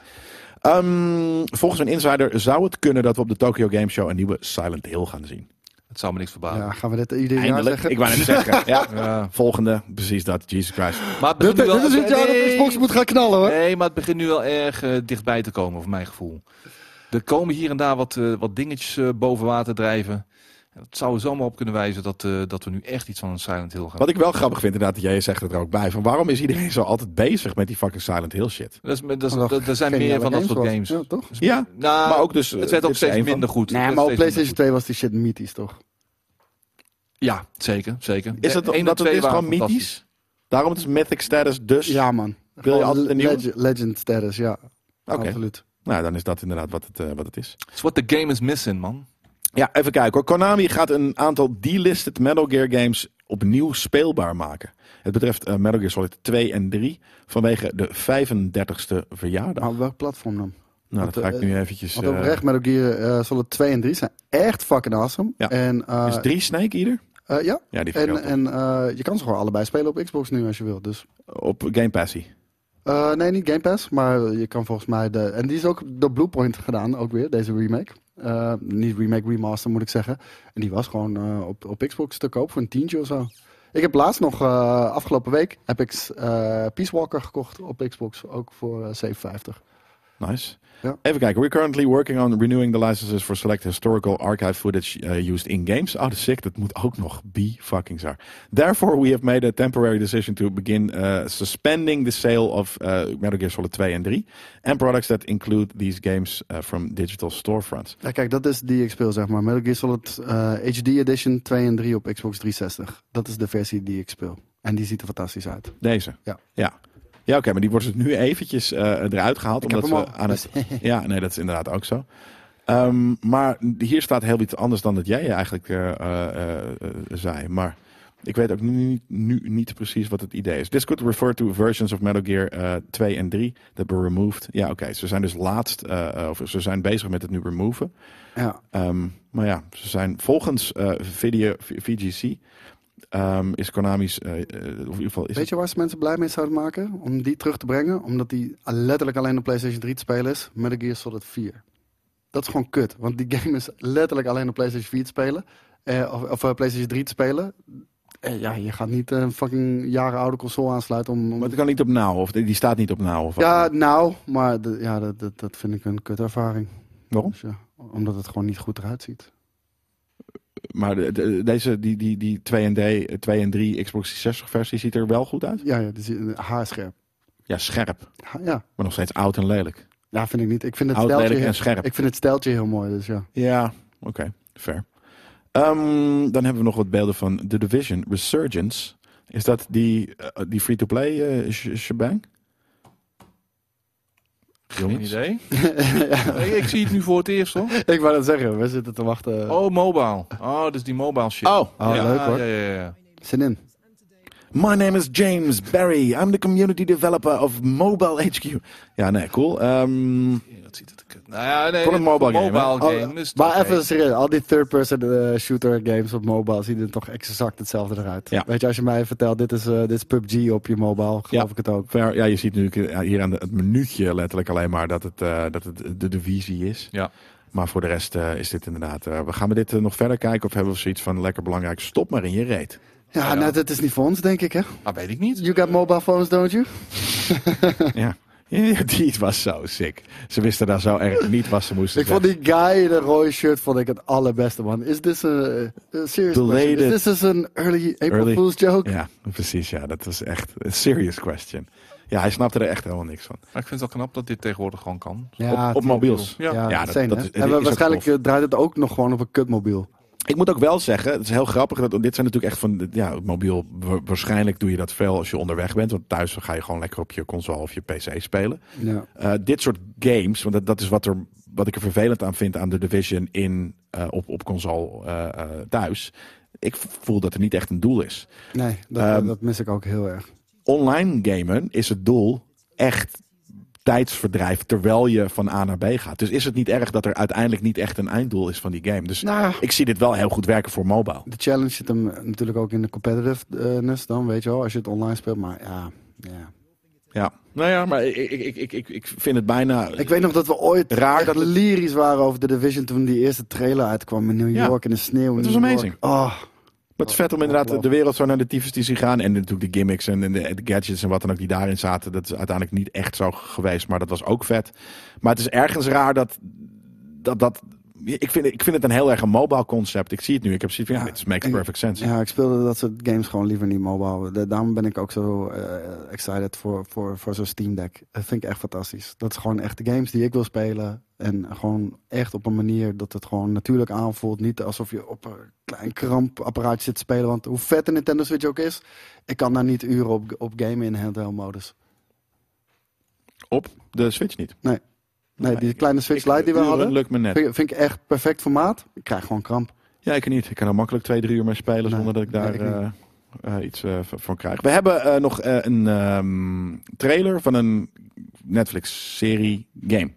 Speaker 1: Ehm, volgens een insider zou het kunnen dat we op de Tokyo Game Show een nieuwe Silent Hill gaan zien.
Speaker 2: Het zou me niks verbazen.
Speaker 3: Ja, gaan we dit ieder jaar
Speaker 1: Eindelijk,
Speaker 3: nou zeggen?
Speaker 1: ik wou net zeggen.
Speaker 3: (laughs)
Speaker 1: Ja.
Speaker 2: Ja.
Speaker 1: Volgende, precies dat, Jesus Christ.
Speaker 2: Maar het
Speaker 3: Dit,
Speaker 2: begint nu wel-
Speaker 3: dit is het jaar dat
Speaker 2: Nee.
Speaker 3: Xbox moet gaan knallen, hoor.
Speaker 2: Nee, maar het begint nu wel erg eh, dichtbij te komen, voor mijn gevoel. Er komen hier en daar wat, eh, wat dingetjes eh, boven water drijven. En dat zou er zomaar op kunnen wijzen dat, eh, dat we nu echt iets van een Silent Hill gaan.
Speaker 1: Wat ik wel grappig vind, inderdaad, dat jij zegt het er ook bij. Van waarom is iedereen zo altijd bezig met die fucking Silent Hill shit?
Speaker 2: Dat is, dat is-
Speaker 3: Omdat
Speaker 2: dat- er zijn
Speaker 3: geniale
Speaker 2: meer van dat soort
Speaker 3: was.
Speaker 2: games.
Speaker 3: Ja, toch?
Speaker 1: Ja,
Speaker 2: Nou,
Speaker 1: maar ook dus. eh,
Speaker 2: het werd
Speaker 1: dit
Speaker 2: ook
Speaker 1: is
Speaker 2: steeds
Speaker 1: één van-
Speaker 2: minder goed. Het
Speaker 3: Nee,
Speaker 2: werd
Speaker 3: maar op
Speaker 2: steeds
Speaker 3: PlayStation 2 was die shit mythisch, toch?
Speaker 2: minder goed. Ja, zeker. zeker.
Speaker 1: Is
Speaker 2: De
Speaker 1: dat
Speaker 2: één en
Speaker 1: omdat het
Speaker 2: twee
Speaker 1: is
Speaker 2: waren
Speaker 1: gewoon mythisch? Daarom het is mythic status dus.
Speaker 3: Ja, man.
Speaker 1: Wil je altijd een nieuwe?
Speaker 3: legend, legend status, ja.
Speaker 1: Oké,
Speaker 3: Absoluut.
Speaker 1: nou dan is dat inderdaad wat het, eh, wat het is.
Speaker 2: fantastisch. It's what the game is missing, man.
Speaker 1: Ja, even kijken hoor. Konami gaat een aantal delisted Metal Gear games opnieuw speelbaar maken. Het betreft eh, Metal Gear Solid 2 en 3 vanwege de 35ste verjaardag.
Speaker 3: Maar op Nou, welk platform dan?
Speaker 1: nou,
Speaker 3: want,
Speaker 1: dat ga ik
Speaker 3: eh,
Speaker 1: nu eventjes...
Speaker 3: Want
Speaker 1: eh,
Speaker 3: oprecht, Metal Gear eh, Solid 2 en 3 zijn echt fucking awesome.
Speaker 1: Ja.
Speaker 3: En, eh,
Speaker 1: is 3 Snake ieder?
Speaker 3: eh, ja.
Speaker 1: Ja, die vind ik
Speaker 3: En,
Speaker 1: heel tof.
Speaker 3: en eh, je kan ze gewoon allebei spelen op Xbox nu als je wilt. Dus.
Speaker 1: Op Game Passie.
Speaker 3: Eh, nee, niet Game Pass, maar je kan volgens mij de... En die is ook door Bluepoint gedaan, ook weer, deze remake. Eh, niet remake, remaster moet ik zeggen. En die was gewoon eh, op, op Xbox te koop voor een tientje of zo. Ik heb laatst nog, eh, afgelopen week, heb ik eh, Peace Walker gekocht op Xbox. Ook voor eh, 750.
Speaker 1: Nice.
Speaker 3: Ja.
Speaker 1: Even kijken. We're currently working on renewing the licenses for select historical archive footage eh, used in games. Oh, de sick. Dat moet ook nog. Be fucking zar. Therefore, we have made a temporary decision to begin eh, suspending the sale of eh, Metal Gear Solid 2 en 3 and products that include these games eh, from digital storefronts.
Speaker 3: Ja, kijk, dat is die ik speel, zeg maar. Metal Gear Solid eh, HD Edition 2 en 3 op Xbox 360. Dat is de versie die ik speel. En die ziet er fantastisch uit.
Speaker 1: Deze.
Speaker 3: Ja.
Speaker 1: Ja. Ja, oké, maar die wordt dus nu eventjes eh, eruit gehaald.
Speaker 3: Ik heb
Speaker 1: omdat
Speaker 3: hem
Speaker 1: we
Speaker 3: al,
Speaker 1: aan
Speaker 3: (laughs)
Speaker 1: het. Ja, nee, dat is inderdaad ook zo. Ehm, maar hier staat heel iets anders dan dat jij eigenlijk eh, eh, eh, eh, zei. Maar ik weet ook nu, niet- nu niet precies wat het idee is. This could refer to versions of Metal Gear eh 2 en 3 that were removed. Ja, oké. Ze zijn dus laatst, eh, eh, of ze zijn bezig met het nu removen.
Speaker 3: Ja.
Speaker 1: Ehm, maar ja, ze zijn volgens eh, video, V- VGC ehm, is Konami's, eh, eh, of in ieder geval is
Speaker 3: Weet je waar ze mensen blij mee zouden maken? Om die terug te brengen? Omdat die letterlijk alleen op PlayStation 3 te spelen is. Metal Gear Solid 4. Dat is gewoon kut. (laughs) Want die game is letterlijk alleen op PlayStation 4 te spelen. Eh, of of eh, PlayStation 3 te spelen. eh, ja, je gaat niet eh, een fucking jaren oude console aansluiten om... om-
Speaker 1: Maar het kan niet op nou, of die die staat niet op nou. Of
Speaker 3: ja, nou, maar de- ja, dat, dat, dat vind ik een kutervaring.
Speaker 1: Waarom?
Speaker 3: Dus ja, omdat het gewoon niet goed eruit ziet.
Speaker 1: Maar de- de- deze, die, die, die 2 en, D, 2 en 3 Xbox 360 versie ziet er wel goed uit.
Speaker 3: Ja, ja, dus, eh, haarscherp.
Speaker 1: Ja, scherp.
Speaker 3: Ha- ja.
Speaker 1: Maar nog steeds oud en lelijk.
Speaker 3: ja, vind ik niet. Ik vind het
Speaker 1: Oud,
Speaker 3: steltje,
Speaker 1: lelijk
Speaker 3: heel-
Speaker 1: en scherp.
Speaker 3: ik vind het steltje heel mooi, dus ja.
Speaker 1: Ja, oké. fair. Ehm, dan hebben we nog wat beelden van The Division Resurgence. Is dat die, eh, die free-to-play eh, sh- shebang?
Speaker 2: Geen
Speaker 1: Jongens? (laughs)
Speaker 2: idee. Nee, ik zie het nu voor het eerst hoor.
Speaker 3: Ik wou dat zeggen, we zitten te wachten.
Speaker 2: Oh, mobile. Oh, dus die mobile shit.
Speaker 1: Oh,
Speaker 3: Oh,
Speaker 2: ja,
Speaker 3: leuk, hoor.
Speaker 2: Ja, ja, ja.
Speaker 3: Zin in.
Speaker 1: My name is James Barry. I'm the community developer of Mobile HQ. Ja, nee, cool. Ehm,
Speaker 2: Ja, Dat ziet het. kut. Nou ja, nee.
Speaker 1: Voor een mobile game, hè?
Speaker 2: game,
Speaker 3: Oh,
Speaker 2: dus
Speaker 3: maar
Speaker 2: oké.
Speaker 3: even serieus, al die third-person eh, shooter games op mobile zien er toch exact hetzelfde eruit.
Speaker 1: Ja.
Speaker 3: Weet je, als je mij vertelt, dit is, eh, dit is PUBG op je mobile, geloof
Speaker 1: Ja.
Speaker 3: ik het ook.
Speaker 1: ver- ja, je ziet nu eh, hier aan de- het minuutje letterlijk alleen maar dat het, eh, dat het de divisie is.
Speaker 2: Ja.
Speaker 1: Maar voor de rest eh, is dit inderdaad... eh, we gaan we dit eh, nog verder kijken of hebben we zoiets van lekker belangrijk... Stop maar in je
Speaker 3: (laughs)
Speaker 1: reet.
Speaker 3: Ja, nou, dat is niet voor ons, denk ik, hè?
Speaker 2: Ah, weet ik niet.
Speaker 3: You got mobile phones, don't you?
Speaker 1: ja. Ja, die was zo sick. Ze wisten daar zo erg niet wat ze moesten
Speaker 3: Ik vond
Speaker 1: zeggen.
Speaker 3: die guy in een rode shirt vond ik het allerbeste, man. Is this a, a serious question?
Speaker 1: Belated.
Speaker 3: Is this an early April
Speaker 1: Early.
Speaker 3: Fool's joke?
Speaker 1: Ja, precies. Ja, dat was echt een serious question. Ja, hij snapte er echt helemaal niks van.
Speaker 2: Maar ik vind het wel knap dat dit tegenwoordig gewoon kan.
Speaker 3: Ja,
Speaker 1: op op mobiels.
Speaker 2: Ja.
Speaker 3: Ja,
Speaker 1: Ja, dat-
Speaker 3: insane,
Speaker 1: dat
Speaker 3: hè?
Speaker 1: is-
Speaker 3: en
Speaker 1: is
Speaker 3: we-
Speaker 1: ook
Speaker 3: waarschijnlijk
Speaker 1: tof.
Speaker 3: eh, draait het ook nog gewoon op een kutmobiel.
Speaker 1: Ik moet ook wel zeggen, het is heel grappig. Dat, dit zijn natuurlijk echt van, ja, mobiel. wa- Waarschijnlijk doe je dat veel als je onderweg bent. Want thuis ga je gewoon lekker op je console of je PC spelen.
Speaker 3: Ja.
Speaker 1: Eh, dit soort games, want dat, dat is wat, er, wat ik er vervelend aan vind aan de Division in, eh, op, op console eh, eh, thuis. Ik voel dat er niet echt een doel is.
Speaker 3: Nee, dat,
Speaker 1: Ehm,
Speaker 3: dat mis ik ook heel erg.
Speaker 1: online gamen is het doel echt tijdsverdrijf terwijl je van A naar B gaat. Dus is het niet erg dat er uiteindelijk niet echt een einddoel is van die game. Dus
Speaker 3: Nou,
Speaker 1: ik zie dit wel heel goed werken voor mobile.
Speaker 3: De challenge zit hem natuurlijk ook in de competitiveness dan, weet je wel, als je het online speelt. Maar ja, ja.
Speaker 1: Ja. Nou ja, maar ik, ik, ik, ik, ik vind het bijna...
Speaker 3: Ik weet nog dat we ooit
Speaker 1: Raar
Speaker 3: raar
Speaker 1: dat
Speaker 3: dat
Speaker 1: het-
Speaker 3: lyrisch waren over The Division toen die eerste trailer uitkwam in New
Speaker 1: Ja.
Speaker 3: York in de sneeuw. in
Speaker 1: Het was
Speaker 3: New
Speaker 1: amazing.
Speaker 3: York. Oh,
Speaker 1: Maar het is vet om inderdaad de wereld zo naar de tyfus die zien gaan. En natuurlijk de gimmicks en de de gadgets en wat dan ook die daarin zaten. Dat is uiteindelijk niet echt zo geweest, maar dat was ook vet. Maar het is ergens raar dat dat... dat ik vind, ik vind het een heel erg een mobile concept. Ik zie het nu. Ik heb zoiets van, ja,
Speaker 3: Ja,
Speaker 1: dit makes
Speaker 3: en-
Speaker 1: perfect sense.
Speaker 3: ja, ik speelde dat soort games gewoon liever niet mobile. Da- Daarom ben ik ook zo eh, excited voor, voor, voor zo'n Steam Deck. Dat vind ik echt fantastisch. Dat is gewoon echt de games die ik wil spelen. En gewoon echt op een manier dat het gewoon natuurlijk aanvoelt. Niet alsof je op een klein krampapparaatje zit te spelen. Want hoe vet de Nintendo Switch ook is, ik kan daar niet uren op, op gamen in handheld modus.
Speaker 1: Op de Switch niet.
Speaker 3: Nee,
Speaker 1: Nee,
Speaker 3: die
Speaker 1: ik-
Speaker 3: kleine Switch Lite die we
Speaker 1: uren
Speaker 3: hadden,
Speaker 1: lukt me net.
Speaker 3: vind, ik- vind ik echt perfect formaat. Ik krijg gewoon kramp.
Speaker 1: Ja, ik niet. Ik kan er makkelijk twee, drie uur mee spelen
Speaker 3: Nee,
Speaker 1: zonder dat ik
Speaker 3: nee,
Speaker 1: daar
Speaker 3: ik niet.
Speaker 1: eh, eh, iets eh, v- van krijg. We hebben eh, nog eh, een ehm, trailer van een Netflix-serie game.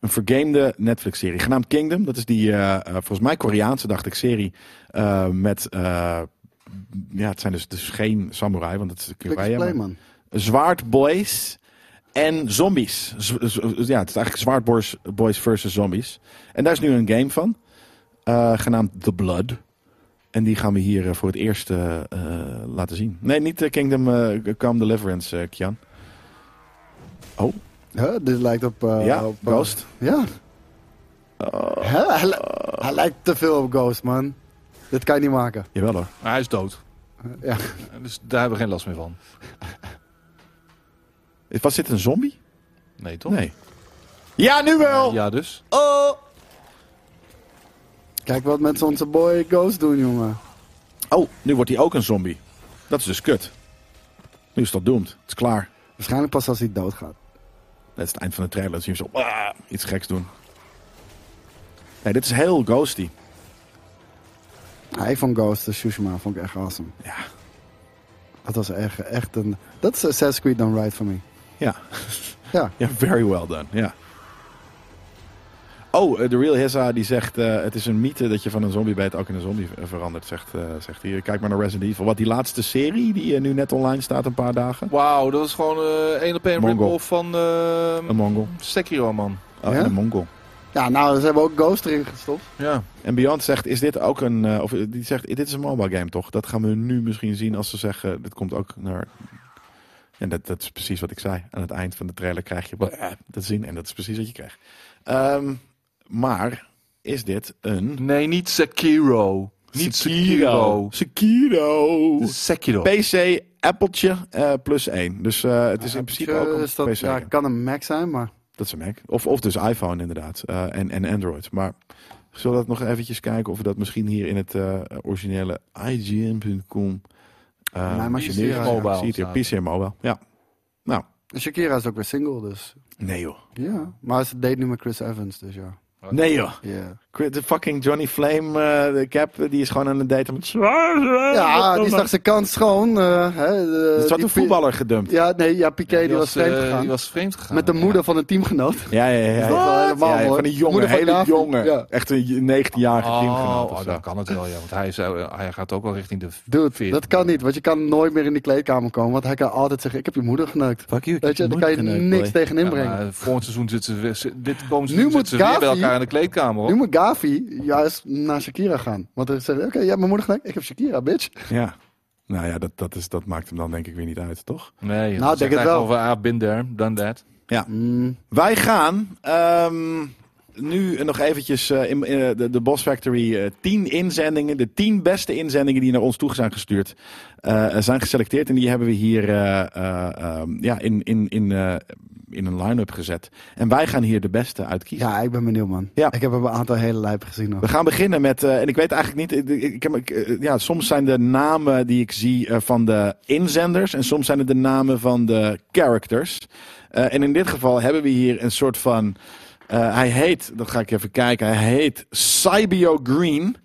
Speaker 1: Een vergamede Netflix-serie, genaamd Kingdom. Dat is die, eh, eh, volgens mij Koreaanse, dacht ik, serie eh, met... eh, ja, het zijn dus, dus geen samurai, want dat is de
Speaker 3: Klik
Speaker 1: Korea. maar-
Speaker 3: play, man.
Speaker 1: zwaardboys en zombies. Z- z- ja, het is eigenlijk zwaardboys boys versus zombies. En daar is nu een game van, eh, genaamd The Blood. En die gaan we hier eh, voor het eerst eh, eh, laten zien. Nee, niet eh, Kingdom eh, Come Deliverance, eh, Kian.
Speaker 3: Huh? Dit lijkt op... eh,
Speaker 1: ja,
Speaker 3: op, eh,
Speaker 1: Ghost.
Speaker 3: Ja.
Speaker 1: Oh.
Speaker 3: Hè? Hij, li- hij lijkt te veel op Ghost, man. Dit kan je niet maken.
Speaker 1: Jawel hoor.
Speaker 2: Maar hij is dood.
Speaker 3: Ja.
Speaker 2: Dus daar hebben we geen last meer van.
Speaker 1: Eh, Was dit een zombie?
Speaker 2: Nee, toch?
Speaker 1: Nee. Ja, nu wel!
Speaker 2: Ja, dus.
Speaker 1: Oh.
Speaker 3: Kijk wat mensen onze boy Ghost doen, jongen.
Speaker 1: oh, nu wordt hij ook een zombie. Dat is dus kut. Nu is dat doomed. Het is klaar.
Speaker 3: Waarschijnlijk pas als hij doodgaat.
Speaker 1: Dat is het eind van de trailer. Dan zien we zo ah, iets geks doen. Nee, dit is heel ghosty.
Speaker 3: Hij van Ghost, de Shushima, vond ik echt awesome.
Speaker 1: Ja.
Speaker 3: Dat was echt, echt een... Dat is Assassin's Creed Done Right voor me.
Speaker 1: Ja,
Speaker 3: Ja.
Speaker 1: ja very well done. Ja. Oh, eh, de Real Hessa die zegt... eh, het is een mythe dat je van een zombie bijt ook in een zombie eh, verandert, zegt, eh, zegt hier. Kijk maar naar Resident Evil. Wat die laatste serie die eh, nu net online staat een paar dagen.
Speaker 2: Wauw, dat is gewoon eh één op één
Speaker 1: Mongol.
Speaker 2: rip-off van eh,
Speaker 1: Een mongol.
Speaker 2: Sekiro, man.
Speaker 1: Oh,
Speaker 3: Ja?
Speaker 1: en een mongol.
Speaker 3: Ja, nou, ze hebben ook Ghost erin gestopt.
Speaker 2: Ja.
Speaker 1: En Beyond zegt, is dit ook een... eh, of eh, die zegt, dit is een mobile game toch? Dat gaan we nu misschien zien als ze zeggen, dit komt ook naar... En dat, dat is precies wat ik zei. Aan het eind van de trailer krijg je eh, dat zien. En dat is precies wat je krijgt. Ehm, maar is dit een...
Speaker 2: Nee, niet Sekiro. Niet Sekiro.
Speaker 1: Sekiro.
Speaker 2: Sekiro.
Speaker 1: PC, appeltje, eh, plus 1. Dus eh, het is in principe ook een
Speaker 3: Dus dat
Speaker 1: PC.
Speaker 3: ja,
Speaker 1: game.
Speaker 3: kan een Mac zijn, maar
Speaker 1: Dat is een Mac. Of, of dus iPhone inderdaad. eh, en, en Android. Maar zullen we dat nog eventjes kijken of we dat misschien hier in het eh, originele IGN.com... eh,
Speaker 3: Nee, maar
Speaker 1: ziet
Speaker 3: PC
Speaker 1: hier
Speaker 3: Mobile
Speaker 1: gewoon, ziet hier,
Speaker 2: staat.
Speaker 1: PC Mobile, ja. Nou,
Speaker 3: Shakira is ook weer single, dus
Speaker 1: nee joh.
Speaker 3: ja. Maar ze date nu met Chris Evans, dus ja.
Speaker 1: Nee joh.
Speaker 3: Ja,
Speaker 1: De fucking Johnny Flame, eh, de cap, die is gewoon aan het daten met...
Speaker 3: ja die zag zijn kans schoon. eh hè, de-
Speaker 1: Er zat
Speaker 3: die
Speaker 1: een
Speaker 3: Pi-
Speaker 1: voetballer gedumpt. Ja,
Speaker 3: Ja, nee, ja, Piqué die, was
Speaker 2: eh,
Speaker 3: vreemd gegaan.
Speaker 2: die was vreemd gegaan.
Speaker 3: met de moeder van een teamgenoot.
Speaker 1: ja, ja. ja,
Speaker 3: Dat is wel helemaal
Speaker 1: Ja, ja,
Speaker 3: mooi.
Speaker 1: van een jongen,
Speaker 3: Moeder van
Speaker 1: hele
Speaker 3: David,
Speaker 1: jongen.
Speaker 3: ja.
Speaker 1: Echt een 19-jarige
Speaker 2: Oh,
Speaker 1: teamgenoot
Speaker 2: oh,
Speaker 1: of zo.
Speaker 2: dan kan het wel, ja. Want hij, is, eh, hij gaat ook wel richting de
Speaker 3: Dude,
Speaker 2: 14.
Speaker 3: dat kan niet, want je kan nooit meer in die kleedkamer komen. Want hij kan altijd zeggen, ik heb je moeder geneukt.
Speaker 1: Fuck you, ik
Speaker 3: Weet je,
Speaker 1: heb
Speaker 3: daar kan je
Speaker 1: moeder geneukt,
Speaker 3: niks
Speaker 1: boy.
Speaker 3: tegen
Speaker 2: Ja,
Speaker 3: inbrengen.
Speaker 2: maar volgend seizoen zitten ze weer, zi- dit komend
Speaker 3: Nu
Speaker 2: seizoen
Speaker 3: moet
Speaker 2: zitten ze weer bij
Speaker 3: Gavi-
Speaker 2: elkaar in de kleedkamer.
Speaker 3: nu
Speaker 2: Hoor.
Speaker 3: moet Gavi juist naar Shakira gaan. Want hij zegt, oké, jij hebt mijn moeder geneukt, ik heb Shakira, bitch.
Speaker 1: Ja. Nou ja, dat, dat, is, dat maakt hem dan denk ik weer niet uit, toch?
Speaker 2: Nee, joh,
Speaker 3: Nou,
Speaker 2: dan
Speaker 3: denk
Speaker 2: zegt
Speaker 3: het
Speaker 2: hij
Speaker 3: wel.
Speaker 2: Over, ah, been there, done that.
Speaker 3: Mm,
Speaker 1: Wij gaan ehm, nu nog eventjes eh, in, in de, de Boss Factory eh, 10 inzendingen. De 10 beste inzendingen die naar ons toe zijn gestuurd, eh, zijn geselecteerd. En die hebben we hier eh, eh, ehm, ja, in, in, in, eh, in een line-up gezet. En wij gaan hier de beste uitkiezen.
Speaker 3: ja, ik ben benieuwd, man.
Speaker 1: Ja.
Speaker 3: Ik heb hem een aantal hele lijpen gezien. al.
Speaker 1: We gaan beginnen met, eh, en ik weet eigenlijk niet, ik, ik- ik heb, ik, eh, ja, soms zijn de namen die ik zie eh, van de inzenders en soms zijn het de namen van de characters. Eh, en in dit geval hebben we hier een soort van, eh, hij heet, dat ga ik even kijken, hij heet Cybio Green.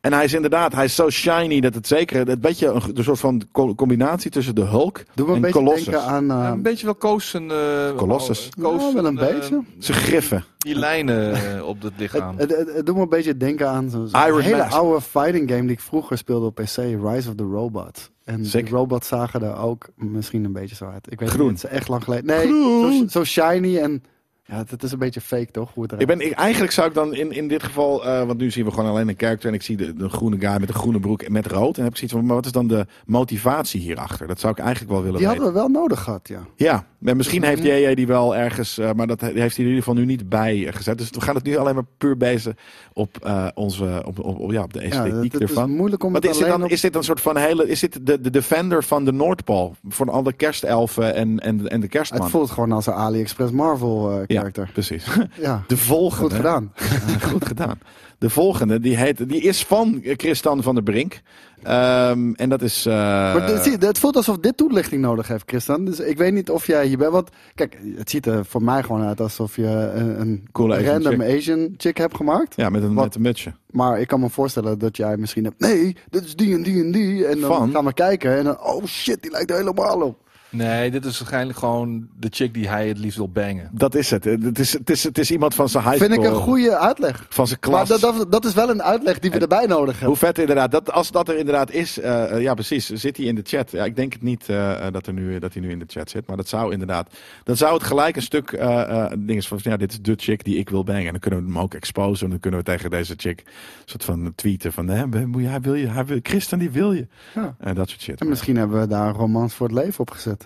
Speaker 1: En hij is inderdaad, hij is zo shiny dat het zeker, het beetje een, een soort van co- combinatie tussen de Hulk
Speaker 3: Doe me een
Speaker 1: en
Speaker 3: beetje
Speaker 1: Colossus.
Speaker 3: denken aan... eh,
Speaker 2: een beetje wel Koos en... eh,
Speaker 1: Colossus.
Speaker 2: oh, Koos
Speaker 3: Ja, wel een
Speaker 2: en, eh,
Speaker 3: beetje.
Speaker 1: Zijn griffen.
Speaker 2: Die lijnen eh, op het lichaam.
Speaker 3: Het, het, het doet me een beetje denken aan zo'n zo'n
Speaker 1: Iron
Speaker 3: hele
Speaker 1: Mask.
Speaker 3: oude fighting game die ik vroeger speelde op PC, Rise of the Robots. En
Speaker 1: Sick.
Speaker 3: de robots zagen er ook misschien een beetje zo uit. Ik weet
Speaker 1: Groen.
Speaker 3: niet, het is echt lang geleden. Nee,
Speaker 1: Groen.
Speaker 3: Zo, zo shiny en ja, het, het is een beetje fake toch? Hoe het
Speaker 1: Ik
Speaker 3: eruit
Speaker 1: ben, ik, eigenlijk zou ik dan in, in dit geval, eh, want nu zien we gewoon alleen een character en ik zie de, de groene guy met de groene broek en met rood. En heb ik zoiets van, maar wat is dan de motivatie hierachter? Dat zou ik eigenlijk wel willen
Speaker 3: Die
Speaker 1: weten.
Speaker 3: hadden Mm. we wel nodig gehad, ja.
Speaker 1: Ja, en misschien heeft JJ die wel ergens, eh, maar dat he- die heeft hij in ieder geval nu niet bij eh, gezet. Dus we gaan het nu alleen maar puur bezen op, eh, onze, op, op, op- ja, op de
Speaker 3: ja dat-
Speaker 1: esthetiek
Speaker 3: het is
Speaker 1: ervan.
Speaker 3: moeilijk om
Speaker 1: Wat
Speaker 3: het
Speaker 1: is dit,
Speaker 3: alleen
Speaker 1: dan,
Speaker 3: op...
Speaker 1: is dit een soort van hele, is dit de, de defender van de Noordpool? Voor alle kerstelfen en, en, en de
Speaker 3: Het
Speaker 1: kerstman?
Speaker 3: voelt gewoon als een AliExpress Marvel eh
Speaker 1: Ja.
Speaker 3: character. (laughs)
Speaker 1: Precies.
Speaker 3: Ja,
Speaker 1: De volgende.
Speaker 3: goed gedaan.
Speaker 1: (laughs) Goed gedaan. De volgende, die, heet, die is van eh, Christan van der Brink. Ehm, en dat is... eh,
Speaker 3: Maar dit- zie, het voelt alsof dit toelichting nodig heeft, Christian. Dus ik weet niet of jij hier bent. Want kijk, het ziet er voor mij gewoon uit alsof je een, een
Speaker 1: Coole Asian
Speaker 3: random Asian chick hebt gemaakt.
Speaker 1: ja, met een,
Speaker 3: Wat?
Speaker 1: met een mutsje.
Speaker 3: Maar ik kan me voorstellen dat jij misschien hebt. Nee, dit is die en die en die. En dan
Speaker 1: Van?
Speaker 3: gaan we kijken. En dan, oh shit, die lijkt er helemaal op.
Speaker 2: Nee, dit is waarschijnlijk gewoon de chick die hij het liefst wil bangen.
Speaker 1: Dat is het. Eh, Het is, het is, het is iemand van zijn high
Speaker 3: Vind ik
Speaker 1: school,
Speaker 3: een goede uitleg.
Speaker 1: Van zijn
Speaker 3: Maar
Speaker 1: klas.
Speaker 3: dat, dat, dat is wel een uitleg die we erbij nodig hebben.
Speaker 1: Hoe vet inderdaad. Dat, als dat er inderdaad is, eh, eh, ja precies, zit hij in de chat. Ja, ik denk het niet eh, eh, dat, er nu, dat hij nu in de chat zit, maar dat zou inderdaad... Dan zou het gelijk een stuk eh, eh, ding is van, ja, dit is de chick die ik wil bangen. En dan kunnen we hem ook exposen en dan kunnen we tegen deze chick een soort van tweeten van, hè, moet je, hij wil je, hij wil, Christian die wil je.
Speaker 3: Ja.
Speaker 1: En dat soort shit.
Speaker 3: En misschien hebben we daar een romans voor het leven op gezet.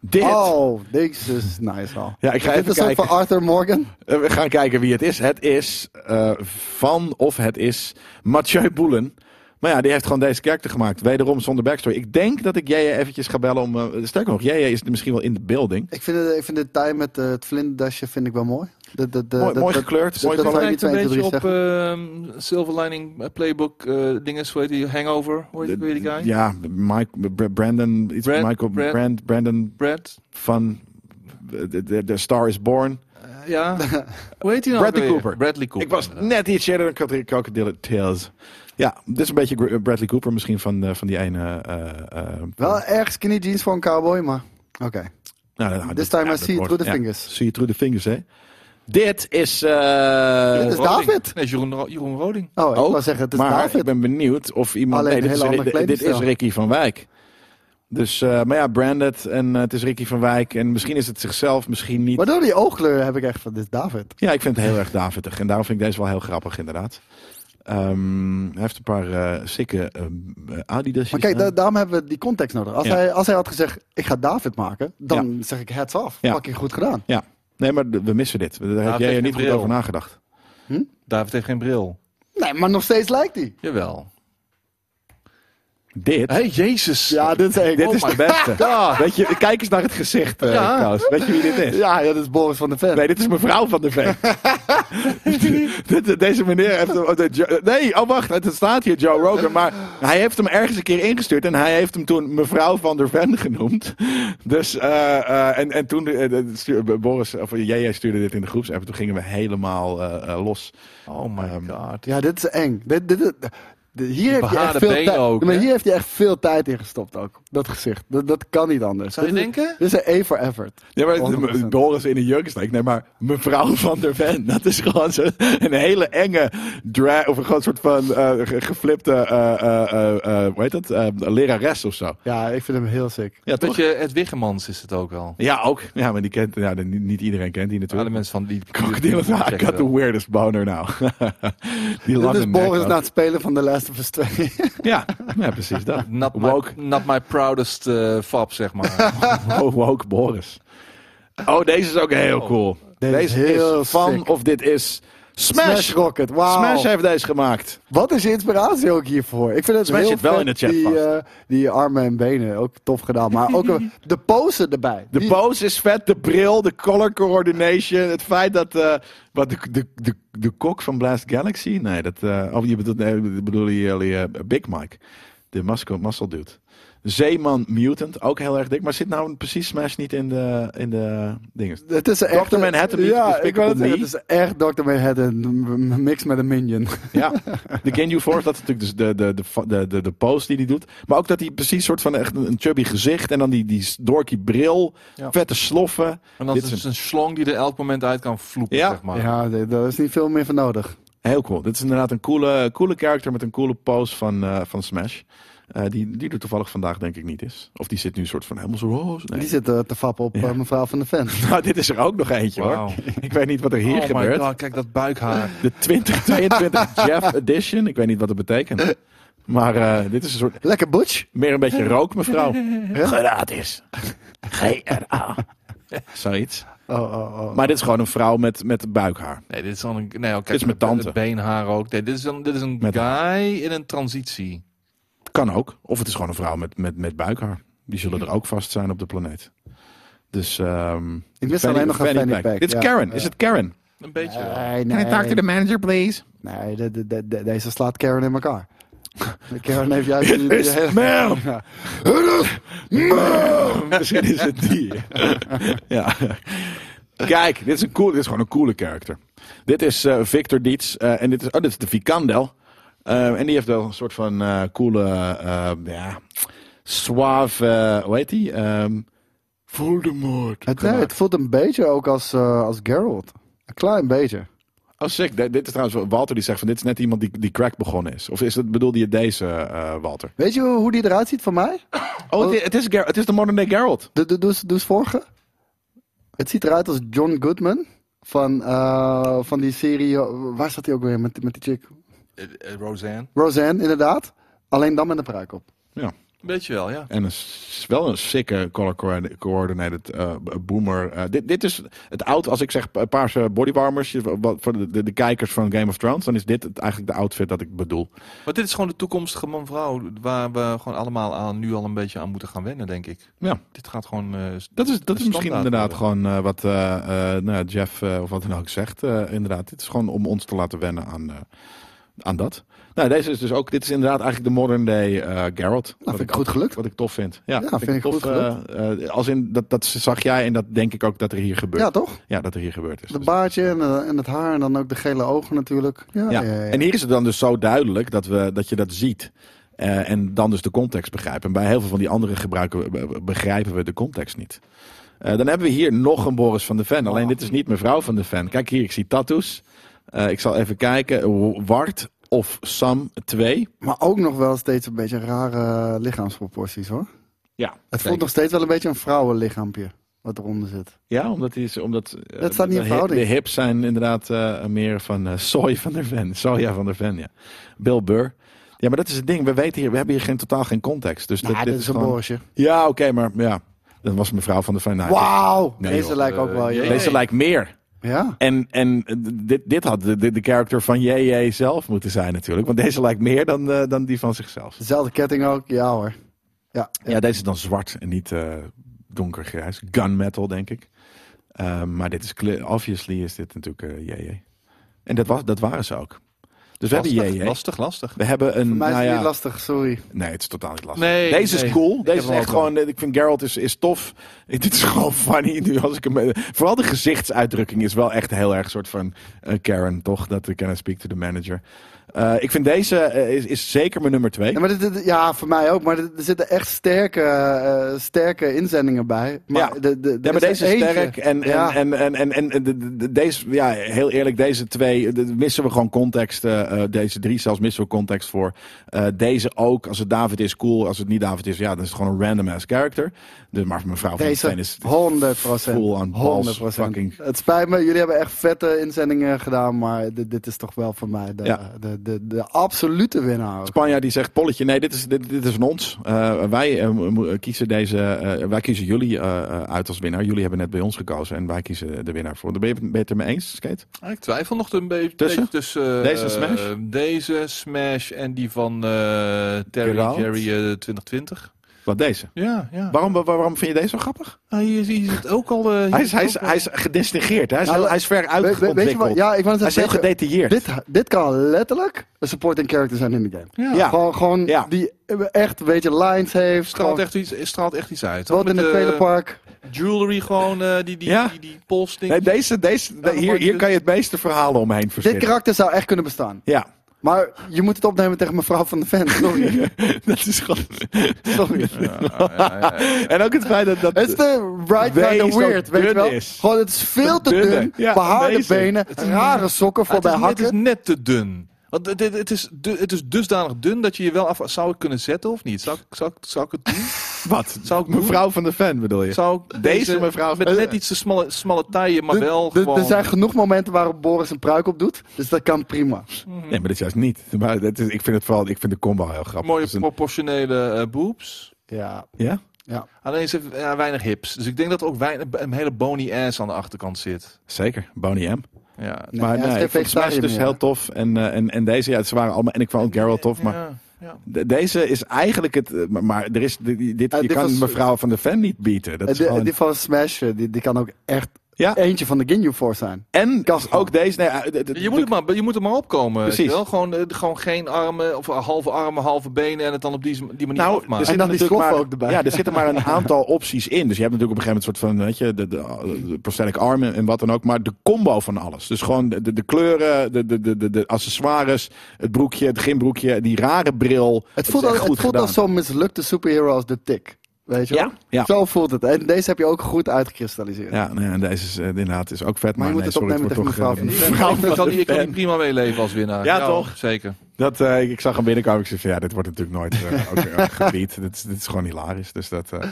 Speaker 1: Dit.
Speaker 3: Oh, deze is nice al.
Speaker 1: Ja, ik ga
Speaker 3: Dit
Speaker 1: even
Speaker 3: is ook
Speaker 1: kijken.
Speaker 3: van Arthur Morgan.
Speaker 1: Eh, We gaan kijken wie het is. Het is eh, van of het is Mathieu Boelen. Maar ja, die heeft gewoon deze karakter gemaakt. Wederom zonder backstory. Ik denk dat ik jij eventjes ga bellen om... eh, sterker nog, jij is misschien wel in de building.
Speaker 3: Ik vind, het, ik vind de tie met eh, het vlinderdasje vind ik wel mooi. Dat, dat, dat,
Speaker 1: mooi
Speaker 3: Eh, dat-
Speaker 1: mooi
Speaker 3: dat-
Speaker 1: gekleurd. mooi
Speaker 3: dat-
Speaker 1: gekleurd.
Speaker 2: Het
Speaker 3: zou je
Speaker 2: lijkt
Speaker 3: niet
Speaker 2: een
Speaker 3: 2, 3
Speaker 2: beetje op ehm, Silver Lining eh, Playbook eh dingen, hoe heet die? Hangover, hoe heet hoe heet die guy?
Speaker 1: Ja, Mike, Br- Brandon... Iets
Speaker 2: Brand-
Speaker 1: Michael,
Speaker 2: Brand-
Speaker 1: Brand, Brandon
Speaker 2: Brad?
Speaker 1: van... eh, de- de- de Star is Born.
Speaker 2: Eh,
Speaker 3: (laughs)
Speaker 2: ja. hoe heet die nou?
Speaker 1: Bradley
Speaker 2: ook weer?
Speaker 1: Cooper.
Speaker 2: Bradley Cooper.
Speaker 1: Ik was
Speaker 2: inderdaad.
Speaker 1: net iets eerder dan Crocodile Tales. Ja, dit is een beetje Gr- eh, Bradley Cooper misschien van, eh, van die ene... eh, eh,
Speaker 3: Wel erg skinny jeans voor een cowboy, maar oké.
Speaker 1: Nou, nou, nou, dat-
Speaker 3: This time
Speaker 1: ja, dat
Speaker 3: I see it
Speaker 1: wordt-
Speaker 3: through the
Speaker 1: ja,
Speaker 3: fingers.
Speaker 1: See it through the fingers, hè? Dit is. eh,
Speaker 3: Dit is
Speaker 2: Roding.
Speaker 3: David.
Speaker 2: Nee, Jeroen, Ro- Jeroen Roding.
Speaker 3: Oh, ik
Speaker 1: Ook,
Speaker 3: wou zeggen, het is
Speaker 1: maar
Speaker 3: David.
Speaker 1: ik ben benieuwd of iemand.
Speaker 3: Alleen
Speaker 1: nee,
Speaker 3: een
Speaker 1: dit, is,
Speaker 3: hele andere
Speaker 1: dit- dit is
Speaker 3: kledingstijl.
Speaker 1: Ricky van Wijk. Dus, eh, maar ja, branded en eh, het is Ricky van Wijk. En misschien is het zichzelf, misschien niet.
Speaker 3: Maar door die oogkleur heb ik echt van, dit is David.
Speaker 1: Ja, ik vind het heel erg Davidig. En daarom vind ik deze wel heel grappig, inderdaad. Ehm, hij heeft een paar eh sikke eh, Adidas.
Speaker 3: Maar kijk, da- daarom hebben we die context nodig. Als,
Speaker 1: Ja.
Speaker 3: hij, als hij had gezegd, ik ga David maken, dan zeg ik heads off.
Speaker 1: Ja.
Speaker 3: Fucking goed gedaan.
Speaker 1: Nee, maar d- we missen dit. Daar heb jij
Speaker 2: heeft
Speaker 1: er
Speaker 2: een
Speaker 1: niet goed
Speaker 2: bril.
Speaker 1: over nagedacht.
Speaker 2: David heeft geen bril.
Speaker 3: Nee, maar nog steeds lijkt hij.
Speaker 2: Jawel.
Speaker 1: Dit,
Speaker 2: Hé, jezus.
Speaker 1: (laughs)
Speaker 3: Ja, dit is
Speaker 1: dit is de beste. Weet je, kijk eens naar het gezicht, eh,
Speaker 2: Ja.
Speaker 1: trouwens. Weet je wie dit is?
Speaker 3: Ja, ja, dit is Boris van der Ven.
Speaker 1: Nee, dit is mevrouw van de Ven. Dit- Deze meneer heeft hem. oh, de Jo- Nee, oh wacht, het staat hier Joe Rogan. Maar hij heeft hem ergens een keer ingestuurd. En hij heeft hem toen mevrouw van der Ven genoemd. Dus, eh, eh, en, en toen eh, eh, stuur- Boris, of eh, jij stuurde dit in de groepsapp. Toen gingen we helemaal eh, eh, los.
Speaker 2: Oh my
Speaker 1: Ehm,
Speaker 2: god.
Speaker 3: Ja, dit is eng. Dit, dit, dit- dit- hier, heeft hij echt
Speaker 2: behaarde
Speaker 3: veel
Speaker 2: benen
Speaker 3: tijd-
Speaker 2: ook,
Speaker 3: maar
Speaker 2: hè?
Speaker 3: hier heeft hij echt veel tijd in gestopt ook. Dat gezicht. Dat, dat kan niet anders.
Speaker 2: Zou je
Speaker 3: Dit is-
Speaker 2: denken?
Speaker 3: Dit is een A for effort.
Speaker 1: Ja, maar het-
Speaker 3: 100%.
Speaker 1: Boris in een jurkstreek. Nee, maar mevrouw van der Ven. Dat is gewoon zo, een hele enge drag... Of een gewoon soort van eh, ge- geflipte... eh, eh, eh, eh, hoe heet dat? Eh, lerares of zo.
Speaker 3: Ja, ik vind hem heel sick.
Speaker 1: Ja,
Speaker 2: Weet
Speaker 1: toch?
Speaker 2: je, Ed Wiggemans is het ook wel.
Speaker 1: Ja, ook. Ja, maar die kent... Ja, de- niet- niet iedereen kent die
Speaker 2: Alle
Speaker 1: natuurlijk.
Speaker 2: mensen van die...
Speaker 1: Krokodil van I
Speaker 2: Check
Speaker 1: got the
Speaker 2: wel.
Speaker 1: weirdest boner (laughs) now. die
Speaker 3: Dit
Speaker 1: lange
Speaker 3: is
Speaker 1: nek
Speaker 3: Boris Nou-
Speaker 1: ook.
Speaker 3: na het spelen van The Last of Us (laughs) 2.
Speaker 1: Ja, ja, precies
Speaker 3: (laughs)
Speaker 1: dat.
Speaker 2: Not
Speaker 1: Woke.
Speaker 2: my, not my proudest eh, fab, zeg
Speaker 1: (laughs)
Speaker 2: maar.
Speaker 1: Oh, woke Boris. Oh, deze is ook heel cool.
Speaker 3: Deze
Speaker 1: Deze,
Speaker 3: is heel
Speaker 1: is van
Speaker 3: sick.
Speaker 1: of dit is Smash.
Speaker 3: Smash
Speaker 1: Smash,
Speaker 3: Rocket, wauw.
Speaker 1: heeft deze gemaakt.
Speaker 3: Wat is je inspiratie ook hiervoor? Ik vind het
Speaker 1: Smash
Speaker 3: heel
Speaker 1: zit wel
Speaker 3: vet,
Speaker 1: in de chat
Speaker 3: die,
Speaker 1: vast.
Speaker 3: eh, die armen en benen, ook tof gedaan. Maar
Speaker 2: (laughs)
Speaker 3: ook eh, de pose erbij.
Speaker 1: De
Speaker 3: Die-
Speaker 1: pose is vet, de bril, de color coordination. Het feit dat. eh, wat de, de, de, de kok van Blast Galaxy? Nee, dat. eh oh, je bedoelt, nee, dat bedoelen jullie eh, Big Mike? De muscle, muscle dude. Zeeman Mutant, ook heel erg dik. Maar zit nou precies Smash niet in de, in de dingen?
Speaker 3: Het is een
Speaker 1: Dr.
Speaker 3: echte-
Speaker 1: Manhattan meets
Speaker 3: ja,
Speaker 1: Despicable
Speaker 3: ik wou het zeggen,
Speaker 1: Me.
Speaker 3: Het is echt Dr. Manhattan m- m- mixed met een minion.
Speaker 1: Ja,
Speaker 2: (laughs)
Speaker 1: de Genju Force, dat is natuurlijk dus de, de, de, fa- de, de, de pose die hij doet. Maar ook dat hij precies soort van echt een een chubby gezicht. En dan die, die dorky bril,
Speaker 2: Ja.
Speaker 1: vette sloffen.
Speaker 2: En dan dus
Speaker 1: Dit
Speaker 2: is
Speaker 1: is
Speaker 2: het een slong die er elk moment uit kan vloepen,
Speaker 1: Ja.
Speaker 2: zeg maar.
Speaker 3: Ja, d- daar is niet veel meer van nodig.
Speaker 1: Heel cool. Dit is inderdaad een coole, coole character met een coole pose van, eh, van Smash. Eh, die, die er toevallig vandaag denk ik niet is. Of die zit nu soort van helemaal zo... roze. Nee.
Speaker 3: Die zit eh, te fappen op
Speaker 1: Ja.
Speaker 3: eh, mevrouw van de Ven. (laughs)
Speaker 1: (laughs) Nou, dit is er ook nog eentje
Speaker 2: Wauw.
Speaker 1: hoor. Ik weet niet wat er hier
Speaker 2: Oh my
Speaker 1: gebeurt.
Speaker 2: god, kijk
Speaker 1: (laughs)
Speaker 2: dat buikhaar.
Speaker 1: De 2022
Speaker 2: (laughs)
Speaker 1: Jeff Edition. Ik weet niet wat het betekent. Maar eh, dit is een soort...
Speaker 3: Lekker butch.
Speaker 1: Meer een beetje rook, mevrouw. Gratis. G-R-A. Zoiets.
Speaker 3: Oh, oh, oh.
Speaker 1: Maar dit is gewoon een vrouw met, met buikhaar.
Speaker 2: Nee, dit is dan een... Nee, oké.
Speaker 1: Dit is mijn tante.
Speaker 2: Het beenhaar ook. Nee, dit is een, dit is een
Speaker 1: Met-
Speaker 2: guy in een transitie.
Speaker 1: Kan ook. Of het is gewoon een vrouw met, met, met buikhaar. Die zullen er ook vast zijn op de planeet. Dus ehm
Speaker 3: Ik mis alleen nog een fanny pack,
Speaker 1: Dit is
Speaker 3: ja.
Speaker 1: Karen. Is het Karen?
Speaker 2: Een beetje wel.
Speaker 3: nee,
Speaker 1: Can I talk to the
Speaker 3: nee.
Speaker 1: manager, (laughs) please?
Speaker 3: nee de- de- de- de- deze slaat Karen in
Speaker 1: (laughs)
Speaker 3: elkaar. Karen heeft juist... die- die
Speaker 1: Is
Speaker 3: hele-
Speaker 1: ma'am. (laughs)
Speaker 3: (laughs) Ja.
Speaker 1: Ma'am. Misschien is het die. ja. Kijk, dit is, een cool, dit is gewoon een coole karakter. Dit is eh, Victor Dietz. eh, en dit is, oh, dit is de Vikandel. Eh, en die heeft wel een soort van eh, coole, eh, ja, suave, eh, hoe heet die? Ehm Voldemort.
Speaker 3: Het, nee,
Speaker 1: gemaakt.
Speaker 3: het voelt een beetje ook als, eh, als Geralt. Een klein beetje.
Speaker 1: Oh, sick. D- dit is trouwens wel- Walter die zegt van dit is net iemand die, die crack begonnen is. Of is het, bedoelde je deze, eh, Walter?
Speaker 3: Weet je hoe hoe die eruit ziet van mij?
Speaker 1: Oh, het, is, het is de modern day Geralt.
Speaker 3: Doe, doe, doe, eens- doe eens vorige. Het ziet eruit als John Goodman. Van, eh, van die serie. eh, Waar zat hij ook weer met, met die chick?
Speaker 2: Eh, eh, Roseanne.
Speaker 3: Roseanne, inderdaad. Alleen dan met een pruik op.
Speaker 2: Een beetje wel, ja.
Speaker 1: En een, s- wel een sikke color coordi- coordinated eh, b- boomer. Eh, dit, dit is het oud, als ik zeg pa- paarse bodywarmers, je- wa- wat- voor de, de, de kijkers van Game of Thrones, dan is dit het, eigenlijk de outfit dat ik bedoel.
Speaker 2: Maar dit is gewoon de toekomstige man-vrouw... waar we gewoon allemaal aan, nu al een beetje aan moeten gaan wennen, denk ik.
Speaker 1: Ja.
Speaker 2: Dit gaat gewoon... eh, s-
Speaker 1: Dat is, dat is
Speaker 2: standaard
Speaker 1: misschien inderdaad
Speaker 2: worden.
Speaker 1: gewoon eh, wat eh, eh, nou ja, Jeff eh, of wat dan ook zegt. eh, inderdaad, dit is gewoon om ons te laten wennen aan, eh, aan dat. Nou, deze is dus ook, dit is inderdaad eigenlijk de modern day eh Geralt. Wat
Speaker 3: Nou, vind ik goed gelukt.
Speaker 1: Wat ik tof vind. Ja,
Speaker 3: Ja, vind ik goed
Speaker 1: eh, eh, als in, dat, dat zag jij en dat denk ik ook dat er hier gebeurt.
Speaker 3: Ja,
Speaker 1: Ja,
Speaker 3: toch?
Speaker 1: dat er hier gebeurd is.
Speaker 3: De
Speaker 1: Dus-
Speaker 3: baardje en, eh, en het haar en dan ook de gele ogen natuurlijk. Ja,
Speaker 1: ja.
Speaker 3: Oh, ja. ja, ja.
Speaker 1: En hier is het dan dus zo duidelijk dat, we, dat je dat ziet. Eh, en dan dus de context begrijpen. En bij heel veel van die andere gebruiken we- be- be- begrijpen we de context niet. Eh, dan hebben we hier nog een Boris van de Ven. Alleen dit is niet mevrouw van de Ven. Kijk hier, ik zie tattoos. Eh, ik zal even kijken. Wart of Sam 2.
Speaker 3: Maar ook nog wel steeds een beetje rare eh, lichaamsproporties hoor.
Speaker 1: Ja,
Speaker 3: Het
Speaker 1: zeker.
Speaker 3: voelt nog steeds wel een beetje een vrouwenlichaampje wat eronder zit.
Speaker 1: Ja, omdat, die is, omdat eh,
Speaker 3: Dat staat niet in
Speaker 1: de,
Speaker 3: verhouding.
Speaker 1: de hips zijn inderdaad eh, meer van eh soy van der Ven. Soja van der Ven, ja. Bill Burr. Ja, maar dat is het ding. We, weten hier, we hebben hier geen, totaal geen context. Dus
Speaker 3: Nou,
Speaker 1: dat,
Speaker 3: dit is een
Speaker 1: gewoon-
Speaker 3: borstje.
Speaker 1: Ja, oké, maar ja. Dan was mevrouw van der Ven. Nou,
Speaker 3: Wauw!
Speaker 1: Nee,
Speaker 3: Deze
Speaker 1: joh,
Speaker 3: lijkt ook
Speaker 2: eh,
Speaker 3: wel.
Speaker 2: jee.
Speaker 3: Ja.
Speaker 1: Deze lijkt meer.
Speaker 3: ja.
Speaker 1: En, en eh, dit, dit had de, de, de character van JJ zelf moeten zijn natuurlijk. Want deze lijkt meer dan, eh, dan die van zichzelf.
Speaker 3: Dezelfde ketting ook. Ja hoor. Ja.
Speaker 1: Ja, deze is dan zwart en niet eh, donkergrijs. Gunmetal, denk ik. Eh, maar dit is, cle- obviously is dit natuurlijk eh, JJ. En dat, was, dat waren ze ook. Dus we hebben
Speaker 2: Lastig,
Speaker 1: JJ.
Speaker 2: lastig, lastig.
Speaker 1: We hebben een,
Speaker 3: Voor mij is
Speaker 1: nou
Speaker 3: het
Speaker 1: ja,
Speaker 3: niet lastig, sorry.
Speaker 1: nee, het is totaal niet lastig.
Speaker 2: Nee,
Speaker 1: Deze
Speaker 2: nee.
Speaker 1: is cool. Deze
Speaker 2: heb
Speaker 1: is
Speaker 2: hem
Speaker 1: echt
Speaker 2: ook wel.
Speaker 1: gewoon, eh, ik vind Geralt is, is tof. (laughs) Eh, Dit is gewoon funny. Nu als ik hem, eh, vooral de gezichtsuitdrukking is wel echt heel erg soort van eh, Karen, toch? Dat ik can I speak to the manager. Eh, ik vind deze eh, is, is zeker mijn nummer twee.
Speaker 3: Ja, maar dit, dit- ja, voor mij ook. Maar dit- er zitten echt sterke, eh, sterke inzendingen bij. Maar,
Speaker 1: Ja.
Speaker 3: de, de,
Speaker 1: Ja, maar
Speaker 3: er is
Speaker 1: deze
Speaker 3: er
Speaker 1: is
Speaker 3: eentje.
Speaker 1: sterk. En, en,
Speaker 3: Ja.
Speaker 1: en, en, en, en, de- de- de- deze, ja, heel eerlijk, deze twee, eh, de- de- missen we gewoon context. eh, eh, deze drie zelfs missen we context voor. Eh, deze ook, als het David is, cool. Als het niet David is, ja, dan is het gewoon een random ass character. De, maar mevrouw van
Speaker 3: Deze
Speaker 1: Steen is
Speaker 3: 100 procent.
Speaker 1: full on balls.
Speaker 3: 100%.
Speaker 1: Fucking,
Speaker 3: Het spijt me, jullie hebben echt vette inzendingen gedaan. Maar dit, dit is toch wel voor mij de,
Speaker 1: Ja.
Speaker 3: de, de, de absolute winnaar. ook.
Speaker 1: Spanjaard die zegt, Polletje, nee, dit is, dit, dit is van ons. Eh, wij, eh, mo- mo- kiezen deze, eh, wij kiezen jullie eh, eh, uit als winnaar. Jullie hebben net bij ons gekozen en wij kiezen de winnaar voor. Ben je, ben je het er mee eens, Skate?
Speaker 2: Ah, Ik twijfel nog een beetje
Speaker 1: Tussen?
Speaker 2: beetje tussen eh,
Speaker 1: Deze Smash?
Speaker 2: deze Smash en die van eh, Terry
Speaker 1: Geralt?
Speaker 2: Jerry eh, 2020.
Speaker 1: Wat deze?
Speaker 2: Ja, ja.
Speaker 1: Waarom, waar- waarom vind je deze zo grappig?
Speaker 2: Hij is, hij is het ook al. eh,
Speaker 1: Hij is, hij is,
Speaker 2: ook al-
Speaker 1: hij is gedistingeerd. Hij is,
Speaker 3: Nou,
Speaker 1: heel- hij is ver
Speaker 3: Weet- weet-
Speaker 1: uitgeontwikkeld.
Speaker 3: weet je wat? Ja, ik wou
Speaker 1: hij
Speaker 3: net
Speaker 1: is heel
Speaker 3: zeggen, dit,
Speaker 1: gedetailleerd.
Speaker 3: dit, dit kan letterlijk een supporting character zijn in de game.
Speaker 2: Ja.
Speaker 1: Ja.
Speaker 3: Gewoon, gewoon
Speaker 1: Ja.
Speaker 3: die echt een beetje lines heeft.
Speaker 2: Straalt
Speaker 3: gewoon-
Speaker 2: echt, iets, straalt echt iets uit.
Speaker 3: Wat
Speaker 2: Met
Speaker 3: in het
Speaker 2: de
Speaker 3: trailerpark.
Speaker 2: Jewelry gewoon, eh, die, die,
Speaker 1: Ja.
Speaker 2: die, die polsting.
Speaker 1: nee, deze, deze,
Speaker 2: dan
Speaker 1: hier,
Speaker 2: word je
Speaker 1: hier
Speaker 2: dus-
Speaker 1: kan je het meeste verhalen omheen
Speaker 3: Dit
Speaker 1: verzinnen.
Speaker 3: karakter zou echt kunnen bestaan.
Speaker 1: Ja, (laughs)
Speaker 3: Maar je moet het opnemen tegen mevrouw van de fan. Sorry.
Speaker 1: dat is gewoon...
Speaker 3: Sorry.
Speaker 1: (laughs) en ook het feit dat... dat
Speaker 3: Het is de right
Speaker 1: Wees
Speaker 3: kind of
Speaker 1: dat
Speaker 3: weird, weet je
Speaker 1: dun
Speaker 3: wel?
Speaker 1: is.
Speaker 3: Gewoon, het is veel te
Speaker 1: Dunne.
Speaker 3: dun,
Speaker 1: Ja,
Speaker 3: behaarde
Speaker 1: amazing.
Speaker 3: benen, rare sokken voor
Speaker 2: het,
Speaker 3: bij
Speaker 2: is, het is
Speaker 3: hakken.
Speaker 2: net te dun. Want het, het, het is, du- het is dusdanig dun dat je je wel af... Zou ik kunnen zetten of niet? Zou, ik- zou, ik- zou ik het doen?
Speaker 1: wat?
Speaker 2: Zou ik doen?
Speaker 1: mevrouw van de fan bedoel je?
Speaker 2: Zou ik
Speaker 1: Deze Eh, mevrouw-
Speaker 2: Met
Speaker 3: Eh,
Speaker 2: net iets te smalle, smalle taille, maar
Speaker 3: Er-
Speaker 2: wel
Speaker 3: er-
Speaker 2: gewoon...
Speaker 3: Er zijn genoeg momenten waarop Boris een pruik op doet, dus dat kan prima.
Speaker 1: Nee, maar dat is juist niet. Maar het is, ik vind het vooral... Ik vind de combo heel grappig.
Speaker 2: Mooie
Speaker 1: Het is een-
Speaker 2: proportionele eh, boobs.
Speaker 3: Ja,
Speaker 1: ja?
Speaker 2: Alleen ze heeft ja, weinig hips. Dus ik denk dat er ook weinig, een hele bony ass aan de achterkant zit.
Speaker 1: Zeker. Bonnie M.
Speaker 2: Ja.
Speaker 3: Nee,
Speaker 1: maar
Speaker 3: hij is
Speaker 1: nee,
Speaker 3: geen
Speaker 1: ik vond Smash
Speaker 3: vegetariër
Speaker 1: dus
Speaker 3: meer.
Speaker 1: heel tof. En, eh, en, en deze, ja, ze waren allemaal... En ik vond ook Geralt tof, maar...
Speaker 2: Ja, ja.
Speaker 1: De- Deze is eigenlijk het. eh, Maar, maar er is, dit, dit-
Speaker 3: Eh,
Speaker 1: je
Speaker 3: dit
Speaker 1: kan
Speaker 3: was-
Speaker 1: mevrouw van de fan niet bieten. Dat
Speaker 3: Eh,
Speaker 1: is
Speaker 3: die,
Speaker 1: gewoon,
Speaker 3: die van Smash, eh, die, die kan ook echt
Speaker 1: Ja.
Speaker 3: eentje van de Ginyu Force zijn.
Speaker 1: en
Speaker 3: kan gewoon.
Speaker 1: ook deze. Nee, eh, de- de-
Speaker 2: Je moet, het maar, je moet er maar opkomen.
Speaker 1: Precies.
Speaker 2: weet je Wel? Gewoon, eh, gewoon geen armen, of eh, halve armen, halve benen en het dan op die, die manier
Speaker 1: nou,
Speaker 2: afmaken.
Speaker 1: er zitten
Speaker 3: En dan die
Speaker 1: natuurlijk maar,
Speaker 3: sloffen ook erbij.
Speaker 1: Ja, er zitten maar een aantal (laughs) opties in. Dus je hebt natuurlijk op een gegeven moment een soort van, weet je, de, de, de prosthetic arm en- en wat dan ook. Maar de combo van alles. Dus gewoon de, de, de kleuren, de, de, de, de, de accessoires, het broekje, het gymbroekje, die rare bril.
Speaker 3: Het voelt,
Speaker 1: is
Speaker 3: al,
Speaker 1: echt goed
Speaker 3: het voelt
Speaker 1: gedaan.
Speaker 3: als zo'n mislukte superhero als de Tick. Weet je wel?
Speaker 1: Ja, ja.
Speaker 3: Zo voelt het. En deze heb je ook goed uitgekristalliseerd.
Speaker 1: Ja, nee, en deze is eh, inderdaad is ook vet.
Speaker 3: Maar
Speaker 1: Maar,
Speaker 3: je
Speaker 1: nee, sorry,
Speaker 3: moet het opnemen
Speaker 1: wordt
Speaker 3: tegen
Speaker 1: toch,
Speaker 3: mevrouw
Speaker 1: eh,
Speaker 3: van de
Speaker 1: mevrouw
Speaker 2: Ik kan,
Speaker 1: van de
Speaker 2: ik kan
Speaker 1: fan.
Speaker 2: hier prima mee leven als winnaar. Nou,
Speaker 1: Ja, toch?
Speaker 2: Zeker.
Speaker 1: Dat, eh, ik, ik zag hem binnenkomen. Ik zei van ja, dit wordt natuurlijk nooit eh, ook, (laughs) eh, gebied. Dit, is- dit is gewoon hilarisch. Dus dat. eh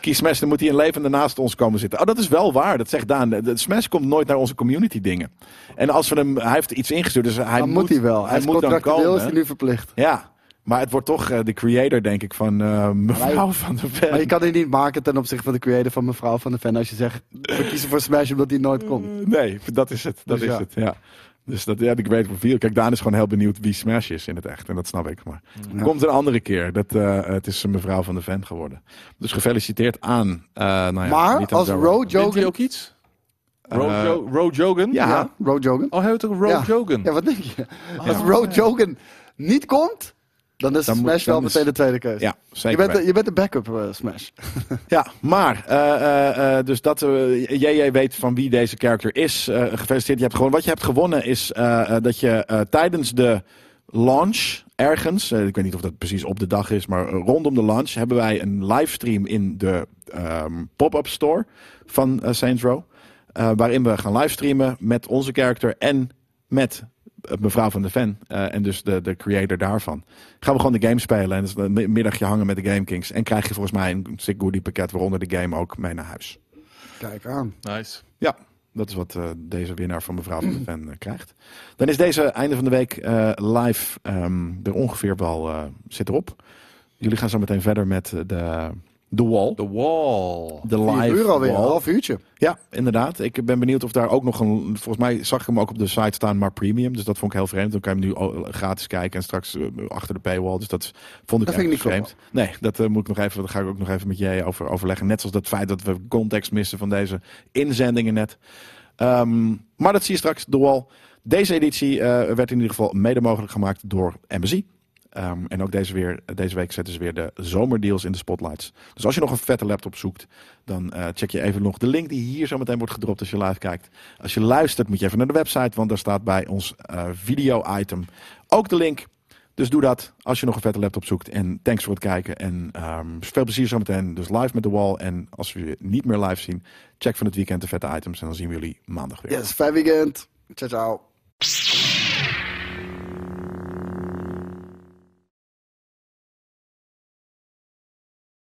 Speaker 1: Kies Smash, dan moet hij een levende naast ons komen zitten. Oh, dat is wel waar. Dat zegt Daan. De- de Smash komt nooit naar onze community dingen. En als we hem, hij heeft iets ingestuurd, dus hij
Speaker 3: Dan
Speaker 1: moet,
Speaker 3: moet, hij wel.
Speaker 1: Hij,
Speaker 3: Hij is
Speaker 1: moet dan
Speaker 3: contractueel is hij
Speaker 1: komen.
Speaker 3: nu verplicht.
Speaker 1: Ja, maar het wordt toch eh, de creator, denk ik, van eh, mevrouw van de
Speaker 3: Maar je
Speaker 1: Ven.
Speaker 3: kan die niet maken ten opzichte van de creator van mevrouw van de fan als je zegt, we kiezen voor Smash omdat die nooit komt.
Speaker 1: Nee, dat is het. Dat
Speaker 3: Dus
Speaker 1: is
Speaker 3: ja.
Speaker 1: het. Ja. Dus dat, ja, de creator van Vier. Kijk, Daan is gewoon heel benieuwd wie Smash is in het echt. En dat snap ik. Maar
Speaker 3: Ja.
Speaker 1: Komt een andere keer. Dat, eh, het is een mevrouw van de fan geworden. Dus gefeliciteerd aan. eh, nou ja,
Speaker 3: maar
Speaker 1: niet aan
Speaker 3: als
Speaker 1: Zara.
Speaker 2: Wint hij
Speaker 3: Rojogen...
Speaker 2: ook iets?
Speaker 1: Eh,
Speaker 2: Rojo- Rojogen?
Speaker 1: ja. Oh.
Speaker 3: Ja, Rojogen.
Speaker 2: Oh, hij heeft ook een Rojogen.
Speaker 3: Ja, wat denk je?
Speaker 2: Ah,
Speaker 3: Als Rojogen niet komt, dan is
Speaker 1: Dan moet-
Speaker 3: Smash wel
Speaker 1: dan is-
Speaker 3: meteen de tweede keuze.
Speaker 1: Ja,
Speaker 3: je,
Speaker 1: zeker.
Speaker 3: bent de,
Speaker 1: weten.
Speaker 3: je bent de backup eh, Smash.
Speaker 1: Ja, maar. eh, eh, eh, dus dat eh, JJ weet van wie deze character is. Eh, gefeliciteerd. Je hebt gewoon, wat je hebt gewonnen is eh, eh, dat je eh, tijdens de launch ergens. eh, ik weet niet of dat precies op de dag is. Maar eh, rondom de launch hebben wij een livestream in de ehm, pop-up store van eh, Saints Row. eh, waarin we gaan livestreamen met onze character en met eh, mevrouw van de fan eh, en dus de, de creator daarvan. Gaan we gewoon de game spelen en dus een mi- middagje hangen met de Game Kings. En krijg je volgens mij een sick goodie pakket, waaronder de game ook mee naar huis.
Speaker 3: Kijk aan.
Speaker 2: Nice.
Speaker 1: Dat is wat eh, deze winnaar van mevrouw van de fan eh, krijgt. Dan is deze einde van de week eh, live ehm, er ongeveer wel eh, zit erop. Jullie gaan zo meteen verder met eh, de, de wall.
Speaker 2: The Wall.
Speaker 1: De
Speaker 3: Vier
Speaker 1: live
Speaker 3: uur alweer, een
Speaker 1: wall.
Speaker 3: half uurtje.
Speaker 1: Ja, inderdaad. Ik ben benieuwd of daar ook nog een. Volgens mij zag ik hem ook op de site staan, maar premium. Dus dat vond ik heel vreemd. Dan kan je hem nu al- eh, gratis kijken en straks eh, achter de paywall. Dus dat vond ik echt
Speaker 3: Dat vind ik niet
Speaker 1: vreemd. Nee, dat eh, moet ik nog even. Daar ga ik ook nog even met jij over overleggen. Net zoals dat feit dat we context missen van deze inzendingen net. Ehm, maar dat zie je straks. De wall. Deze editie eh, werd in ieder geval mede mogelijk gemaakt door MSI. Ehm, en ook deze, weer, deze week zetten ze weer de zomerdeals in de spotlights. Dus als je nog een vette laptop zoekt, dan eh, check je even nog de link die hier zo meteen wordt gedropt als je live kijkt. Als je luistert, moet je even naar de website, want daar staat bij ons eh, video-item ook de link. Dus doe dat als je nog een vette laptop zoekt. En thanks voor het kijken. En ehm, veel plezier zometeen. Dus live met de wall. En als we je niet meer live zien, check van het weekend de vette items. En dan zien we jullie maandag weer.
Speaker 3: Yes, fijn weekend. Ciao, ciao.